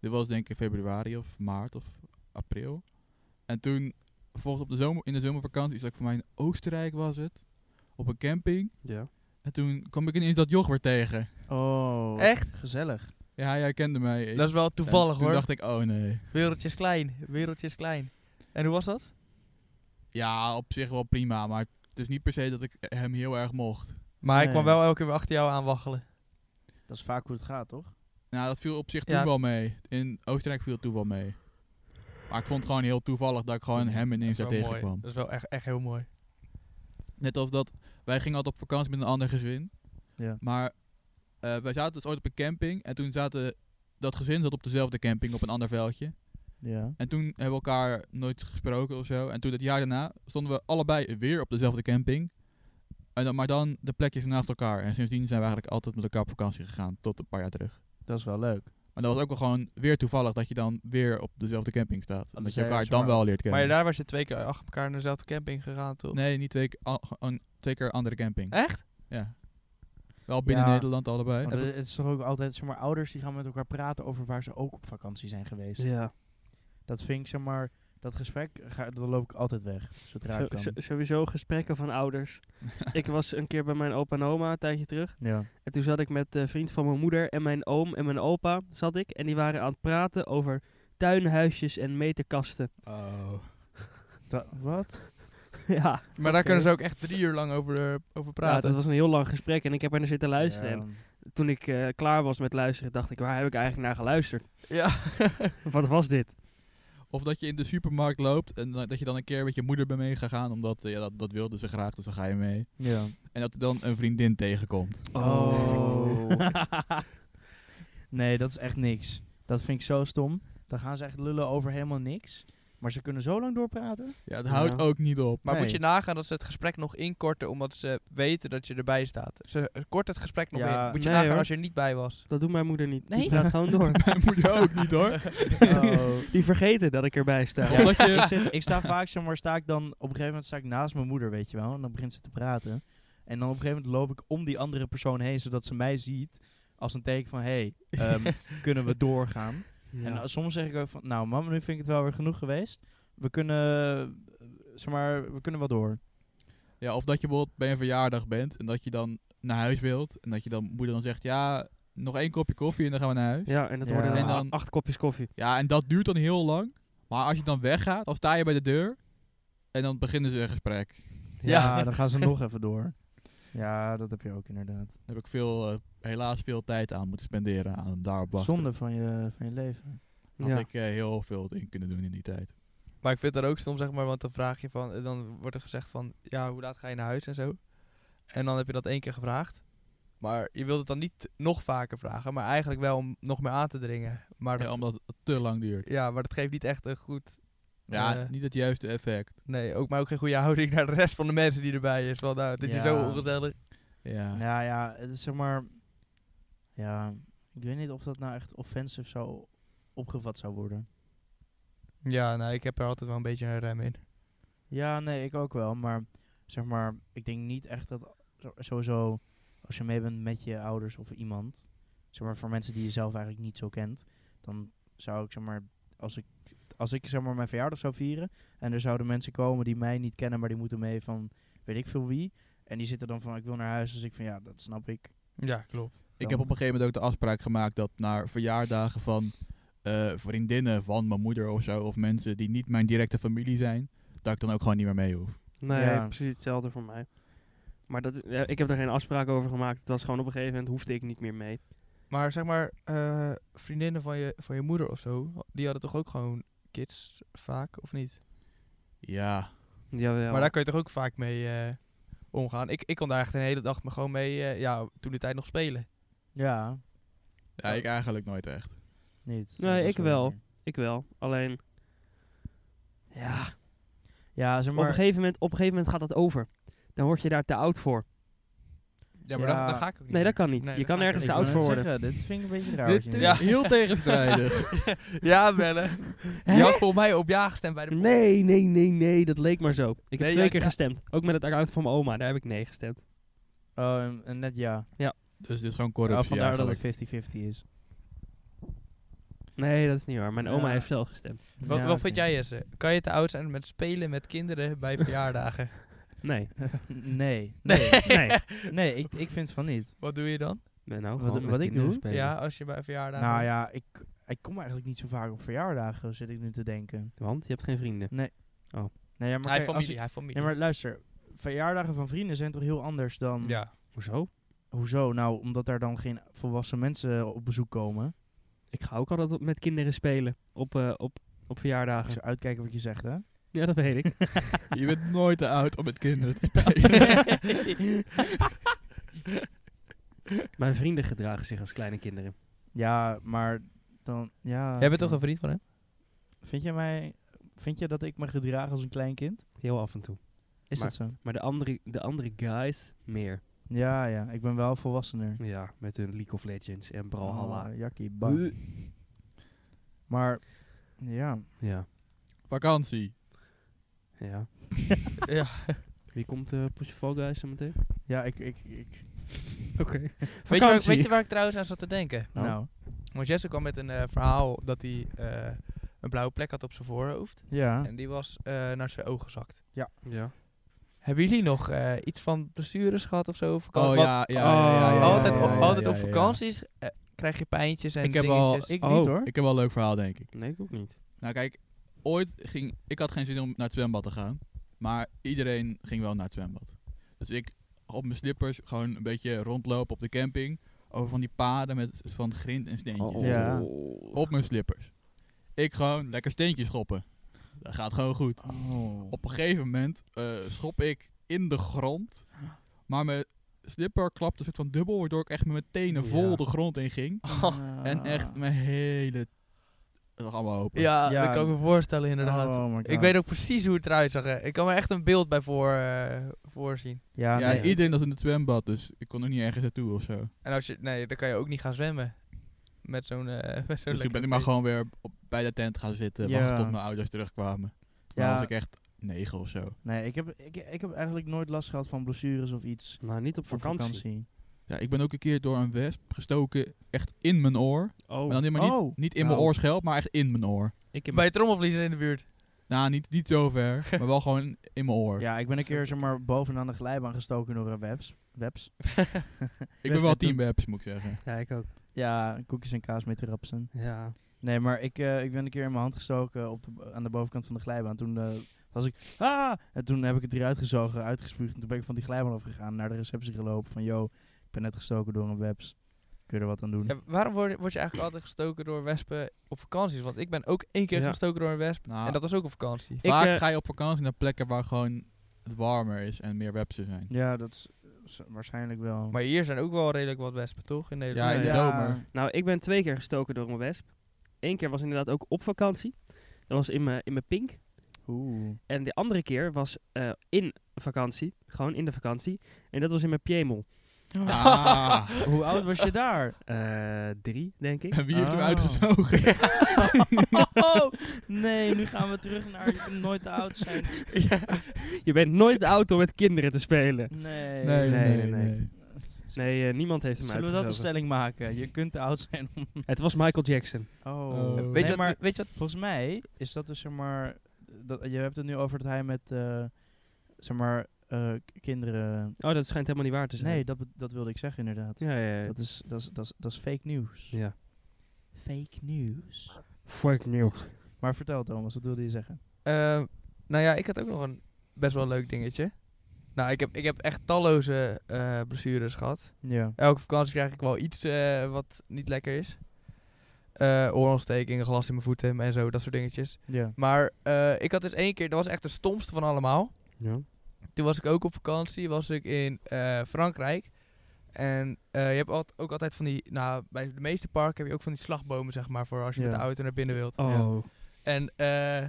[SPEAKER 1] Dit was denk ik februari of maart of april. En toen, vervolgens op de zomer, in de zomervakantie, zat ik voor mij in Oostenrijk was het. Op een camping.
[SPEAKER 5] Ja.
[SPEAKER 1] En toen kwam ik ineens dat joch weer tegen.
[SPEAKER 2] Oh.
[SPEAKER 4] Echt?
[SPEAKER 2] Gezellig.
[SPEAKER 1] Ja, hij herkende mij. Ik-
[SPEAKER 4] Dat is wel
[SPEAKER 1] en
[SPEAKER 4] toevallig
[SPEAKER 1] toen
[SPEAKER 4] hoor.
[SPEAKER 1] dacht ik, oh nee.
[SPEAKER 4] Wereldje is klein, wereldje is klein. En hoe was dat?
[SPEAKER 1] Ja, op zich wel prima, maar het is niet per se dat ik hem heel erg mocht.
[SPEAKER 4] Maar ik
[SPEAKER 2] Nee.
[SPEAKER 4] kwam wel elke keer weer achter jou aan waggelen.
[SPEAKER 2] Dat is vaak hoe het gaat, toch?
[SPEAKER 1] Nou, dat viel op zich toen
[SPEAKER 4] Ja.
[SPEAKER 1] wel mee. In Oostenrijk viel het toen wel mee. Maar ik vond het gewoon heel toevallig dat ik gewoon hem ineens daar
[SPEAKER 4] dat is wel mooi.
[SPEAKER 1] tegenkwam.
[SPEAKER 4] Dat is wel echt, echt heel mooi.
[SPEAKER 1] Net als dat, wij gingen altijd op vakantie met een ander gezin.
[SPEAKER 2] Ja.
[SPEAKER 1] Maar eh, wij zaten dus ooit op een camping. En toen zaten, dat gezin zat op dezelfde camping op een ander veldje.
[SPEAKER 2] Ja.
[SPEAKER 1] En toen hebben we elkaar nooit gesproken of zo. En toen het jaar daarna stonden we allebei weer op dezelfde camping. En dan, maar dan de plekjes naast elkaar. En sindsdien zijn we eigenlijk altijd met elkaar op vakantie gegaan. Tot een paar jaar terug.
[SPEAKER 2] Dat is wel leuk.
[SPEAKER 1] Maar dat was ook wel gewoon weer toevallig dat je dan weer op dezelfde camping staat.
[SPEAKER 2] dus
[SPEAKER 1] Omdat je
[SPEAKER 2] jij
[SPEAKER 1] elkaar
[SPEAKER 2] was
[SPEAKER 1] dan
[SPEAKER 2] maar-
[SPEAKER 1] wel leert
[SPEAKER 4] Maar
[SPEAKER 1] kennen.
[SPEAKER 4] daar was je twee keer achter elkaar naar dezelfde camping gegaan, toch?
[SPEAKER 1] nee, niet twee, keer- al- gewoon twee keer andere camping.
[SPEAKER 4] Echt?
[SPEAKER 1] Ja. Wel binnen
[SPEAKER 2] Ja.
[SPEAKER 1] Nederland allebei.
[SPEAKER 2] Want het het is toch ook altijd, zeg maar, ouders die gaan met elkaar praten over waar ze ook op vakantie zijn geweest.
[SPEAKER 5] Ja.
[SPEAKER 2] Dat vind ik, zeg maar, dat gesprek, ga, dan loop ik altijd weg, zodra
[SPEAKER 5] Zo-
[SPEAKER 2] ik kan.
[SPEAKER 5] zo- Eh, sowieso gesprekken van
[SPEAKER 2] <laughs>
[SPEAKER 5] ouders. ik was een keer bij mijn opa en oma een tijdje terug.
[SPEAKER 2] Ja.
[SPEAKER 5] En toen zat ik met eh, een vriend van mijn moeder en mijn oom en mijn opa zat ik. En die waren aan het praten <laughs> over tuinhuisjes en meterkasten.
[SPEAKER 1] Oh.
[SPEAKER 2] Da- wat?
[SPEAKER 5] ja.
[SPEAKER 4] Maar daar kunnen ze ook echt drie uur lang over, eh, over
[SPEAKER 5] ja,
[SPEAKER 4] praten.
[SPEAKER 5] dat was een heel lang gesprek en ik heb er naar zitten luisteren. En
[SPEAKER 2] Ja.
[SPEAKER 5] toen ik eh, klaar was met luisteren, dacht ik, waar heb ik eigenlijk naar geluisterd?
[SPEAKER 4] Ja. <laughs>
[SPEAKER 5] Wat was dit?
[SPEAKER 1] Of dat je in de supermarkt loopt en dan- dat je dan een keer met je moeder bent meegegaan. Omdat eh, ja, dat, dat wilde ze graag, dus dan ga je mee.
[SPEAKER 2] Ja.
[SPEAKER 1] En dat er dan een vriendin tegenkomt.
[SPEAKER 2] Oh. <laughs> nee, dat is echt niks. Dat vind ik zo stom. Dan gaan ze echt lullen over helemaal niks. Maar ze kunnen zo lang doorpraten.
[SPEAKER 1] Ja, het houdt ook niet op.
[SPEAKER 4] Maar moet
[SPEAKER 2] Nee.
[SPEAKER 4] je nagaan dat ze het gesprek nog inkorten omdat ze weten dat je erbij staat. Ze kort het gesprek nog
[SPEAKER 2] Ja,
[SPEAKER 4] in. Moet je
[SPEAKER 5] nee,
[SPEAKER 4] nagaan
[SPEAKER 5] hoor.
[SPEAKER 4] als je er niet bij
[SPEAKER 5] <laughs>
[SPEAKER 4] was.
[SPEAKER 5] Dat doet mijn moeder niet.
[SPEAKER 4] Nee?
[SPEAKER 5] Die praat gewoon door.
[SPEAKER 4] <laughs>
[SPEAKER 1] Mijn moeder ook niet hoor.
[SPEAKER 5] <laughs> Die vergeten dat ik erbij sta.
[SPEAKER 1] Ja. Omdat
[SPEAKER 2] <laughs> ik,
[SPEAKER 1] je,
[SPEAKER 2] zit, ik sta vaak, zeg maar, sta ik dan op een gegeven moment sta ik naast mijn moeder, weet je wel. En dan begint ze te praten. En dan op een gegeven moment loop ik om die andere persoon heen, zodat ze mij ziet. Als een teken van, hé, hey,
[SPEAKER 5] <laughs>
[SPEAKER 2] ehm, kunnen we doorgaan?
[SPEAKER 5] Ja.
[SPEAKER 2] En dan soms zeg ik ook van, nou mam, nu vind ik het wel weer genoeg geweest. We kunnen, eh, zeg maar, we kunnen wel door.
[SPEAKER 1] ja, of dat je bijvoorbeeld bij een verjaardag bent en dat je dan naar huis wilt. En dat je dan moeder dan zegt, ja, nog één kopje koffie en dan gaan we naar huis.
[SPEAKER 5] Ja, en dat
[SPEAKER 2] Ja.
[SPEAKER 5] worden
[SPEAKER 1] En
[SPEAKER 5] dan
[SPEAKER 1] dan-
[SPEAKER 5] acht kopjes koffie.
[SPEAKER 1] Ja, en dat duurt dan heel lang. Maar als je dan weggaat, dan sta je bij de deur. En dan beginnen ze een gesprek.
[SPEAKER 2] Ja, dan gaan ze nog even door. Ja, dat heb je ook inderdaad.
[SPEAKER 1] Daar heb ik veel, eh, helaas veel tijd aan moeten spenderen aan daarop wachten.
[SPEAKER 2] Zonde van je, van je leven.
[SPEAKER 1] Had
[SPEAKER 5] Ja.
[SPEAKER 1] ik eh, heel veel in kunnen doen in die tijd.
[SPEAKER 4] Maar ik vind dat ook soms, zeg maar, want dan vraag je van, eh, dan wordt er gezegd van, ja, hoe laat ga je naar huis en zo. En dan heb je dat één keer gevraagd. Maar je wilt het dan niet nog vaker vragen, maar eigenlijk wel om nog meer aan te dringen. Maar
[SPEAKER 1] Ja,
[SPEAKER 4] dat,
[SPEAKER 1] omdat het te lang duurt.
[SPEAKER 4] ja, maar dat geeft niet echt een goed,
[SPEAKER 1] Ja,
[SPEAKER 4] Eh.
[SPEAKER 1] niet het juiste effect.
[SPEAKER 4] nee, ook, maar ook geen goede houding naar de rest van de mensen die erbij is. Want nou, het is hier
[SPEAKER 2] Ja.
[SPEAKER 4] zo ongezellig.
[SPEAKER 1] Ja.
[SPEAKER 2] Ja, ja, het is zeg maar... Ja, ik weet niet of dat nou echt offensive zou opgevat zou worden.
[SPEAKER 4] Ja, nou, ik heb er altijd wel een beetje een rem in.
[SPEAKER 2] Ja, nee, ik ook wel. Maar zeg maar, ik denk niet echt dat zo- sowieso als je mee bent met je ouders of iemand, zeg maar voor mensen die je zelf eigenlijk niet zo kent, dan zou ik zeg maar, als ik, als ik zeg maar mijn verjaardag zou vieren en er zouden mensen komen die mij niet kennen, maar die moeten mee van weet ik veel wie. En die zitten dan van ik wil naar huis, dus ik van ja, dat snap ik.
[SPEAKER 4] Ja, klopt.
[SPEAKER 1] Ik heb op een gegeven moment ook de afspraak gemaakt dat naar verjaardagen van eh, vriendinnen van mijn moeder of zo, of mensen die niet mijn directe familie zijn, dat ik dan ook gewoon niet meer mee hoef.
[SPEAKER 5] Nee,
[SPEAKER 2] Ja.
[SPEAKER 5] precies hetzelfde voor mij. Maar dat, ja, ik heb er geen afspraak over gemaakt. Het was gewoon op een gegeven moment hoefde ik niet meer mee.
[SPEAKER 4] Maar zeg maar, eh, vriendinnen van je, van je moeder of zo, die hadden toch ook gewoon kids vaak, of niet?
[SPEAKER 1] Ja,
[SPEAKER 5] Jawel.
[SPEAKER 4] Maar daar kun je toch ook vaak mee eh, omgaan. Ik, ik kon daar echt een hele dag me gewoon mee, eh, ja, toen de tijd nog spelen.
[SPEAKER 2] Ja,
[SPEAKER 1] ja ik eigenlijk nooit echt.
[SPEAKER 2] niet.
[SPEAKER 5] Nee,
[SPEAKER 2] Ja, dat is
[SPEAKER 5] ik wel.
[SPEAKER 2] waar.
[SPEAKER 5] Ik wel. Alleen, ja,
[SPEAKER 2] Ja, zeg
[SPEAKER 5] op, een
[SPEAKER 2] maar.
[SPEAKER 5] gegeven moment, op een gegeven moment gaat dat over. Dan word je daar te oud voor.
[SPEAKER 4] Ja, maar
[SPEAKER 2] Ja.
[SPEAKER 4] Dat, dat ga ik ook niet
[SPEAKER 5] Nee, dat
[SPEAKER 4] meer.
[SPEAKER 5] kan niet. Je
[SPEAKER 4] dat
[SPEAKER 5] kan
[SPEAKER 4] ga ik
[SPEAKER 5] ergens
[SPEAKER 4] ook
[SPEAKER 5] te
[SPEAKER 4] niet
[SPEAKER 5] oud
[SPEAKER 2] Ik wou
[SPEAKER 5] voor
[SPEAKER 2] net
[SPEAKER 5] worden.
[SPEAKER 2] zeggen, dit vind ik een beetje raar. wat
[SPEAKER 1] Dit
[SPEAKER 2] je
[SPEAKER 1] is
[SPEAKER 2] nu
[SPEAKER 4] Ja.
[SPEAKER 1] heel tegenstrijdig.
[SPEAKER 4] meer. <laughs> Ja, bellen. Je had volgens mij op ja gestemd bij de poll.
[SPEAKER 5] Nee, nee, nee, nee. Dat leek maar zo. Ik heb
[SPEAKER 4] Nee,
[SPEAKER 5] twee
[SPEAKER 4] ja,
[SPEAKER 5] keer
[SPEAKER 4] ja.
[SPEAKER 5] gestemd. Ook met het account van mijn oma. Daar heb ik nee gestemd.
[SPEAKER 2] Oh, en- en net ja.
[SPEAKER 1] Dus dit is gewoon
[SPEAKER 2] Oh,
[SPEAKER 1] corruptie
[SPEAKER 2] vandaar dat
[SPEAKER 1] eigenlijk.
[SPEAKER 2] het 50-50 is.
[SPEAKER 5] Nee, dat is niet waar. Mijn oma
[SPEAKER 2] Ja.
[SPEAKER 5] heeft zelf gestemd.
[SPEAKER 4] Wat,
[SPEAKER 2] Ja,
[SPEAKER 4] wat
[SPEAKER 2] oké.
[SPEAKER 4] vind jij, Jesse? Kan je te oud zijn met spelen met kinderen bij verjaardagen?
[SPEAKER 5] Nee.
[SPEAKER 2] <laughs> Nee, nee,
[SPEAKER 4] <laughs>
[SPEAKER 5] Nee.
[SPEAKER 2] nee ik, ik vind van niet.
[SPEAKER 4] wat doe je dan?
[SPEAKER 5] Ben nou,
[SPEAKER 2] Wat-
[SPEAKER 5] gewoon met
[SPEAKER 2] wat ik
[SPEAKER 5] kinderen
[SPEAKER 2] doe?
[SPEAKER 5] spelen.
[SPEAKER 4] Ja, als je bij verjaardagen...
[SPEAKER 2] Nou ja, ik, ik kom eigenlijk niet zo vaak op verjaardagen, zit ik nu te denken.
[SPEAKER 5] Want je hebt geen vrienden.
[SPEAKER 2] Nee, ja, maar
[SPEAKER 4] Hij
[SPEAKER 2] kijk, als
[SPEAKER 4] familie,
[SPEAKER 2] ik-
[SPEAKER 4] hij familie.
[SPEAKER 2] Nee, maar luister, verjaardagen van vrienden zijn toch heel anders dan...
[SPEAKER 4] Ja.
[SPEAKER 5] Hoezo?
[SPEAKER 2] Hoezo? Nou, omdat daar dan geen volwassen mensen op bezoek komen.
[SPEAKER 5] Ik ga ook altijd op- met kinderen spelen. Op, eh, op, op
[SPEAKER 2] Ik
[SPEAKER 5] verjaardagen.
[SPEAKER 2] zou uitkijken wat je zegt, hè?
[SPEAKER 5] Ja, dat weet
[SPEAKER 2] <laughs>
[SPEAKER 5] ik.
[SPEAKER 1] Je bent nooit te oud om met kinderen te spelen.
[SPEAKER 5] Mijn vrienden gedragen zich als kleine kinderen.
[SPEAKER 2] Ja, maar dan... eh, Ja,
[SPEAKER 4] Jij bent toch een vriend van hem?
[SPEAKER 2] Vind jij mij... Vind je dat ik me gedraag als een klein kind?
[SPEAKER 5] Heel af en toe.
[SPEAKER 2] Is dat zo?
[SPEAKER 5] Maar de andere, de andere guys meer.
[SPEAKER 2] Ja, ja. Ik ben wel volwassener.
[SPEAKER 5] Ja, met hun League of Legends en Brawlhalla.
[SPEAKER 2] Oh, jakkie, bang. Maar, ja.
[SPEAKER 5] Ja,
[SPEAKER 1] Vakantie.
[SPEAKER 5] <laughs> ja.
[SPEAKER 4] ja.
[SPEAKER 5] Wie komt eh Push Fall Guys zo meteen?
[SPEAKER 2] Ja, ik... ik, ik
[SPEAKER 5] Oké.
[SPEAKER 4] Weet je, waar,
[SPEAKER 5] Vakantie.
[SPEAKER 4] weet je waar ik trouwens aan zat te denken?
[SPEAKER 2] nou.
[SPEAKER 4] Want Jesse kwam met een eh, verhaal dat hij eh, een blauwe plek had op zijn voorhoofd.
[SPEAKER 2] Ja.
[SPEAKER 4] En die was eh, naar zijn oog gezakt.
[SPEAKER 5] Ja.
[SPEAKER 4] Hebben jullie nog eh, iets van blessures gehad of zo? Op vakantie?
[SPEAKER 1] Oh
[SPEAKER 4] Want
[SPEAKER 1] ja, ja, ja, ja, ja, ja,
[SPEAKER 4] altijd
[SPEAKER 1] ja,
[SPEAKER 4] op,
[SPEAKER 1] ja,
[SPEAKER 4] altijd
[SPEAKER 1] ja,
[SPEAKER 4] op
[SPEAKER 1] ja, ja.
[SPEAKER 4] vakanties eh, krijg je pijntjes en
[SPEAKER 1] Ik heb al-
[SPEAKER 4] dingetjes.
[SPEAKER 2] Ik
[SPEAKER 5] Oh.
[SPEAKER 2] niet, hoor.
[SPEAKER 1] Ik heb wel een leuk verhaal, denk ik.
[SPEAKER 5] Nee, ik ook niet.
[SPEAKER 1] Nou kijk, ooit ging... Ik had geen zin om naar het zwembad te gaan. Maar iedereen ging wel naar het zwembad. Dus ik op mijn slippers gewoon een beetje rondlopen op de camping. Over van die paden met van grind en steentjes.
[SPEAKER 2] Oh. Ja.
[SPEAKER 1] Op mijn slippers. Ik gewoon lekker steentjes schoppen. Dat gaat gewoon goed.
[SPEAKER 2] Oh.
[SPEAKER 1] Op een gegeven moment eh, schop ik in de grond. Maar mijn slipper klapte een soort van dubbel. Waardoor ik echt met mijn tenen vol
[SPEAKER 2] Ja. Ah.
[SPEAKER 1] de grond in ging. <laughs> En echt mijn hele... Dat was allemaal
[SPEAKER 2] <laughs>
[SPEAKER 1] open.
[SPEAKER 4] Ja,
[SPEAKER 2] Ja.
[SPEAKER 4] dat kan ik me voorstellen inderdaad.
[SPEAKER 2] Oh my God.
[SPEAKER 4] ik weet ook precies hoe het eruit zag. hè. Ik kan me echt een beeld bij voor, eh, voorzien.
[SPEAKER 2] Ja,
[SPEAKER 1] ja,
[SPEAKER 2] nee.
[SPEAKER 1] iedereen was in het zwembad, dus ik kon er niet ergens naartoe of zo.
[SPEAKER 4] En als je, nee, dan kan je ook niet gaan zwemmen. Met zo'n... eh <laughs> met zo'n
[SPEAKER 1] Dus ik ben
[SPEAKER 4] lekker
[SPEAKER 1] ik maar
[SPEAKER 4] ding.
[SPEAKER 1] gewoon weer op, bij de tent gaan zitten,
[SPEAKER 2] Ja.
[SPEAKER 1] wachten tot mijn ouders terugkwamen. Toen
[SPEAKER 2] Ja.
[SPEAKER 1] was ik echt negen of zo.
[SPEAKER 2] Nee, ik heb, ik, ik heb eigenlijk nooit last gehad van blessures of iets.
[SPEAKER 5] Nou, niet op
[SPEAKER 2] Op
[SPEAKER 5] vakantie.
[SPEAKER 1] Ja, ik ben ook een keer door een wesp gestoken, echt in mijn oor.
[SPEAKER 5] Oh,
[SPEAKER 1] Maar dan helemaal niet,
[SPEAKER 2] Oh.
[SPEAKER 1] niet in
[SPEAKER 2] Nou.
[SPEAKER 1] mijn oorschelp, maar echt in mijn oor.
[SPEAKER 5] ik heb
[SPEAKER 4] Bij trommelvliezen in de buurt.
[SPEAKER 1] Nou, niet, niet zo ver, maar wel gewoon in mijn oor.
[SPEAKER 2] Ja, ik ben een keer zeg maar, bovenaan de glijbaan gestoken door een webs. webs.
[SPEAKER 1] ik ben wel team webs, moet ik zeggen.
[SPEAKER 5] Ja, ik ook.
[SPEAKER 2] Ja, koekjes en kaas met de rapsen.
[SPEAKER 5] Ja.
[SPEAKER 2] Nee, maar ik, eh, ik ben een keer in mijn hand gestoken op de, aan de bovenkant van de glijbaan. Toen eh, was ik, ah! En toen heb ik het eruit gezogen, uitgespuugd. En toen ben ik van die glijbaan afgegaan, naar de receptie gelopen. Van, yo, ik ben net gestoken door een webs. Kun je er wat aan doen?
[SPEAKER 4] Ja, waarom word, word je eigenlijk altijd gestoken door wespen op vakanties? Want ik ben ook één keer
[SPEAKER 5] Ja.
[SPEAKER 4] gestoken door een wesp.
[SPEAKER 1] Nou,
[SPEAKER 4] En dat was ook op vakantie.
[SPEAKER 5] Ik,
[SPEAKER 1] vaak
[SPEAKER 5] eh,
[SPEAKER 1] ga je op vakantie naar plekken waar gewoon het warmer is en meer websen zijn.
[SPEAKER 2] Ja, dat is is waarschijnlijk wel.
[SPEAKER 4] Maar hier zijn ook wel redelijk wat wespen, toch? In Nederland.
[SPEAKER 1] Ja, in de zomer.
[SPEAKER 5] Nou, ik ben twee keer gestoken door een wesp. Eén keer was inderdaad ook op vakantie. Dat was in mijn in mijn pink.
[SPEAKER 2] Oeh.
[SPEAKER 5] En de andere keer was eh, in vakantie. Gewoon in de vakantie. En dat was in mijn piemel.
[SPEAKER 1] Ah,
[SPEAKER 2] <laughs> Hoe oud was je
[SPEAKER 1] <laughs>
[SPEAKER 2] daar?
[SPEAKER 5] Eh, drie, denk ik.
[SPEAKER 1] en wie heeft hem
[SPEAKER 2] Oh.
[SPEAKER 1] uitgezogen?
[SPEAKER 2] Oh, nee, nu gaan we terug naar je kunt nooit te oud zijn. <laughs>
[SPEAKER 5] Je bent nooit oud om met kinderen te spelen.
[SPEAKER 2] <laughs> Nee.
[SPEAKER 1] Nee, nee, nee.
[SPEAKER 5] nee, nee.
[SPEAKER 1] nee.
[SPEAKER 5] Nee, eh, niemand heeft hem
[SPEAKER 2] Zullen we dat eh, een
[SPEAKER 5] uitgezogen.
[SPEAKER 2] stelling maken? Je kunt te oud zijn om...
[SPEAKER 5] Het was Michael Jackson.
[SPEAKER 2] Oh.
[SPEAKER 1] Oh.
[SPEAKER 4] Weet,
[SPEAKER 2] Nee,
[SPEAKER 4] je wat,
[SPEAKER 2] maar
[SPEAKER 4] weet je wat?
[SPEAKER 2] volgens mij is dat dus, zeg maar... Dat, je hebt het nu over dat hij met, eh, zeg maar, eh, k- kinderen...
[SPEAKER 5] Oh, dat schijnt helemaal niet waar te zijn.
[SPEAKER 2] Nee, dat, be- dat wilde ik zeggen inderdaad.
[SPEAKER 5] Ja, ja, ja.
[SPEAKER 2] Dat, is, dat, is, dat, is, dat is fake nieuws.
[SPEAKER 5] ja.
[SPEAKER 2] Fake nieuws.
[SPEAKER 5] Fuck news.
[SPEAKER 2] Maar vertel Thomas, wat wilde je zeggen?
[SPEAKER 4] Ehm, nou ja, ik had ook nog een best wel leuk dingetje. Nou, ik heb, ik heb echt talloze eh, blessures gehad.
[SPEAKER 2] Ja.
[SPEAKER 4] Elke vakantie krijg ik wel iets eh, wat niet lekker is. Eh, oorontstekingen, glas in mijn voeten en zo, dat soort dingetjes.
[SPEAKER 2] Ja.
[SPEAKER 4] Maar eh, ik had dus één keer, dat was echt de stomste van allemaal.
[SPEAKER 5] Ja.
[SPEAKER 4] Toen was ik ook op vakantie, was ik in eh, Frankrijk. En eh, je hebt al, ook altijd van die, nou, bij de meeste parken heb je ook van die slagbomen, zeg maar, voor als je
[SPEAKER 2] Ja.
[SPEAKER 4] met de auto naar binnen wilt.
[SPEAKER 5] Oh.
[SPEAKER 4] En eh,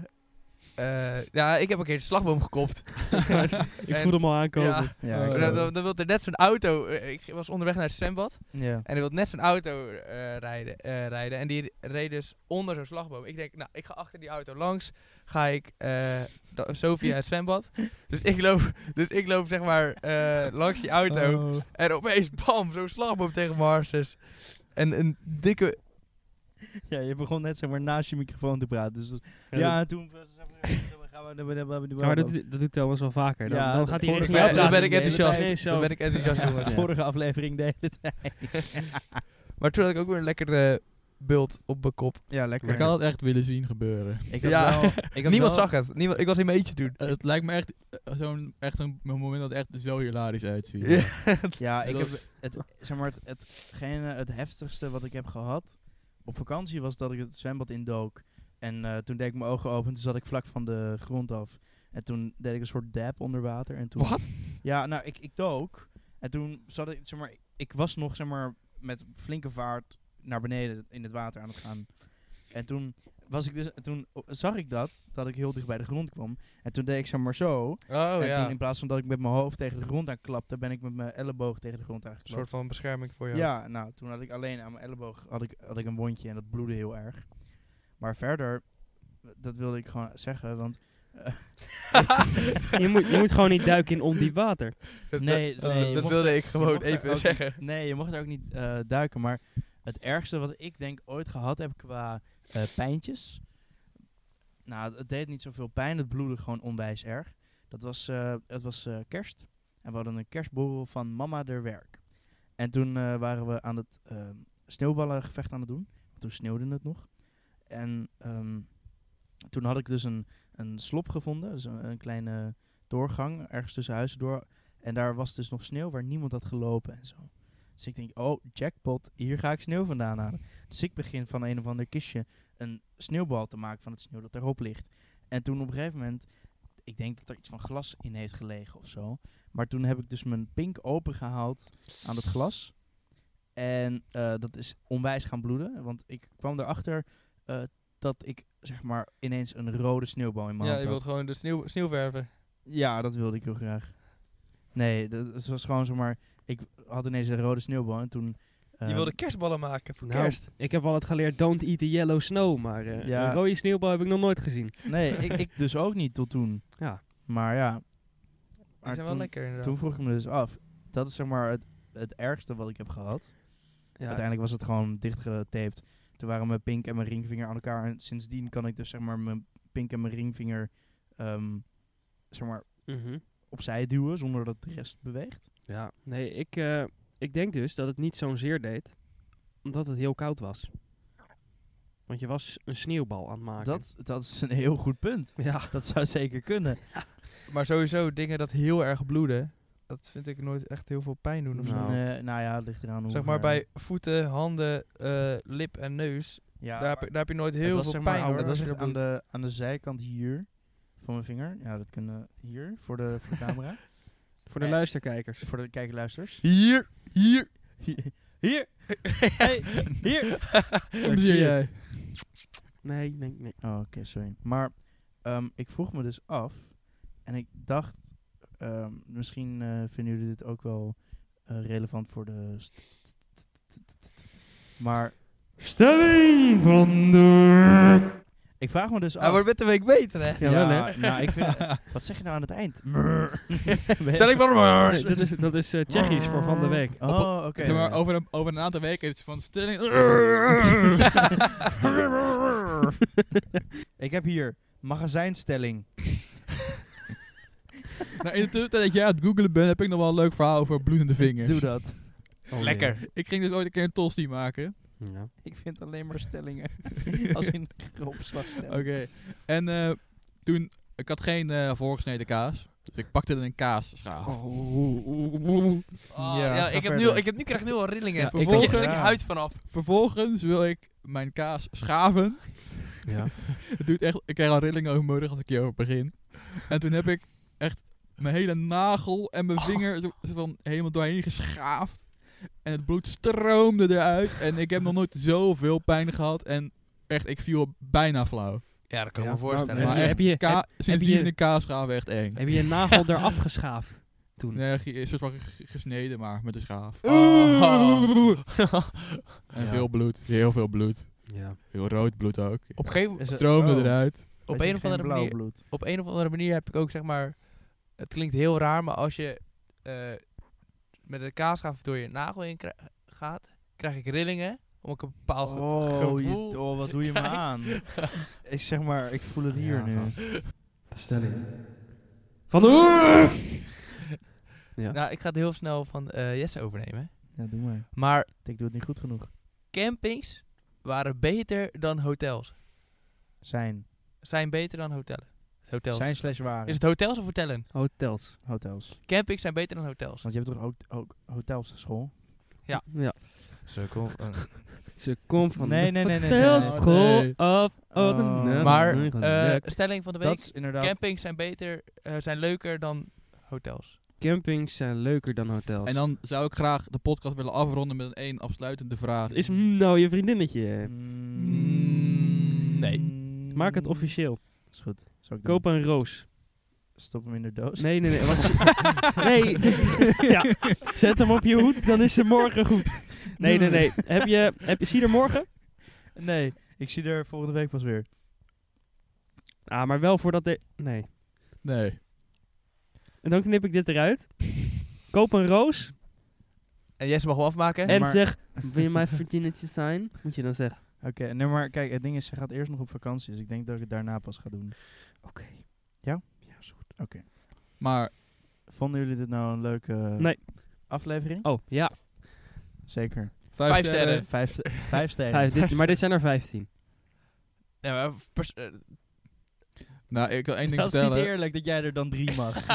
[SPEAKER 4] eh, ja, ik heb een keer de slagboom gekopt.
[SPEAKER 5] <laughs> ik
[SPEAKER 4] En-
[SPEAKER 5] voelde hem al aankomen.
[SPEAKER 4] Ja,
[SPEAKER 2] Ja,
[SPEAKER 1] Oh.
[SPEAKER 2] ik
[SPEAKER 4] dan,
[SPEAKER 2] ook.
[SPEAKER 4] dan, dan wil er net zo'n auto, eh, ik was onderweg naar het zwembad.
[SPEAKER 2] ja.
[SPEAKER 4] En er wilde net zo'n auto eh, rijden, eh, rijden. En die reed dus onder zo'n slagboom. Ik denk, nou, ik ga achter die auto langs. Ga ik eh da- zo via het zwembad. Dus ik loop, dus ik loop zeg maar eh, langs die auto.
[SPEAKER 2] Oh.
[SPEAKER 4] En opeens, bam, zo'n slagboom tegen mijn harses. En een dikke...
[SPEAKER 2] <laughs> Ja, je begon net zeg maar naast je microfoon te praten. Dus dat- ja, toen was <laughs> het zo van, gaan we- gaan we- gaan we-
[SPEAKER 5] Ja, maar dat, dat doet Thomas wel vaker. Dan,
[SPEAKER 2] Ja,
[SPEAKER 5] dan
[SPEAKER 2] dat
[SPEAKER 5] gaat hij
[SPEAKER 2] vorige
[SPEAKER 5] richting
[SPEAKER 2] keer-
[SPEAKER 5] jou
[SPEAKER 4] dan ben
[SPEAKER 5] praten.
[SPEAKER 4] ik
[SPEAKER 2] de hele
[SPEAKER 4] enthousiast.
[SPEAKER 5] tijd.
[SPEAKER 4] Dan ben ik enthousiast,
[SPEAKER 2] <laughs>
[SPEAKER 4] jongens.
[SPEAKER 2] de vorige aflevering de hele tijd.
[SPEAKER 4] Maar toen had ik ook weer een lekker eh, bult op mijn kop.
[SPEAKER 2] Ja, lekker.
[SPEAKER 1] Ik had het echt willen zien gebeuren.
[SPEAKER 2] Ik had
[SPEAKER 4] Ja.
[SPEAKER 2] wel, ik had
[SPEAKER 4] Niemand
[SPEAKER 2] wel-
[SPEAKER 4] zag het. Niemand, ik was in mijn eentje toen.
[SPEAKER 1] Het lijkt me echt eh, zo'n echt zo'n moment dat het echt zo hilarisch uitziet.
[SPEAKER 4] Ja.
[SPEAKER 2] Ja, ik
[SPEAKER 1] Dat
[SPEAKER 2] heb het, zeg maar, het, hetgene, het heftigste wat ik heb gehad op vakantie was dat ik het zwembad indook. En eh, toen deed ik mijn ogen open, toen zat ik vlak van de grond af. En toen deed ik een soort dab onder water. En toen,
[SPEAKER 4] Wat?
[SPEAKER 2] Ja, nou, ik, ik dook. En toen zat ik, zeg maar, ik was nog, zeg maar, met flinke vaart naar beneden in het water aan het gaan. En toen was ik dus, toen o- zag ik dat, dat ik heel dicht bij de grond kwam. En toen deed ik, zeg maar, zo.
[SPEAKER 4] Oh
[SPEAKER 2] en
[SPEAKER 4] ja,
[SPEAKER 2] toen in
[SPEAKER 4] een
[SPEAKER 2] plaats van dat ik met mijn hoofd tegen de grond aanklapte, ben ik met mijn elleboog tegen de grond
[SPEAKER 4] soort
[SPEAKER 2] aangeklapt.
[SPEAKER 4] van bescherming voor jou.
[SPEAKER 2] ja, nou, toen had ik alleen aan mijn elleboog had ik, had ik een wondje en dat bloedde heel erg. Maar verder, dat wilde ik gewoon zeggen, want... eh,
[SPEAKER 5] <laughs> Je moet, je moet gewoon niet duiken in ondiep water.
[SPEAKER 2] nee,
[SPEAKER 4] <laughs> dat,
[SPEAKER 2] nee, je
[SPEAKER 4] dat
[SPEAKER 2] mocht-
[SPEAKER 4] wilde ik gewoon
[SPEAKER 2] mocht er ook
[SPEAKER 4] even
[SPEAKER 2] niet-
[SPEAKER 4] zeggen.
[SPEAKER 2] nee, je mocht er ook niet eh, duiken, maar het ergste wat ik denk ooit gehad heb qua eh, pijntjes... Nou, het- het deed niet zoveel pijn, het bloedde gewoon onwijs erg. Dat was, eh, het was eh, kerst. En we hadden een kerstborrel van Mama der Werk. En toen eh, waren we aan het ehm, sneeuwballengevecht aan het doen. Want toen sneeuwde het nog. En ehm, toen had ik dus een, een slop gevonden. Dus een, een kleine doorgang, ergens tussen huizen door. En daar was dus nog sneeuw waar niemand had gelopen en zo. Dus ik denk, oh, jackpot, hier ga ik sneeuw vandaan halen. Dus ik begin van een of ander kistje een sneeuwbal te maken van het sneeuw dat erop ligt. En toen op een gegeven moment, ik denk dat er iets van glas in heeft gelegen of zo. Maar toen heb ik dus mijn pink opengehaald aan dat glas. En eh, dat is onwijs gaan bloeden. Want ik kwam erachter eh, dat ik zeg maar ineens een rode sneeuwbal in mijn
[SPEAKER 4] Ja,
[SPEAKER 2] hand
[SPEAKER 4] je
[SPEAKER 2] had.
[SPEAKER 4] wilt gewoon de sneeuw, sneeuw verven.
[SPEAKER 2] Ja, dat wilde ik heel graag. Nee, dat het was gewoon zomaar. Ik had ineens een rode sneeuwbal en toen. eh,
[SPEAKER 4] je wilde kerstballen maken voor
[SPEAKER 5] Nou,
[SPEAKER 4] kerst.
[SPEAKER 5] Ik heb altijd geleerd, don't eat the yellow snow. Maar eh,
[SPEAKER 2] Ja.
[SPEAKER 5] een rode sneeuwbal heb ik nog nooit gezien.
[SPEAKER 2] Nee, ik,
[SPEAKER 4] <laughs>
[SPEAKER 2] ik dus ook niet tot toen.
[SPEAKER 5] Ja.
[SPEAKER 2] Maar ja.
[SPEAKER 4] Die
[SPEAKER 2] Maar
[SPEAKER 4] zijn wel
[SPEAKER 2] toen,
[SPEAKER 4] lekker inderdaad.
[SPEAKER 2] toen vroeg ik me dus af. Dat is zeg maar het, het ergste wat ik heb gehad.
[SPEAKER 5] Ja,
[SPEAKER 2] Uiteindelijk was het gewoon dichtgetaped. Toen waren mijn pink en mijn ringvinger aan elkaar. En sindsdien kan ik dus zeg maar mijn pink en mijn ringvinger ehm, zeg maar
[SPEAKER 5] Mhm.
[SPEAKER 2] opzij duwen zonder dat de rest beweegt.
[SPEAKER 5] ja. nee, ik, eh, ik denk dus dat het niet zo'n zeer deed, omdat het heel koud was. Want je was een sneeuwbal aan het maken.
[SPEAKER 2] Dat, dat is een heel goed punt.
[SPEAKER 5] <laughs> Ja,
[SPEAKER 2] Dat zou <laughs> zeker kunnen.
[SPEAKER 4] Maar sowieso dingen dat heel erg bloeden, dat vind ik nooit echt heel veel pijn doen of zo.
[SPEAKER 5] Nou.
[SPEAKER 2] Nee, nou ja, het ligt eraan hoe
[SPEAKER 4] Zeg maar
[SPEAKER 2] ver-
[SPEAKER 4] bij voeten, handen, eh, lip en neus,
[SPEAKER 2] Ja,
[SPEAKER 4] daar, heb, daar heb je nooit heel veel pijn hoor.
[SPEAKER 2] Dat was
[SPEAKER 4] als je
[SPEAKER 2] echt
[SPEAKER 4] er
[SPEAKER 2] aan
[SPEAKER 4] bloedt.
[SPEAKER 2] de, aan de zijkant hier van mijn vinger. Ja, dat kunnen hier voor de, voor de
[SPEAKER 4] <laughs>
[SPEAKER 2] camera.
[SPEAKER 5] voor de
[SPEAKER 2] Eh, <laughs>
[SPEAKER 5] luisterkijkers.
[SPEAKER 2] voor de kijkluisters.
[SPEAKER 4] Hier, <laughs> hier.
[SPEAKER 2] Hier! <laughs> Hey,
[SPEAKER 4] <laughs>
[SPEAKER 2] hier!
[SPEAKER 5] Wat zie jij? Nee, nee, nee.
[SPEAKER 2] Oh, oké, sorry. Maar ehm, ik vroeg me dus af en ik dacht, ehm, misschien eh, vinden jullie dit ook wel eh, relevant voor de... st- Maar
[SPEAKER 5] Stelling van de...
[SPEAKER 2] ik vraag me dus
[SPEAKER 4] Hij
[SPEAKER 2] af...
[SPEAKER 4] wordt met de week beter hè.
[SPEAKER 5] Ja, wel, hè?
[SPEAKER 2] nou, ik vind, wat zeg je nou aan het
[SPEAKER 4] <laughs>
[SPEAKER 2] eind? <laughs>
[SPEAKER 4] Stel ik maar.
[SPEAKER 5] Nee, dat is, dat is eh, Tsjechisch voor van de week.
[SPEAKER 2] Oh, oké.
[SPEAKER 1] Zeg
[SPEAKER 2] <laughs>
[SPEAKER 1] maar, over, een, over een aantal weken heeft ze van stelling...
[SPEAKER 2] ik heb hier magazijnstelling.
[SPEAKER 1] <laughs> nou, in de tussentijd dat jij aan het googelen bent, heb ik nog wel een leuk verhaal over bloedende vingers.
[SPEAKER 2] Doe dat.
[SPEAKER 4] Lekker.
[SPEAKER 1] Ik ging dus ooit een keer een tosti maken.
[SPEAKER 5] Ja.
[SPEAKER 2] <laughs> Ik vind alleen maar stellingen. <laughs> Als in opslag.
[SPEAKER 1] <laughs> Oké. En eh, toen... Ik had geen eh, voorgesneden kaas. Dus ik pakte een kaasschaaf.
[SPEAKER 4] Ah,
[SPEAKER 2] Ja,
[SPEAKER 4] <laughs> ja,
[SPEAKER 2] ga
[SPEAKER 4] ik, heb nu,
[SPEAKER 2] verder.
[SPEAKER 4] al- ik, heb, nu krijg ik nu al rillingen.
[SPEAKER 5] Ja,
[SPEAKER 4] Ja,
[SPEAKER 1] ik
[SPEAKER 4] ik
[SPEAKER 1] denk-
[SPEAKER 4] je
[SPEAKER 2] ja.
[SPEAKER 4] huid vanaf.
[SPEAKER 1] Vervolgens wil ik mijn kaas schaven.
[SPEAKER 5] <laughs> Ja.
[SPEAKER 1] Het doet echt, ik krijg al rillingen over mijn rug als ik hierover begin. En toen heb ik echt mijn hele nagel en mijn vinger zo, zo van helemaal doorheen geschaafd. En het bloed stroomde eruit. En ik heb nog nooit zoveel pijn gehad. En echt, ik viel bijna flauw.
[SPEAKER 4] Ja, dat kan ik
[SPEAKER 5] Ja,
[SPEAKER 4] me voorstellen.
[SPEAKER 5] maar-
[SPEAKER 1] Maar
[SPEAKER 5] je-
[SPEAKER 1] echt,
[SPEAKER 5] heb je-
[SPEAKER 1] ka- sindsdien
[SPEAKER 5] je-
[SPEAKER 1] de kaas schaaf echt eng.
[SPEAKER 5] Heb je je nagel eraf geschaafd toen?
[SPEAKER 1] Nee, ge- een soort van ge- gesneden, maar met een schaaf.
[SPEAKER 4] Oh.
[SPEAKER 2] <laughs>
[SPEAKER 1] En
[SPEAKER 5] Ja.
[SPEAKER 1] veel bloed. Heel veel bloed.
[SPEAKER 5] Ja.
[SPEAKER 1] Heel rood bloed ook.
[SPEAKER 4] op, geen,
[SPEAKER 1] Stroomde
[SPEAKER 5] Oh.
[SPEAKER 2] Oh.
[SPEAKER 1] eruit.
[SPEAKER 4] op, een of andere
[SPEAKER 2] blauw
[SPEAKER 4] manier,
[SPEAKER 2] bloed.
[SPEAKER 4] op een of andere manier heb ik ook zeg maar. Het klinkt heel raar, maar als je eh, met een kaasschaaf door je nagel in krij- gaat, krijg ik rillingen. Omdat ik een bepaald ge-
[SPEAKER 2] Oh, je-
[SPEAKER 4] gevoel.
[SPEAKER 2] oh, wat doe
[SPEAKER 4] <laughs>
[SPEAKER 2] je me
[SPEAKER 4] krijg.
[SPEAKER 2] aan? Ik zeg maar, ik voel het hier
[SPEAKER 5] Ja.
[SPEAKER 2] nu.
[SPEAKER 5] Stelling. Van de... Ja.
[SPEAKER 4] Nou, ik ga het heel snel van eh, Jesse overnemen.
[SPEAKER 2] Ja, doe maar.
[SPEAKER 4] Maar
[SPEAKER 2] Ik doe het niet goed genoeg.
[SPEAKER 4] campings waren beter dan hotels.
[SPEAKER 2] Zijn.
[SPEAKER 4] Zijn beter dan hotellen. Hotels.
[SPEAKER 2] Zijn slash waren.
[SPEAKER 4] Is het hotels of hotellen?
[SPEAKER 5] Hotels.
[SPEAKER 2] Hotels.
[SPEAKER 4] Campings zijn beter dan hotels.
[SPEAKER 2] Want je hebt toch ook, ook hotels op school?
[SPEAKER 5] Ja. <laughs>
[SPEAKER 4] Sukkel.
[SPEAKER 5] Ze komt van
[SPEAKER 2] Nee,
[SPEAKER 5] de
[SPEAKER 2] nee, nee, nee, nee, nee.
[SPEAKER 5] hotelschool
[SPEAKER 1] Nee.
[SPEAKER 5] af.
[SPEAKER 2] Oh.
[SPEAKER 4] maar,
[SPEAKER 2] Nee,
[SPEAKER 4] eh, stelling van de week.
[SPEAKER 2] Dat is inderdaad...
[SPEAKER 4] Campings zijn beter, eh, zijn leuker dan hotels.
[SPEAKER 5] campings zijn leuker dan hotels.
[SPEAKER 1] En dan zou ik graag de podcast willen afronden met een één afsluitende vraag.
[SPEAKER 5] is mm, nou je vriendinnetje.
[SPEAKER 2] Mm,
[SPEAKER 4] nee.
[SPEAKER 5] Maak het officieel.
[SPEAKER 2] Is goed. Zal ik doen.
[SPEAKER 5] Koop een roos.
[SPEAKER 2] Stop hem in de doos.
[SPEAKER 5] Nee, nee, nee. Wat nee. <laughs> ja. Zet hem op je hoed, dan is ze morgen goed. Nee, nee, nee. Heb je, heb je, zie je er morgen?
[SPEAKER 2] <laughs> Nee, ik zie er volgende week pas weer.
[SPEAKER 5] Ah, maar wel voordat de... Nee.
[SPEAKER 1] Nee.
[SPEAKER 5] En dan knip ik dit eruit. Koop een roos.
[SPEAKER 4] En Jesse mag hem afmaken.
[SPEAKER 5] En
[SPEAKER 2] maar-
[SPEAKER 5] zeg, wil je mijn vriendinnetje zijn? Moet je dan zeggen.
[SPEAKER 2] Oké, nee, maar kijk, het ding is, ze gaat eerst nog op vakantie, dus ik denk dat ik het daarna pas ga doen.
[SPEAKER 5] Oké.
[SPEAKER 2] Ja?
[SPEAKER 5] Ja, is goed.
[SPEAKER 1] Maar
[SPEAKER 2] Vonden jullie dit nou een leuke eh,
[SPEAKER 5] Nee.
[SPEAKER 2] aflevering?
[SPEAKER 5] Oh, ja.
[SPEAKER 2] Zeker. Eh,
[SPEAKER 1] vijf,
[SPEAKER 4] Vijf
[SPEAKER 1] sterren.
[SPEAKER 4] sterren.
[SPEAKER 2] Vijf, <laughs> st- vijf sterren. <laughs>
[SPEAKER 5] Vijf, dit, maar dit zijn er 15.
[SPEAKER 4] Ja, maar pers- eh,
[SPEAKER 1] Nou, ik wil één ding
[SPEAKER 2] Dat is niet
[SPEAKER 1] vertellen.
[SPEAKER 2] eerlijk dat jij er dan drie <laughs> mag.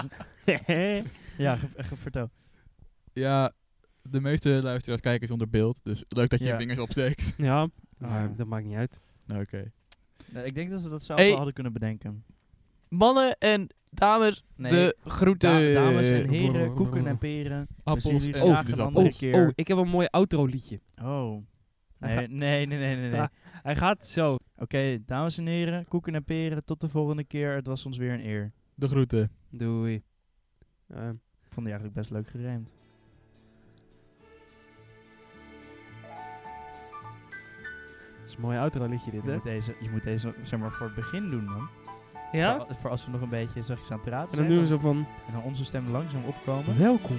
[SPEAKER 2] ja, ge- ge- vertel.
[SPEAKER 1] Ja, de meeste luisteraars kijken zonder beeld. Dus leuk dat je
[SPEAKER 2] Ja.
[SPEAKER 1] je vingers opsteekt. <laughs>
[SPEAKER 2] Ah.
[SPEAKER 5] ja,
[SPEAKER 2] Ja.
[SPEAKER 5] maar dat maakt niet uit.
[SPEAKER 1] Nou, Oké.
[SPEAKER 2] Nee, ik denk dat ze dat zelf
[SPEAKER 4] Hey.
[SPEAKER 2] wel hadden kunnen bedenken.
[SPEAKER 4] Mannen en dames,
[SPEAKER 2] Nee,
[SPEAKER 4] de
[SPEAKER 2] da-
[SPEAKER 4] groeten.
[SPEAKER 2] dames en
[SPEAKER 5] Brrr.
[SPEAKER 2] <laughs> heren, koeken en peren.
[SPEAKER 1] Appels
[SPEAKER 2] jullie
[SPEAKER 1] en
[SPEAKER 2] graag
[SPEAKER 1] sinaasappels.
[SPEAKER 2] een andere
[SPEAKER 5] Oh,
[SPEAKER 2] Iedere keer.
[SPEAKER 5] oh, ik heb een mooi outro liedje.
[SPEAKER 2] Oh.
[SPEAKER 5] Dan
[SPEAKER 2] Nee, nee, nee, nee, nee. nee.
[SPEAKER 5] Ja. Hij gaat zo.
[SPEAKER 2] Oké, dames en heren, koeken en peren. Tot de volgende keer. Het was ons weer een eer.
[SPEAKER 1] De groeten.
[SPEAKER 5] Doei. Ehm.
[SPEAKER 2] Ik vond die eigenlijk best leuk gerijmd.
[SPEAKER 5] Dat is een mooi outro liedje dit,
[SPEAKER 2] Je
[SPEAKER 5] hè?
[SPEAKER 2] moet deze, je moet deze zeg maar, voor het begin doen, man.
[SPEAKER 5] Ja?
[SPEAKER 2] Voor, voor als we nog een beetje zachtjes aan het praten
[SPEAKER 5] En dan
[SPEAKER 2] zijn.
[SPEAKER 5] doen we zo van...
[SPEAKER 2] en dan onze stem langzaam opkomen.
[SPEAKER 5] Welkom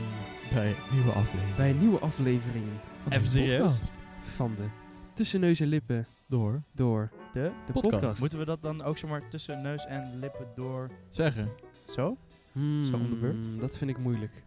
[SPEAKER 1] Bij een nieuwe aflevering.
[SPEAKER 5] bij een nieuwe aflevering
[SPEAKER 1] van
[SPEAKER 2] Even
[SPEAKER 1] deze
[SPEAKER 2] serieus?
[SPEAKER 1] podcast.
[SPEAKER 5] van de Tussen Neus en Lippen
[SPEAKER 1] Door.
[SPEAKER 5] door
[SPEAKER 2] De?
[SPEAKER 5] de
[SPEAKER 1] Podcast.
[SPEAKER 5] podcast.
[SPEAKER 2] Moeten we dat dan ook zeg maar tussen neus en lippen door...
[SPEAKER 1] Zeggen.
[SPEAKER 2] Zo?
[SPEAKER 5] Hmm,
[SPEAKER 2] Zo om de beurt?
[SPEAKER 5] Dat vind ik moeilijk.